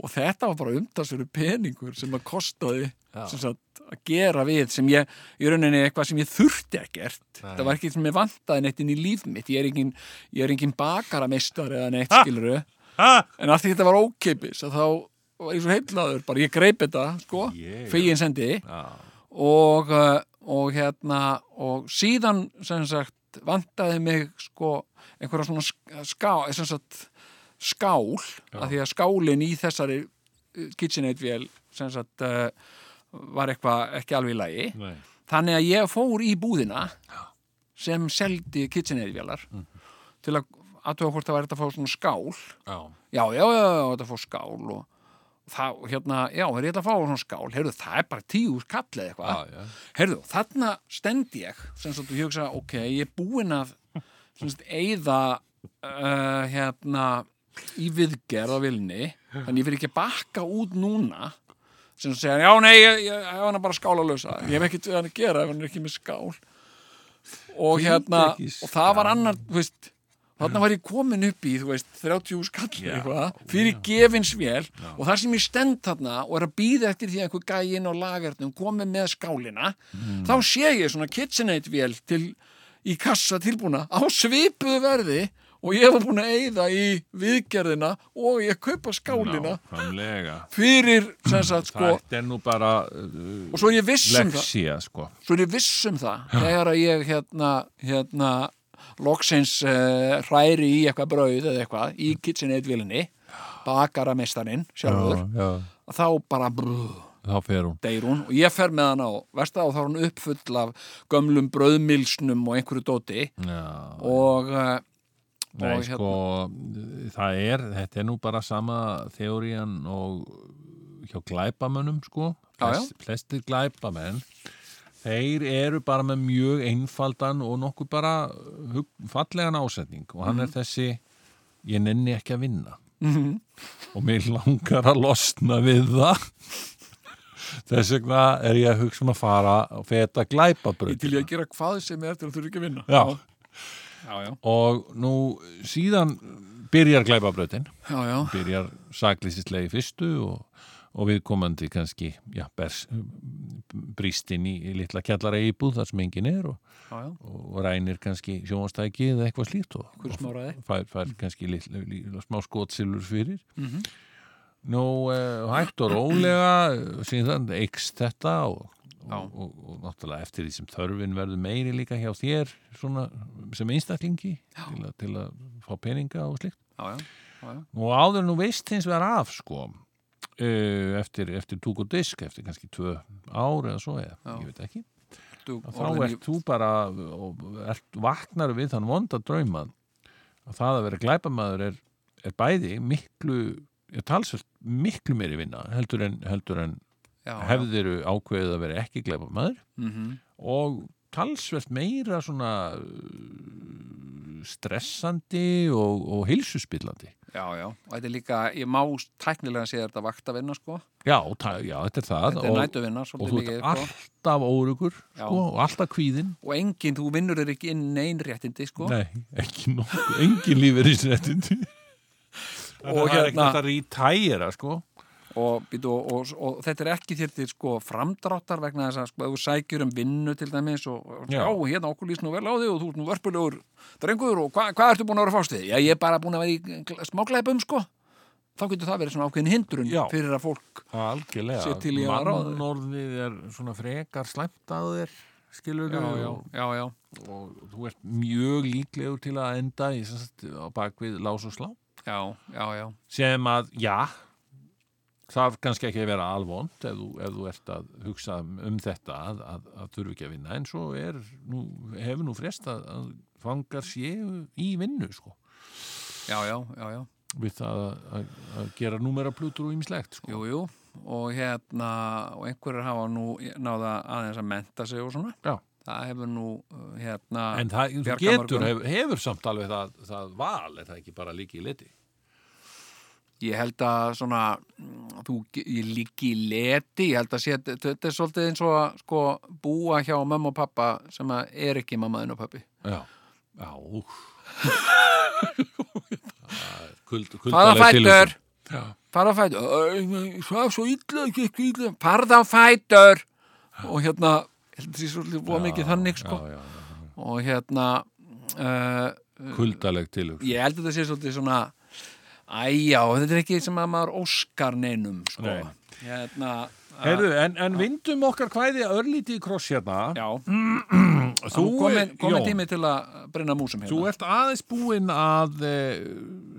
og þetta var bara umtalsveru peningur sem að kostaði sem sagt, að gera við sem ég, í rauninni eitthvað sem ég þurfti ekkert
Nei.
það var ekki sem ég vantaði neitt inn í líf mitt ég er engin, ég er engin bakarameistar eða neitt skiluru
Ha?
en allt því þetta var ókeipis að þá var ég svo heimlaður, bara ég greip þetta sko,
Ég-
fegin sendi
Já.
og, uh, og hérna og síðan sem sagt vantaði mig sko einhverja svona sk- ská, sem sagt, skál af því að skálin í þessari uh, KitchenAid vél sem sagt uh, var eitthvað ekki alveg í lagi
Nei.
þannig að ég fór í búðina sem seldi KitchenAid vélar
Mhm.
til að aðtöga hvort það væri þetta að fá svona skál
Já.
já, já, já, já, þetta fór skál og það, og hérna, já, er ég ætla að fá svona skál, heyrðu, það er bara tíu úr kallið eitthvað,
Já, já.
heyrðu, þarna stend ég, sem sagt, og ég hugsa, ok, ég er búinn að, sem sagt, eyða, uh, hérna, í viðgerð á vilni, þannig ég fyrir ekki að bakka út núna, sem sagt, segja, já, nei, ég, ég hef hana bara skála lausa, ég hef ekkert við hann að gera ef hann er ekki með skál, og hérna,
ekki
og það var annar, þú veist, Þarna var ég komin upp í, þú veist, 30 skall
Já,
eitthvað, fyrir gefinsvél og þar sem ég stend þarna og er að býða eftir því að einhver gæinn og lagarnum komi með skálina,
Hmm.
þá sé ég svona KitchenAid-vél til í kassa tilbúna á svipuðu verði og ég var búin að eyða í viðgerðina og ég kaupa skálina
Nákvæmlega.
fyrir, sem sagt, sko,
Þetta er nú bara uh,
og svo er ég viss um það
lexía, sko.
svo er ég viss um það þegar að ég hérna, hérna loksins uh, hræri í eitthvað brauð eða eitthvað í KitchenAid-vilinni bakarameistarinn sjálfur
já.
þá bara brú,
Þá fer hún.
deyr hún og ég fer með hann á versta og þá er hún uppfull af gömlum brauðmilsnum og einhverju dóti
Já.
og, uh,
Nei,
og hérna-
sko, það er, þetta er nú bara sama þeorían og hjá glæpamönnum, sko.
Já, já.
Flestir glæpamenn, þeir eru bara með mjög einfaldan og nokkuð bara hug- fallegan ásetning og hann
Mhm.
er þessi, ég nenni ekki að vinna. -hmm. Og mér langar að losna við það. Þess vegna er ég að hugsa um að fara og feta glæpabröð.
til ég að gera hvað sem er til að þurfa ekki að vinna
Já,
já, já,
og nú síðan byrjar glæpabröðin
já, já.
byrjar saklýsislegi fyrstu og, og viðkomandi kannski já, bers, brýst inn í litla kjallara íbúð þar sem engin er og,
já, já,
og rænir kannski sjónastæki eða eitthvað slíkt og, og
hverju smáraði
fær,
Mhm.
fær kannski litla, litla, smá skotsilur fyrir
mm -hmm.
Nú, eh, hægt og rólega eh, síðan eikst þetta og,
Já.
og, og, og náttúrulega eftir því sem þörfin verður meiri líka hjá þér svona, sem einstaklingi til, að, til að fá peninga og slikt
já, já,
og áður nú veist hins vegar af sko eh, eftir, eftir túk og disk eftir kannski tvö ár eða svo eða,
Já.
ég veit ekki
Þú,
að þá
orðin í-
ert þú bara og ert vaknar við þann vonda drauma að það að vera glæpamaður er, er bæði miklu er talsvöld miklu meiri vinna heldur en, heldur en
já, já.
hefðiru ákveðið að vera ekki glæpamaður
Mhm.
og talsvöld meira svona uh, stressandi og, og hilsuspillandi
já, já, og þetta er líka ég má tæknilega segja þetta vaktavinna sko.
já, ta- já, þetta er það
þetta er
og,
nætuvinna
og þú
mikið,
ert
sko.
alltaf órugur
Já.
sko, og alltaf kvíðinn
og enginn, þú vinnur þér ekki inn neyn réttindi sko.
Nei, ekki (laughs) nokkuð, engin lífeyrisréttindi
Og
Það er ekki
hérna-
þetta rítæra, sko
og, býtu, og, og, og þetta er ekki þér til sko, framdráttar vegna þess að sko, ef þú sækjur um vinnu til dæmis og, og já,
Já.
hérna okkur líst nú vel á þig og þú ert nú vörpulegur drengur og hva, hvað ertu búin að vera fást við? Já, ég er bara búin að vera í smágleipum sko þá getur það verið svona ákveðin hindrun
Já.
fyrir að fólk
Algjörlega,
Sér til í að ráða þig.
mannorðið er svona frekar slæmt að þér skilur
já, já,
Og,
já, já,
og þú ert mjög líklegur til að enda í, sem sagt, á bakvið lás og slá
já, já, já.
sem að, já þarf kannski ekki að vera alvond ef þú, ef þú ert að hugsa um þetta að, að, að þurfi ekki að vinna en svo er, nú, hefur nú frest að, að fangar séu í vinnu sko
Já, já, já, já,
við það að, að, að gera númera plutur og ímislegt sko.
jú, jú og hérna, og einhverjar hafa nú náða aðeins að menta sig og svona
Já.
það hefur nú uh, hérna
en það, þú
Bjarga
getur,
mörgum.
hef, hefur samt alveg það, það val, er það ekki bara líki í liti
Ég held að svona, mm, þú, ég liggi í leti, ég held að sé, þetta- þetta er svolítið eins og að sko, búa hjá mamma og pappa sem að er ekki mamma þinn og pappi.
já, já úff. Það er kuld,
Farða
kuldaleg
fætur,
já,
farða fætur, Æ, ég svaf svo illa, ekki ekki illa, farða fætur og hérna, ég held að sé svolítið búa mikið þannig sko
já, já, já.
og hérna, uh,
kuldaleg tilhugsun
ég held að þetta sé svolítið svona, æjá, þetta er ekki sem að maður óskar neinum sko.
Nei.
Hérna, að-
Heyrðu, en, en vindum okkar hvæði örlítið í kross hérna.
já.
Þú,
Þú komin, komin
Jón,
tími til að brenna músum
Þú
hérna.
ert aðeins búinn að e,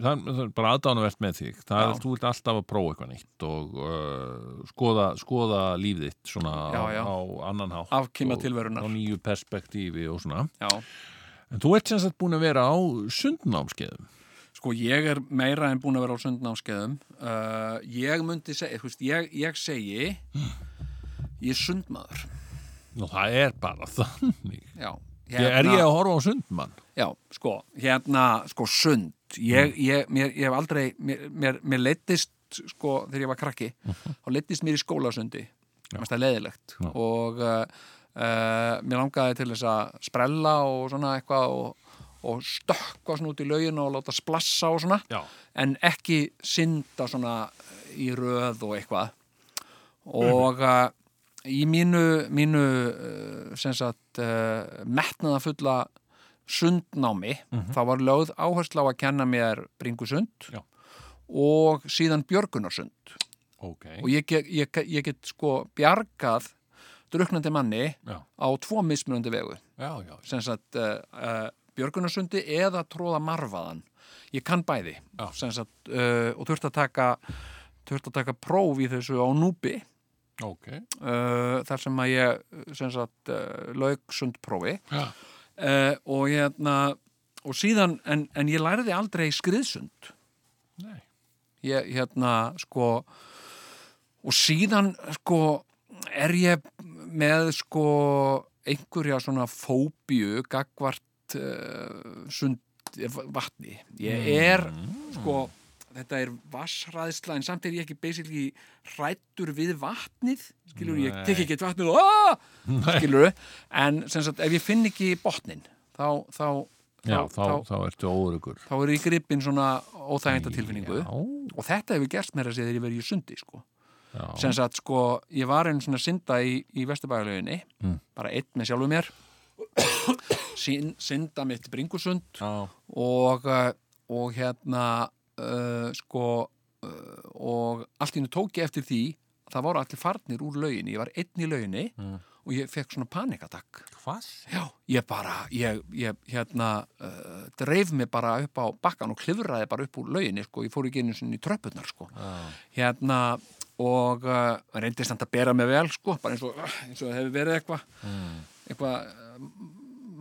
það, það er bara aðdánuvert með þig það er
Já.
þú ert alltaf að prófa eitthvað nýtt og uh, skoða, skoða líf þitt svona
Já, já.
Á, á annan hátt
Afkima
og- á
tilverunar.
nýju perspektífi og svona
Já,
en þú ert sem sagt búinn að vera á sundnámskeiðum
sko ég er meira en búin að vera á sundnámskeiðum. Uh, ég myndi segja, þú veist, ég, ég segi,
Mm.
ég er sundmaður.
og það er bara (laughs) þannig
Já. Hérna,
er ég að horfa á sundmann
Já, sko, hérna, sko, sund. Ég, ég, mér, ég hef aldrei, mér, mér, mér leittist, sko, þegar ég var krakki, þá leittist mér í skólasundi. Mér finnst það leðilegt.
Já.
Og uh, uh, mér langaði til þess að sprella og svona eitthvað og, og stökkva svona út í laugina og láta splassa og svona.
já,
en ekki synda svona eh, í röð og eitthvað
Mhm.
og uh, í mínu, mínu uh, sem sagt uh, metnaðafulla sundnámi þá var lögð áhersla á að kenna mér bringusund
Mhm. Já.
og síðan björgunarsund
ok
og ég, get- ég, get- ég get sko bjargað druknandi manni
já,
á tvo mismunandi vegu
já, já,
sem sagt uh, uh, björgunarsundi eða tróða marfaðan ég kann bæði
Já.
sem sagt, uh, og þurft að taka þurft að taka próf í þessu á núbi
ok
uh, þar sem að ég sem sagt uh, lauk sundprófi
já,
uh, og hérna og síðan, en, en ég læriði aldrei skriðsund
nei
ég hérna sko og síðan sko er ég með sko einhverja svona fóbíu gagvart uh, sund vatni ég er
Mm.
sko þetta er vassræðsla en samt er ég ekki basically hrættur við vatnið skilur ég
Nei.
tek ekki eitt vatnið og "Ah!" aah, skilur en sem sagt ef ég finn ekki botnin þá þá,
já, þá, þá, ertu órugur
þá er ég gripin svona óþægenda tilfinningu
já,
og þetta hefur gerst mér að segja þegar ég verið í sundi sko. sem sagt sko, ég var einu svona synda í, í Vesturbæjarlauginni
Mm.
bara einn með sjálfu mér Syn, synda mitt bringusund
Já.
og, eh, og hérna uh, sko uh, og allt í hennu tók ég eftir því að það voru allir farnir úr lauginni ég var einn í lauginni
Mm.
og ég fekk svona panikatakk
Hvað?
Já, ég bara, ég, ég hérna uh, dreif mig bara upp á bakkan og klifraði bara upp úr lauginni, sko, ég fór ekki einu sinni í tröppurnar, sko. Hérna, og uh, reyndist hann að bera mig vel, sko, bara eins og, eins og það hefur verið eitthvað, eitthvað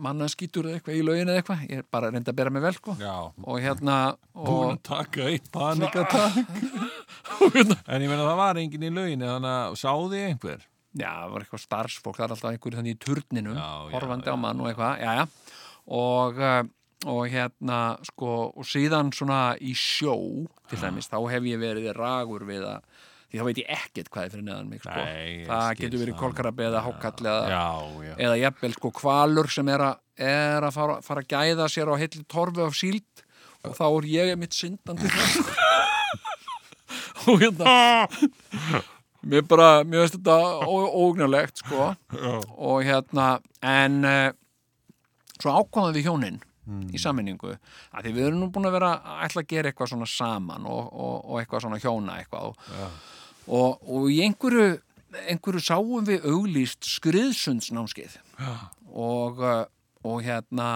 mannaskítur eða eitthvað í lauginni eða eitthvað, ég bara reyndi að bera mig vel, sko.
Já.
Og hérna,
Búin að
og,
taka eitt panikatak. (laughs) hérna- en ég meina það var engin í lauginu, þannig að sáði einhver.
já, það var eitthvað starfsfólk, það er alltaf einhverju þannig í turninum,
Já, já,
horfandi á mann og eitthvað, já, já, og, eh, og hérna, sko, og síðan svona í sjó, til dæmis, þá hef ég verið ragur við að, því þá veit ég ekkert hvað er fyrir neðan mig, sko,
Nei, ég
það
skil
getur verið
það.
kolkarabbi eða hákall eða,
Já, já.
eða jafnvel, sko, kvalur sem er að, er að fara, fara að gæða sér á heilli torfu af síld og þá er ég mitt syndandi sko. (laughs) og hérna mér bara, mér veist þetta óugnarlegt sko og hérna, en uh, svo ákváðum við hjónin í sammenningu, að því við erum nú búin að vera að ætla að gera eitthvað svona saman og, og, og eitthvað svona hjóna eitthvað og, og, og í einhverju einhverju sáum við auglýst skriðsundsnámskeið og, eh, og hérna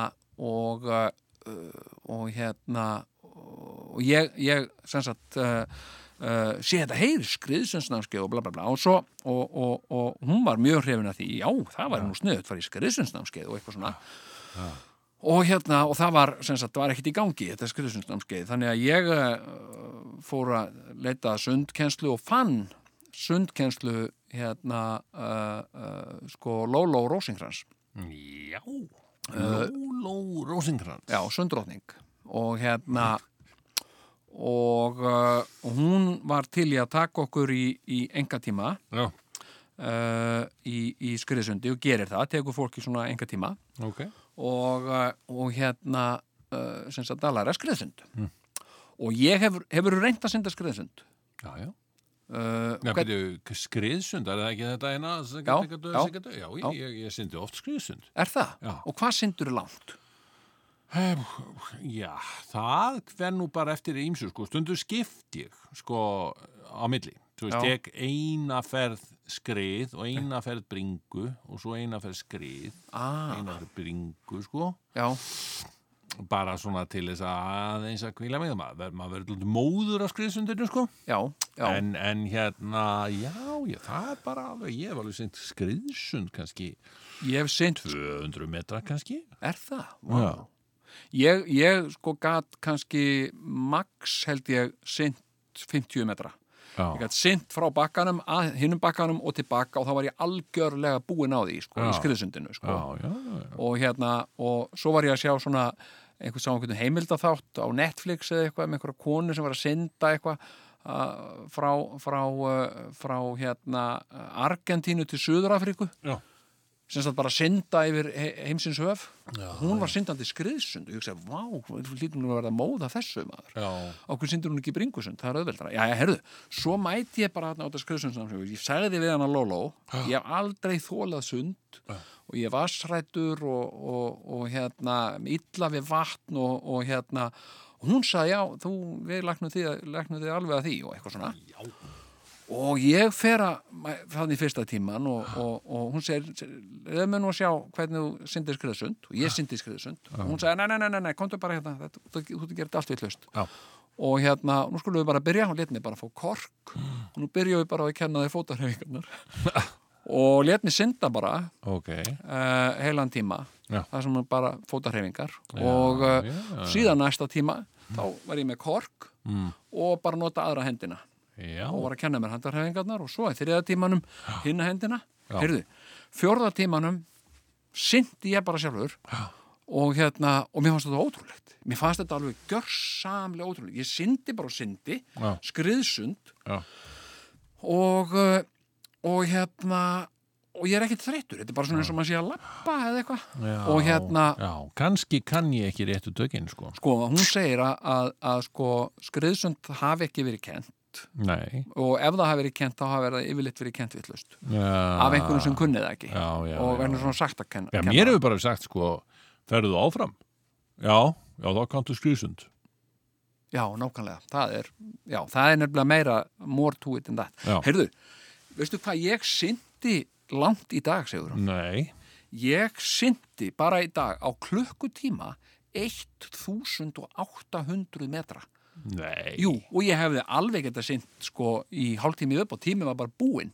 og eh, og hérna og ég, ég sem sagt uh, uh, sé þetta heyr skriðsundsnámskeið og bla bla bla og, svo, og, og, og hún var mjög hrifin að því já, það var nú sniðut farið skriðsundsnámskeið og eitthvað svona og hérna, og það var sem sagt, var ekkert í gangi þetta skriðsundsnámskeið, þannig að ég uh, fór að leita að sundkennslu og fann sundkennslu hérna uh, uh, sko Lóló Rósingrans
Já. Eh, Lóló Rósingrans.
Já, sundrótning og hérna og uh, hún var til í að taka okkur í, í enga tíma
Já,
uh, í, í skriðsundi og gerir það, tekur fólki svona enga tíma
ok.
og, uh, og hérna uh, sem sagt að læra skriðsund
Mm.
og ég hefur, hefur reynt að synda skriðsund
Já, já.
uh,
Já,
og hvern-
byrju, skriðsund, er það ekki þetta eina? sem
Já,
getur-
já,
sem getur- já, já. Ég, ég syndi oft skriðsund.
er það?
Já.
og hvað syndur er langt?
Já, það hver nú bara eftir ímsu, sko, stundu skipt ég, sko, á milli. Þú veist,
Já.
tek eina ferð skrið og eina ferð bringu og svo eina ferð skrið,
Ah,
eina ferð bringu, sko.
já,
Bara svona til þess að aðeins að kvíla mig, maður, ver- maður verður lítið móður af skriðsundinu, sko.
já, já
En, en hérna, já, já, það er bara alveg, ég hef alveg sent skriðsund kannski,
ég hef synd
200 metra kannski.
Er það? Vá. Ég, ég sko gat kannski max held ég sint 50 metra. Ég
Já,
gat sint frá bakkanum, að hinnum bakkanum og tilbaka og þá var ég algjörlega búin á því sko, í
Já.
skriðsundinu sko.
já, já, já, já.
og hérna, og svo var ég að sjá svona einhvern sá einhvern heimildaþátt á Netflix eða eitthvað með einhverja konu sem var að synda eitthvað uh, frá, frá, uh, frá hérna Argentínu til Suðurafríku
Já.
sem sagt bara synda yfir he- heimsins höf hún var syndandi skriðsund og ég hugsaði, vá, hlýtum hún að verða móða þessu maður
Já.
okkur syndur hún ekki bringusund, það er auðveldara já, já, herðu, svo mæti ég bara þarna á þetta skriðsundsnámskeið ég sagði við hana Lóló ég hef aldrei þólað sund og ég var srættur og, og, og hérna, illa við vatn og, og hérna og hún sagði, já, þú, við læknum því, læknum því alveg að því og eitthvað svona og ég fer að þannig fyrsta tíman og, og, og hún segir, leðum við nú að sjá hvernig þú syndir skriðsund og ég syndi skriðsund og hún segir, nei, nei, nei, nei, nei, komdu bara hérna þetta, þú, þú, þú gerir þetta allt vitlaust
Já.
og hérna, nú skulum við bara byrja hún let mig bara fá kork og nú byrjum við bara að kenna þér fótarhefingarnar og let mig synda bara
Ok,
uh, heilan tíma
Já.
það sem er bara fótarhefingar og uh,
já. Mm.
síðan næsta tíma þá var ég með kork og bara nota aðra hendina
já,
og var að kenna mér handarhefingarnar og svo í þriða tímanum hinna hendina heyrðu, fjórða tímanum syndi ég bara sjálfur Já. og hérna, og mér fannst þetta ótrúlegt mér fannst þetta alveg görsamlega ótrúlegt ég syndi bara og syndi
Já.
skriðsund
Já.
og uh, og hérna og ég er ekkert þreyttur, þetta er bara svona eins og maður sé að lappa eða eitthvað,
já,
og hérna
já, kannski kann ég ekki réttu tökinn sko
sko, hún segir að, að, að sko, skriðsund hafi ekki verið kent kent
Nei.
og ef það hafi verið kent þá hafi verið yfirleitt verið kent vittlust
Af
af einhverjum sem kunnið ekki
Ah. Já, já,
og
já.
verður svona sagt að kenna
Já, mér hefur bara sagt, sko, ferðu áfram? Já, já, þá kanntu skrýsund.
Já, nákvæmlega, það er, já, það er nefnilega meira more to it en that.
Já.
Heyrðu, veistu hvað ég syndi langt í dag, segur hann?
Nei.
Ég syndi bara í dag á klukkutíma 1800 metra.
Nei.
Jú, og ég hefði alveg geta synd sko í hálftími upp og tími var bara búinn.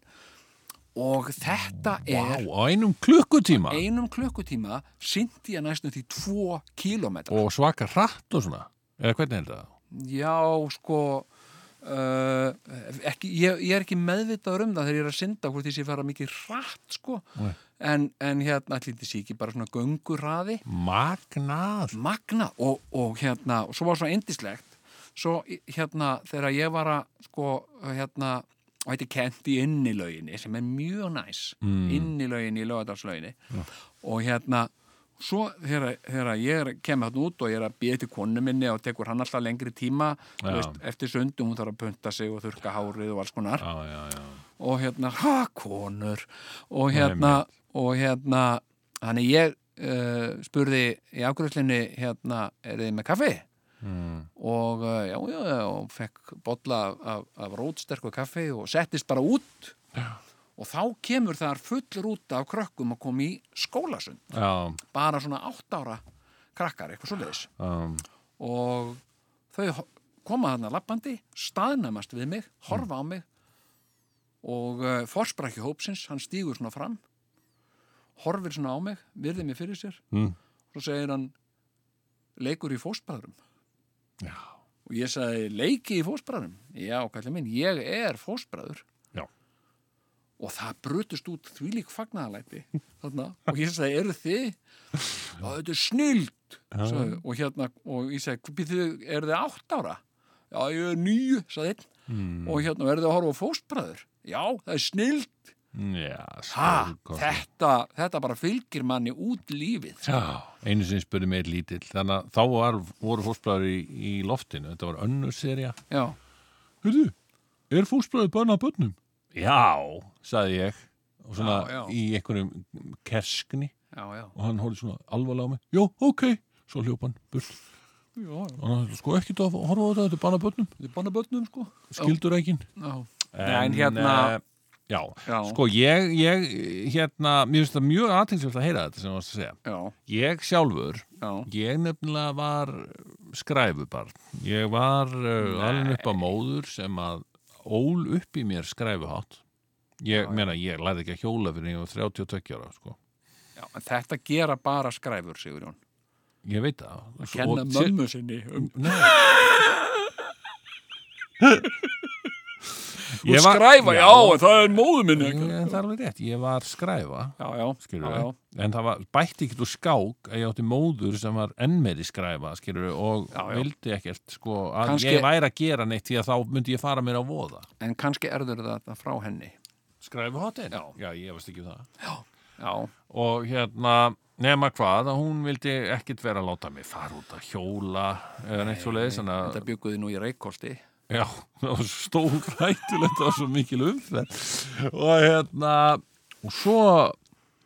Og þetta
Vá,
er
á einum klukkutíma.
einum klukkutíma syndi ég næstum því 2 kilometra.
Og svaka hratt og svona. Eða hvernig er það?
Já, sko uh, ekki, ég, ég er ekki meðvitaður um það þegar ég er að synda hvort því sé fara mikið rætt sko
Nei.
en, en hérna allir þessi ekki bara svona göngurraði
Magnað.
magna og, og hérna og svo var svona indislegt svo í- hérna þegar ég var að sko hérna og þetta er kent í innilöginni sem er mjög næs mm. innilöginni í lögadalslöginni og hérna svo þegar, þegar ég er- kem hérna út og ég er að býja til konu minni og tekur hann alltaf lengri tíma þú
Já.
veist, eftir sundum hún þarf að punta sig og þurka hárið og alls konar
Já, já, já.
og hérna, ha, konur og hérna, og hérna þannig ég uh, spurði í afgröðslinni, hérna er þið með kaffi?
Mm.
og uh, já, já, já, og fekk bolla af, af, af rótsterku kaffi og settist bara út já. og þá kemur þar full rúta af krökkum að koma í skólasund
Já,
bara svona átt ára krakkar, eitthvað svoleiðis
um,
og þau ho- koma þarna lappandi, staðnæmast við mig, horfa á mig og uh, forsprakki hópsins, hann stígur svona fram, horfir svona á mig, virðir mig fyrir sér
Mm.
og segir hann, leikur í fóstbræðrum.
já.
Og ég sagði, leiki í fóstbræðrum? Já, kallið minn, ég er fóstbræður.
Já.
Og það brutust út þvílík fagnaðalæti. Þarna. Og ég sagði, eru þið?
(laughs)
Já, þetta er snilt. Sagði, og hérna, og ég sagði, býðu, eru þið átt ára? Já, ég er nýju, sagði einn.
Mm.
Og hérna, eru þið að horfa á fóstbræður? Já, það er snilt.
Já,
Ha,
stórkostlegt.
þetta, þetta bara fylgir manni út lífið.
Já, einu sinni spurði mig einn lítill þannig að þá var, voru fósbræður í, í loftinu þetta var önnur serja
Já,
Hörðu, er fósbræður bannað bönnum? Já, sagði ég og svona
Já, já.
í einhverjum kerskni
já, já.
og hann horfði svona alvarlega á mig Jó, ok, svo hljóp hann burt
Já, já.
og hann sagði, sko ekki það, horfa á þetta, þetta er bannað bönnum
Þið banna börnum, sko.
skildur ekki
Já. Nei, en hérna-
eh, Já,
Já.
sko ég, ég hérna, mér finnst það mjög aðtingsvægt að heyra þetta sem varst að segja
Já,
Ég sjálfur
já.
Ég nefnilega var skræfubarn. Ég var uh, alveg upp á móður sem að ól upp í mér skræfuhátt. Ég meina, ég læði ekki að hjóla fyrir en ég var 32 ára, sko.
Já, en þetta gera bara skræfur, Sigurjón.
Ég veit það. Sko, Svo-
Kenna
og-
mömmu sinni um
Nei. Ég var-
skræfa, já, en það er móðu minni.
Ég,
ekki.
það er alveg rétt, ég var skræfa
Já, já,
skilur
já, já,
en það var bætti ekkert úr skák að ég átti móður sem var enn meiri skræfa skilur og
Já, já.
vildi ekkert sko að
Kannski-
ég væri að gera neitt því að þá myndi ég fara mér á voða
En kannski erður þetta frá henni.
skræfu hotin?
Já.
já, ég veist ekki um það
Já,
og hérna, nema hvað að hún vildi ekkert vera að láta mig fara út að hjóla eða neitt svo leiðis að,
þetta bygguði nú í reykkolti.
já, það var stór rætulegt það var svo mikil umferð og hérna og svo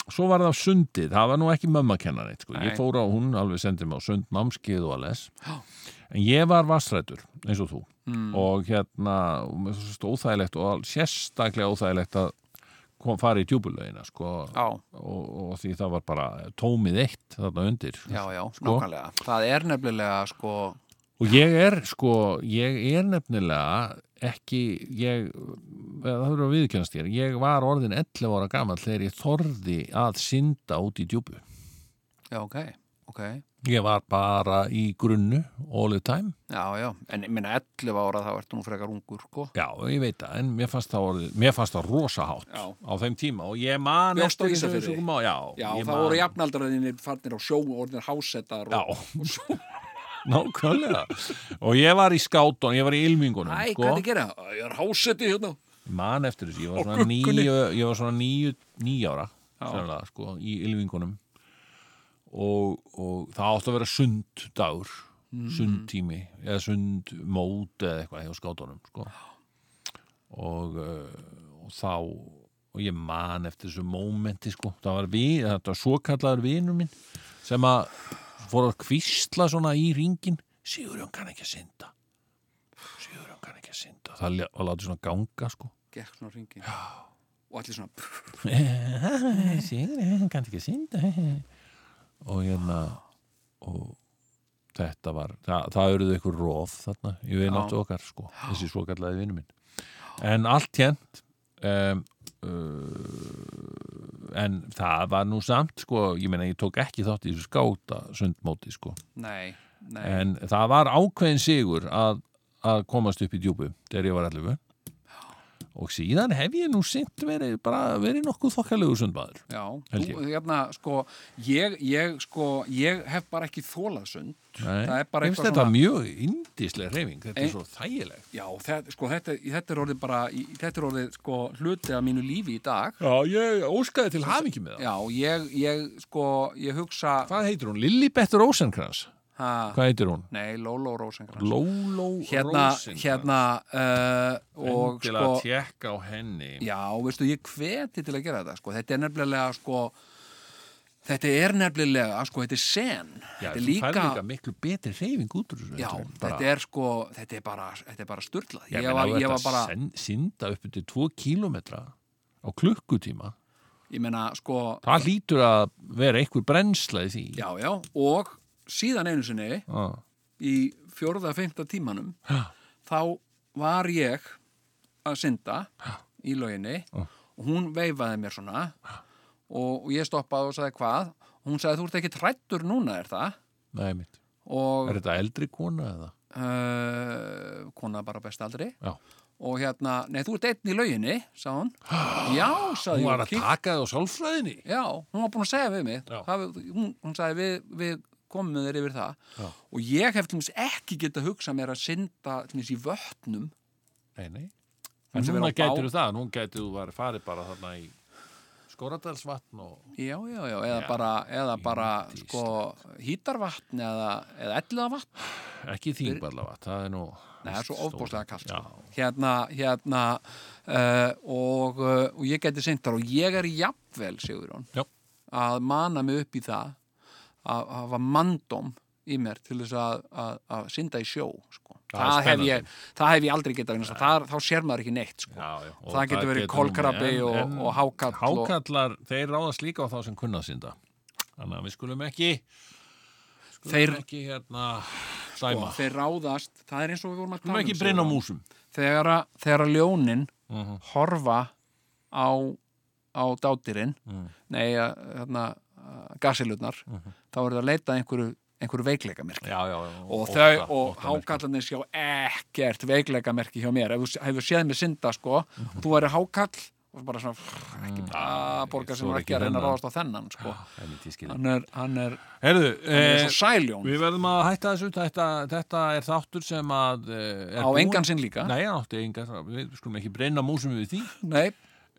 Svo var það sundið, það var nú ekki mömmu að kenna neitt sko. Ég
Nei.
fór á hún, alveg sendið mig á sund, námskið og alles.
Já.
En ég var vastrætur, eins og þú.
Mm.
Og hérna, og mér finnst það óþægilegt og sérstaklega óþægilegt að kom, fara í djúbulögina sko.
Já,
og, og því það var bara tómið eitt þarna undir.
já, já,
Sko.
nákvæmlega. Það er nefnilega, sko,
Og ég er, sko, ég er nefnilega ekki, ég, eða það verður að viðkjönast þér, ég var orðin 11 ára gamall þegar ég þorði að synda út í djúbu.
já, ok, ok.
Ég var bara í grunnu all the time.
Já, já, en ég minna 11 ára þá ertu nú frekar ungur, sko.
Já, ég veit það, en mér fannst það, orðið, mér fannst það rosa hátt
Já.
á þeim tíma og ég man
Bjóst á
eftir þessu-
Ísafirði?
þessu- já,
Já,
ég
það
man-
voru jafnaldraðinir farnir á sjó og orðinir hásetar og...
Já, (laughs) nákvæmlega. Og ég var í skátunum, ég var í sko. ylmingunum.
Æ, hvað er að gera? Æ, Ég er háseti hérna.
man eftir þessu, ég var
Og
svona
guggunni.
níu, ég var svona níu, níu ára
Já.
sennilega, sko, í ylfingunum og, og það átti að vera sund
Mm.
dagur sundtími eða sundmót eða eitthvað hjá skátunum sko. og, uh, og þá og ég man eftir þessu mómenti sko, það var við, þetta var svo kallaður vinur minn sem að fór að kvísla svona í ringin Sigurjón kann ekki að synda Sigurjón kann ekki að synda það lá- og láti svona ganga sko
gekk svona ringi já. og allir svona pff,
Sigurjón kann ekki að synda og hérna og þetta var, það, það eruðu ykkur rof þarna, í vináttu okkar sko þessi svo kallaði vinur minn en allt hérnt um, uh, en það var nú samt sko, ég meina ég tók ekki þátt í þessu skáta sundmóti sko
nei, nei
en það var ákveðin sigur að, að komast upp í djúpu þegar ég var allu og síðan hef ég nú sint verið bara verið nokkuð þokkalegur sundmaður
já,
held
þú, hérna, sko ég, ég, sko, ég hef bara ekki þólað sund
Nei,
Það er bara
ég finnst
eitthvað
þetta
svona-
mjög indislega reyfing þetta
Ein-
er svo þægileg
já, það, sko, þetta, þetta er orðið bara í- þetta er orðið, sko, hluti af mínu lífi í dag
Já, ég óskaði til hafingi með
já, ég, ég, sko, ég hugsa
Hvað heitir hún? Lillibettur Rósenkrans
ha,
Hvað heitir hún?
nei, Lóló Rósengrans
Lóló
hérna,
Rósenkrans
hérna uh, og
Til
sko
að tjekka á henni
Já, veistu, ég hveti til að gera þetta, sko. Þetta er nefnilega, sko, þetta er nefnilega, sko, þetta er sen.
Já,
þetta er
þú
líka,
færð líka miklu betri reyfing út úr þessu
já,
heldur en bara-
þetta er sko, þetta er bara, þetta er bara styrlað. Ég,
Ég, meina,
var,
var,
ég var bara,
Synda upp til 2 kílómetra á klukkutíma
ég meina, sko,
Það lítur að vera einhver brennsla í því
já, já, og síðan einu sinni
ah.
í fjórða, fymta tímanum,
Já.
þá var ég að synda í lauginni og hún veifaði mér svona og, og ég stoppaði og sagði hvað. Hún sagði, þú ert ekki trættur núna, er það?
Nei mitt
Og
Er þetta eldri kona eða?
uh, kona bara á besta aldri
Já
og hérna, nei þú ert einn í lauginni sagði
(gasps)
hún, já
Hún
sagði ég
var
og
að
kík-
taka það á sálfræðinni
já, hún var búin að segja við mig
Já.
það, hún, hún sagði við, við komum með þér yfir það
Já.
og ég hef til dæmis ekki getað hugsað mér að synda til dæmis í vötnum
Nei, nei
Hún
En
sem
núna
er á bát.
gætir þú það, núna gætir þú var farið bara þarna í Skoradalsvatn og
já, já, já, eða
Já,
bara, eða bara
í
sko, hítarvatn eða, eða elliðavatn
ekki þýngvallavatn, það er nú
Nei, það er svo
stór-
ofbúslega kalt
Já,
hérna, hérna uh, og, uh, og ég geti seint þar og ég er jafnvel, Sigurjón
Já.
að mana mig upp í það að að hafa mandóm í mér til þess að, að, að synda í sjó sko.
Það
það,
er
hef ég,
spennandi.
það hef ég aldrei getað vegna þess að þar, þá sér maður ekki neitt sko.
já, já. Og
það getur verið
nú-
kolkrabbi
en-
og-
en
og hákarl og-
Hákallar, þeir ráðast líka á þá sem kunna að synda Þannig að við skulum ekki skulum
Þeir- Sko,
ekki hérna dæma
og þeir ráðast, það er eins og við vorum að
Skulum
tala
ekki
um,
brenna á
Sigurjón.
músum
þegar að, þegar að ljónin
Mhm.
horfa á, á dátirinn
Mhm.
nei, að- þarna gasilutnar, þá eru það að leita að einhverju, einhverju veikleikamerki
Já, já, já
og þau, og hákallarnir sjá ekkert veikleikamerki hjá mér ef þú s- hefur séð mér synda, sko þú væri hákall og bara svona frr, ekki bara borga
Mhm. Mm. ég
sem
þori
var
ekki
ekki að reyna að
þennan.
ráðast á þennan, sko
hákallar
hann er, hann er,
Herðu,
hann er
eh,
svo sæljón
Við verðum að hætta þessu, þetta, þetta er þáttur sem að eh, er
á engan sinn líka
Nei, hann átti engan, við skulum ekki brenna músum við því
Nei.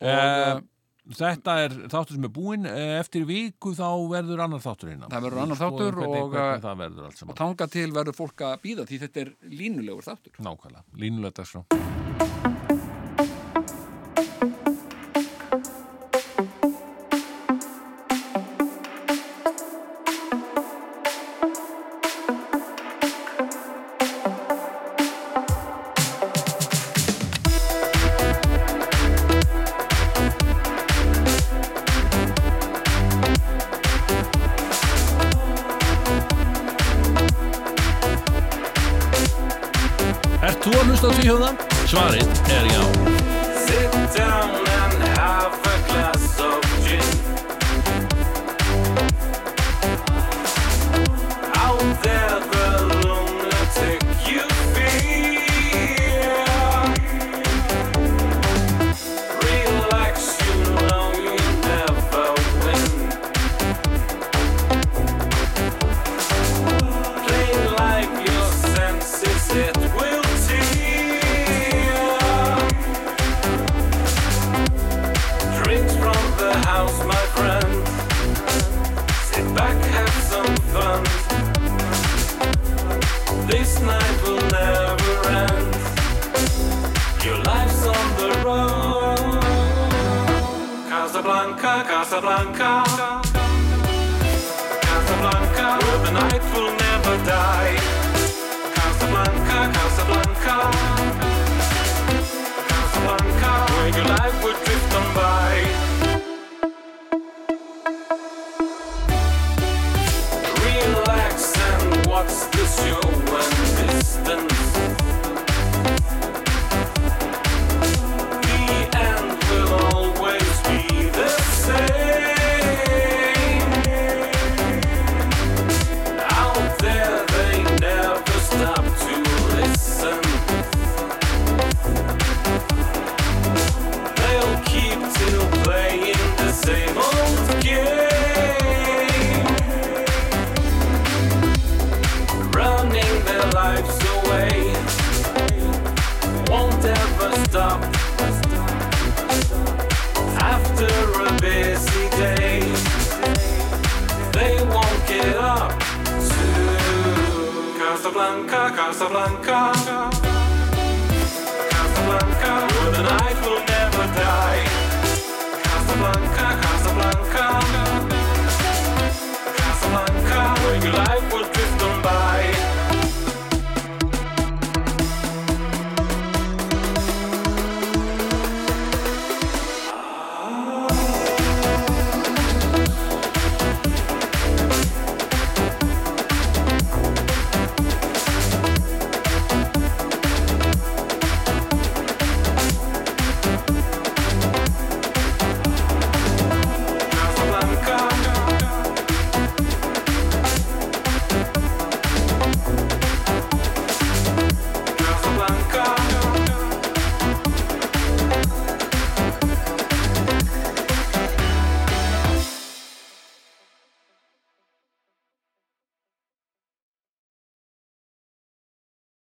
Og,
Eh, Þetta er þáttur sem er búinn, eh, eftir viku þá verður annar þáttur hérna
Það verður annar
Við skoðum
þáttur
hvernig,
og, eh,
hvernig það verður allt
og
saman
tanga til verður fólk að býða því þetta er línulegur þáttur
Nákvæmlega, línulega dagsfrá Ert þú að hlusta á tvíhjóða? Svarið er já
Sit down and have a glass of gin. Out there, the lunatic you fear. Relax, you know you never win. Play like your senses, it will tear. Drinks from the house, my Your life's on the road. Casablanca, Casablanca. Casablanca, where the night will never die. Casablanca, Casablanca. Casablanca, where your life would drift on by. Relax and watch the show and distance. The end will always be the same. Out there they never stop to listen. They'll keep till playing the same old game running their lives away. Won't ever stop after a busy day. They won't get up to Casablanca, Casablanca.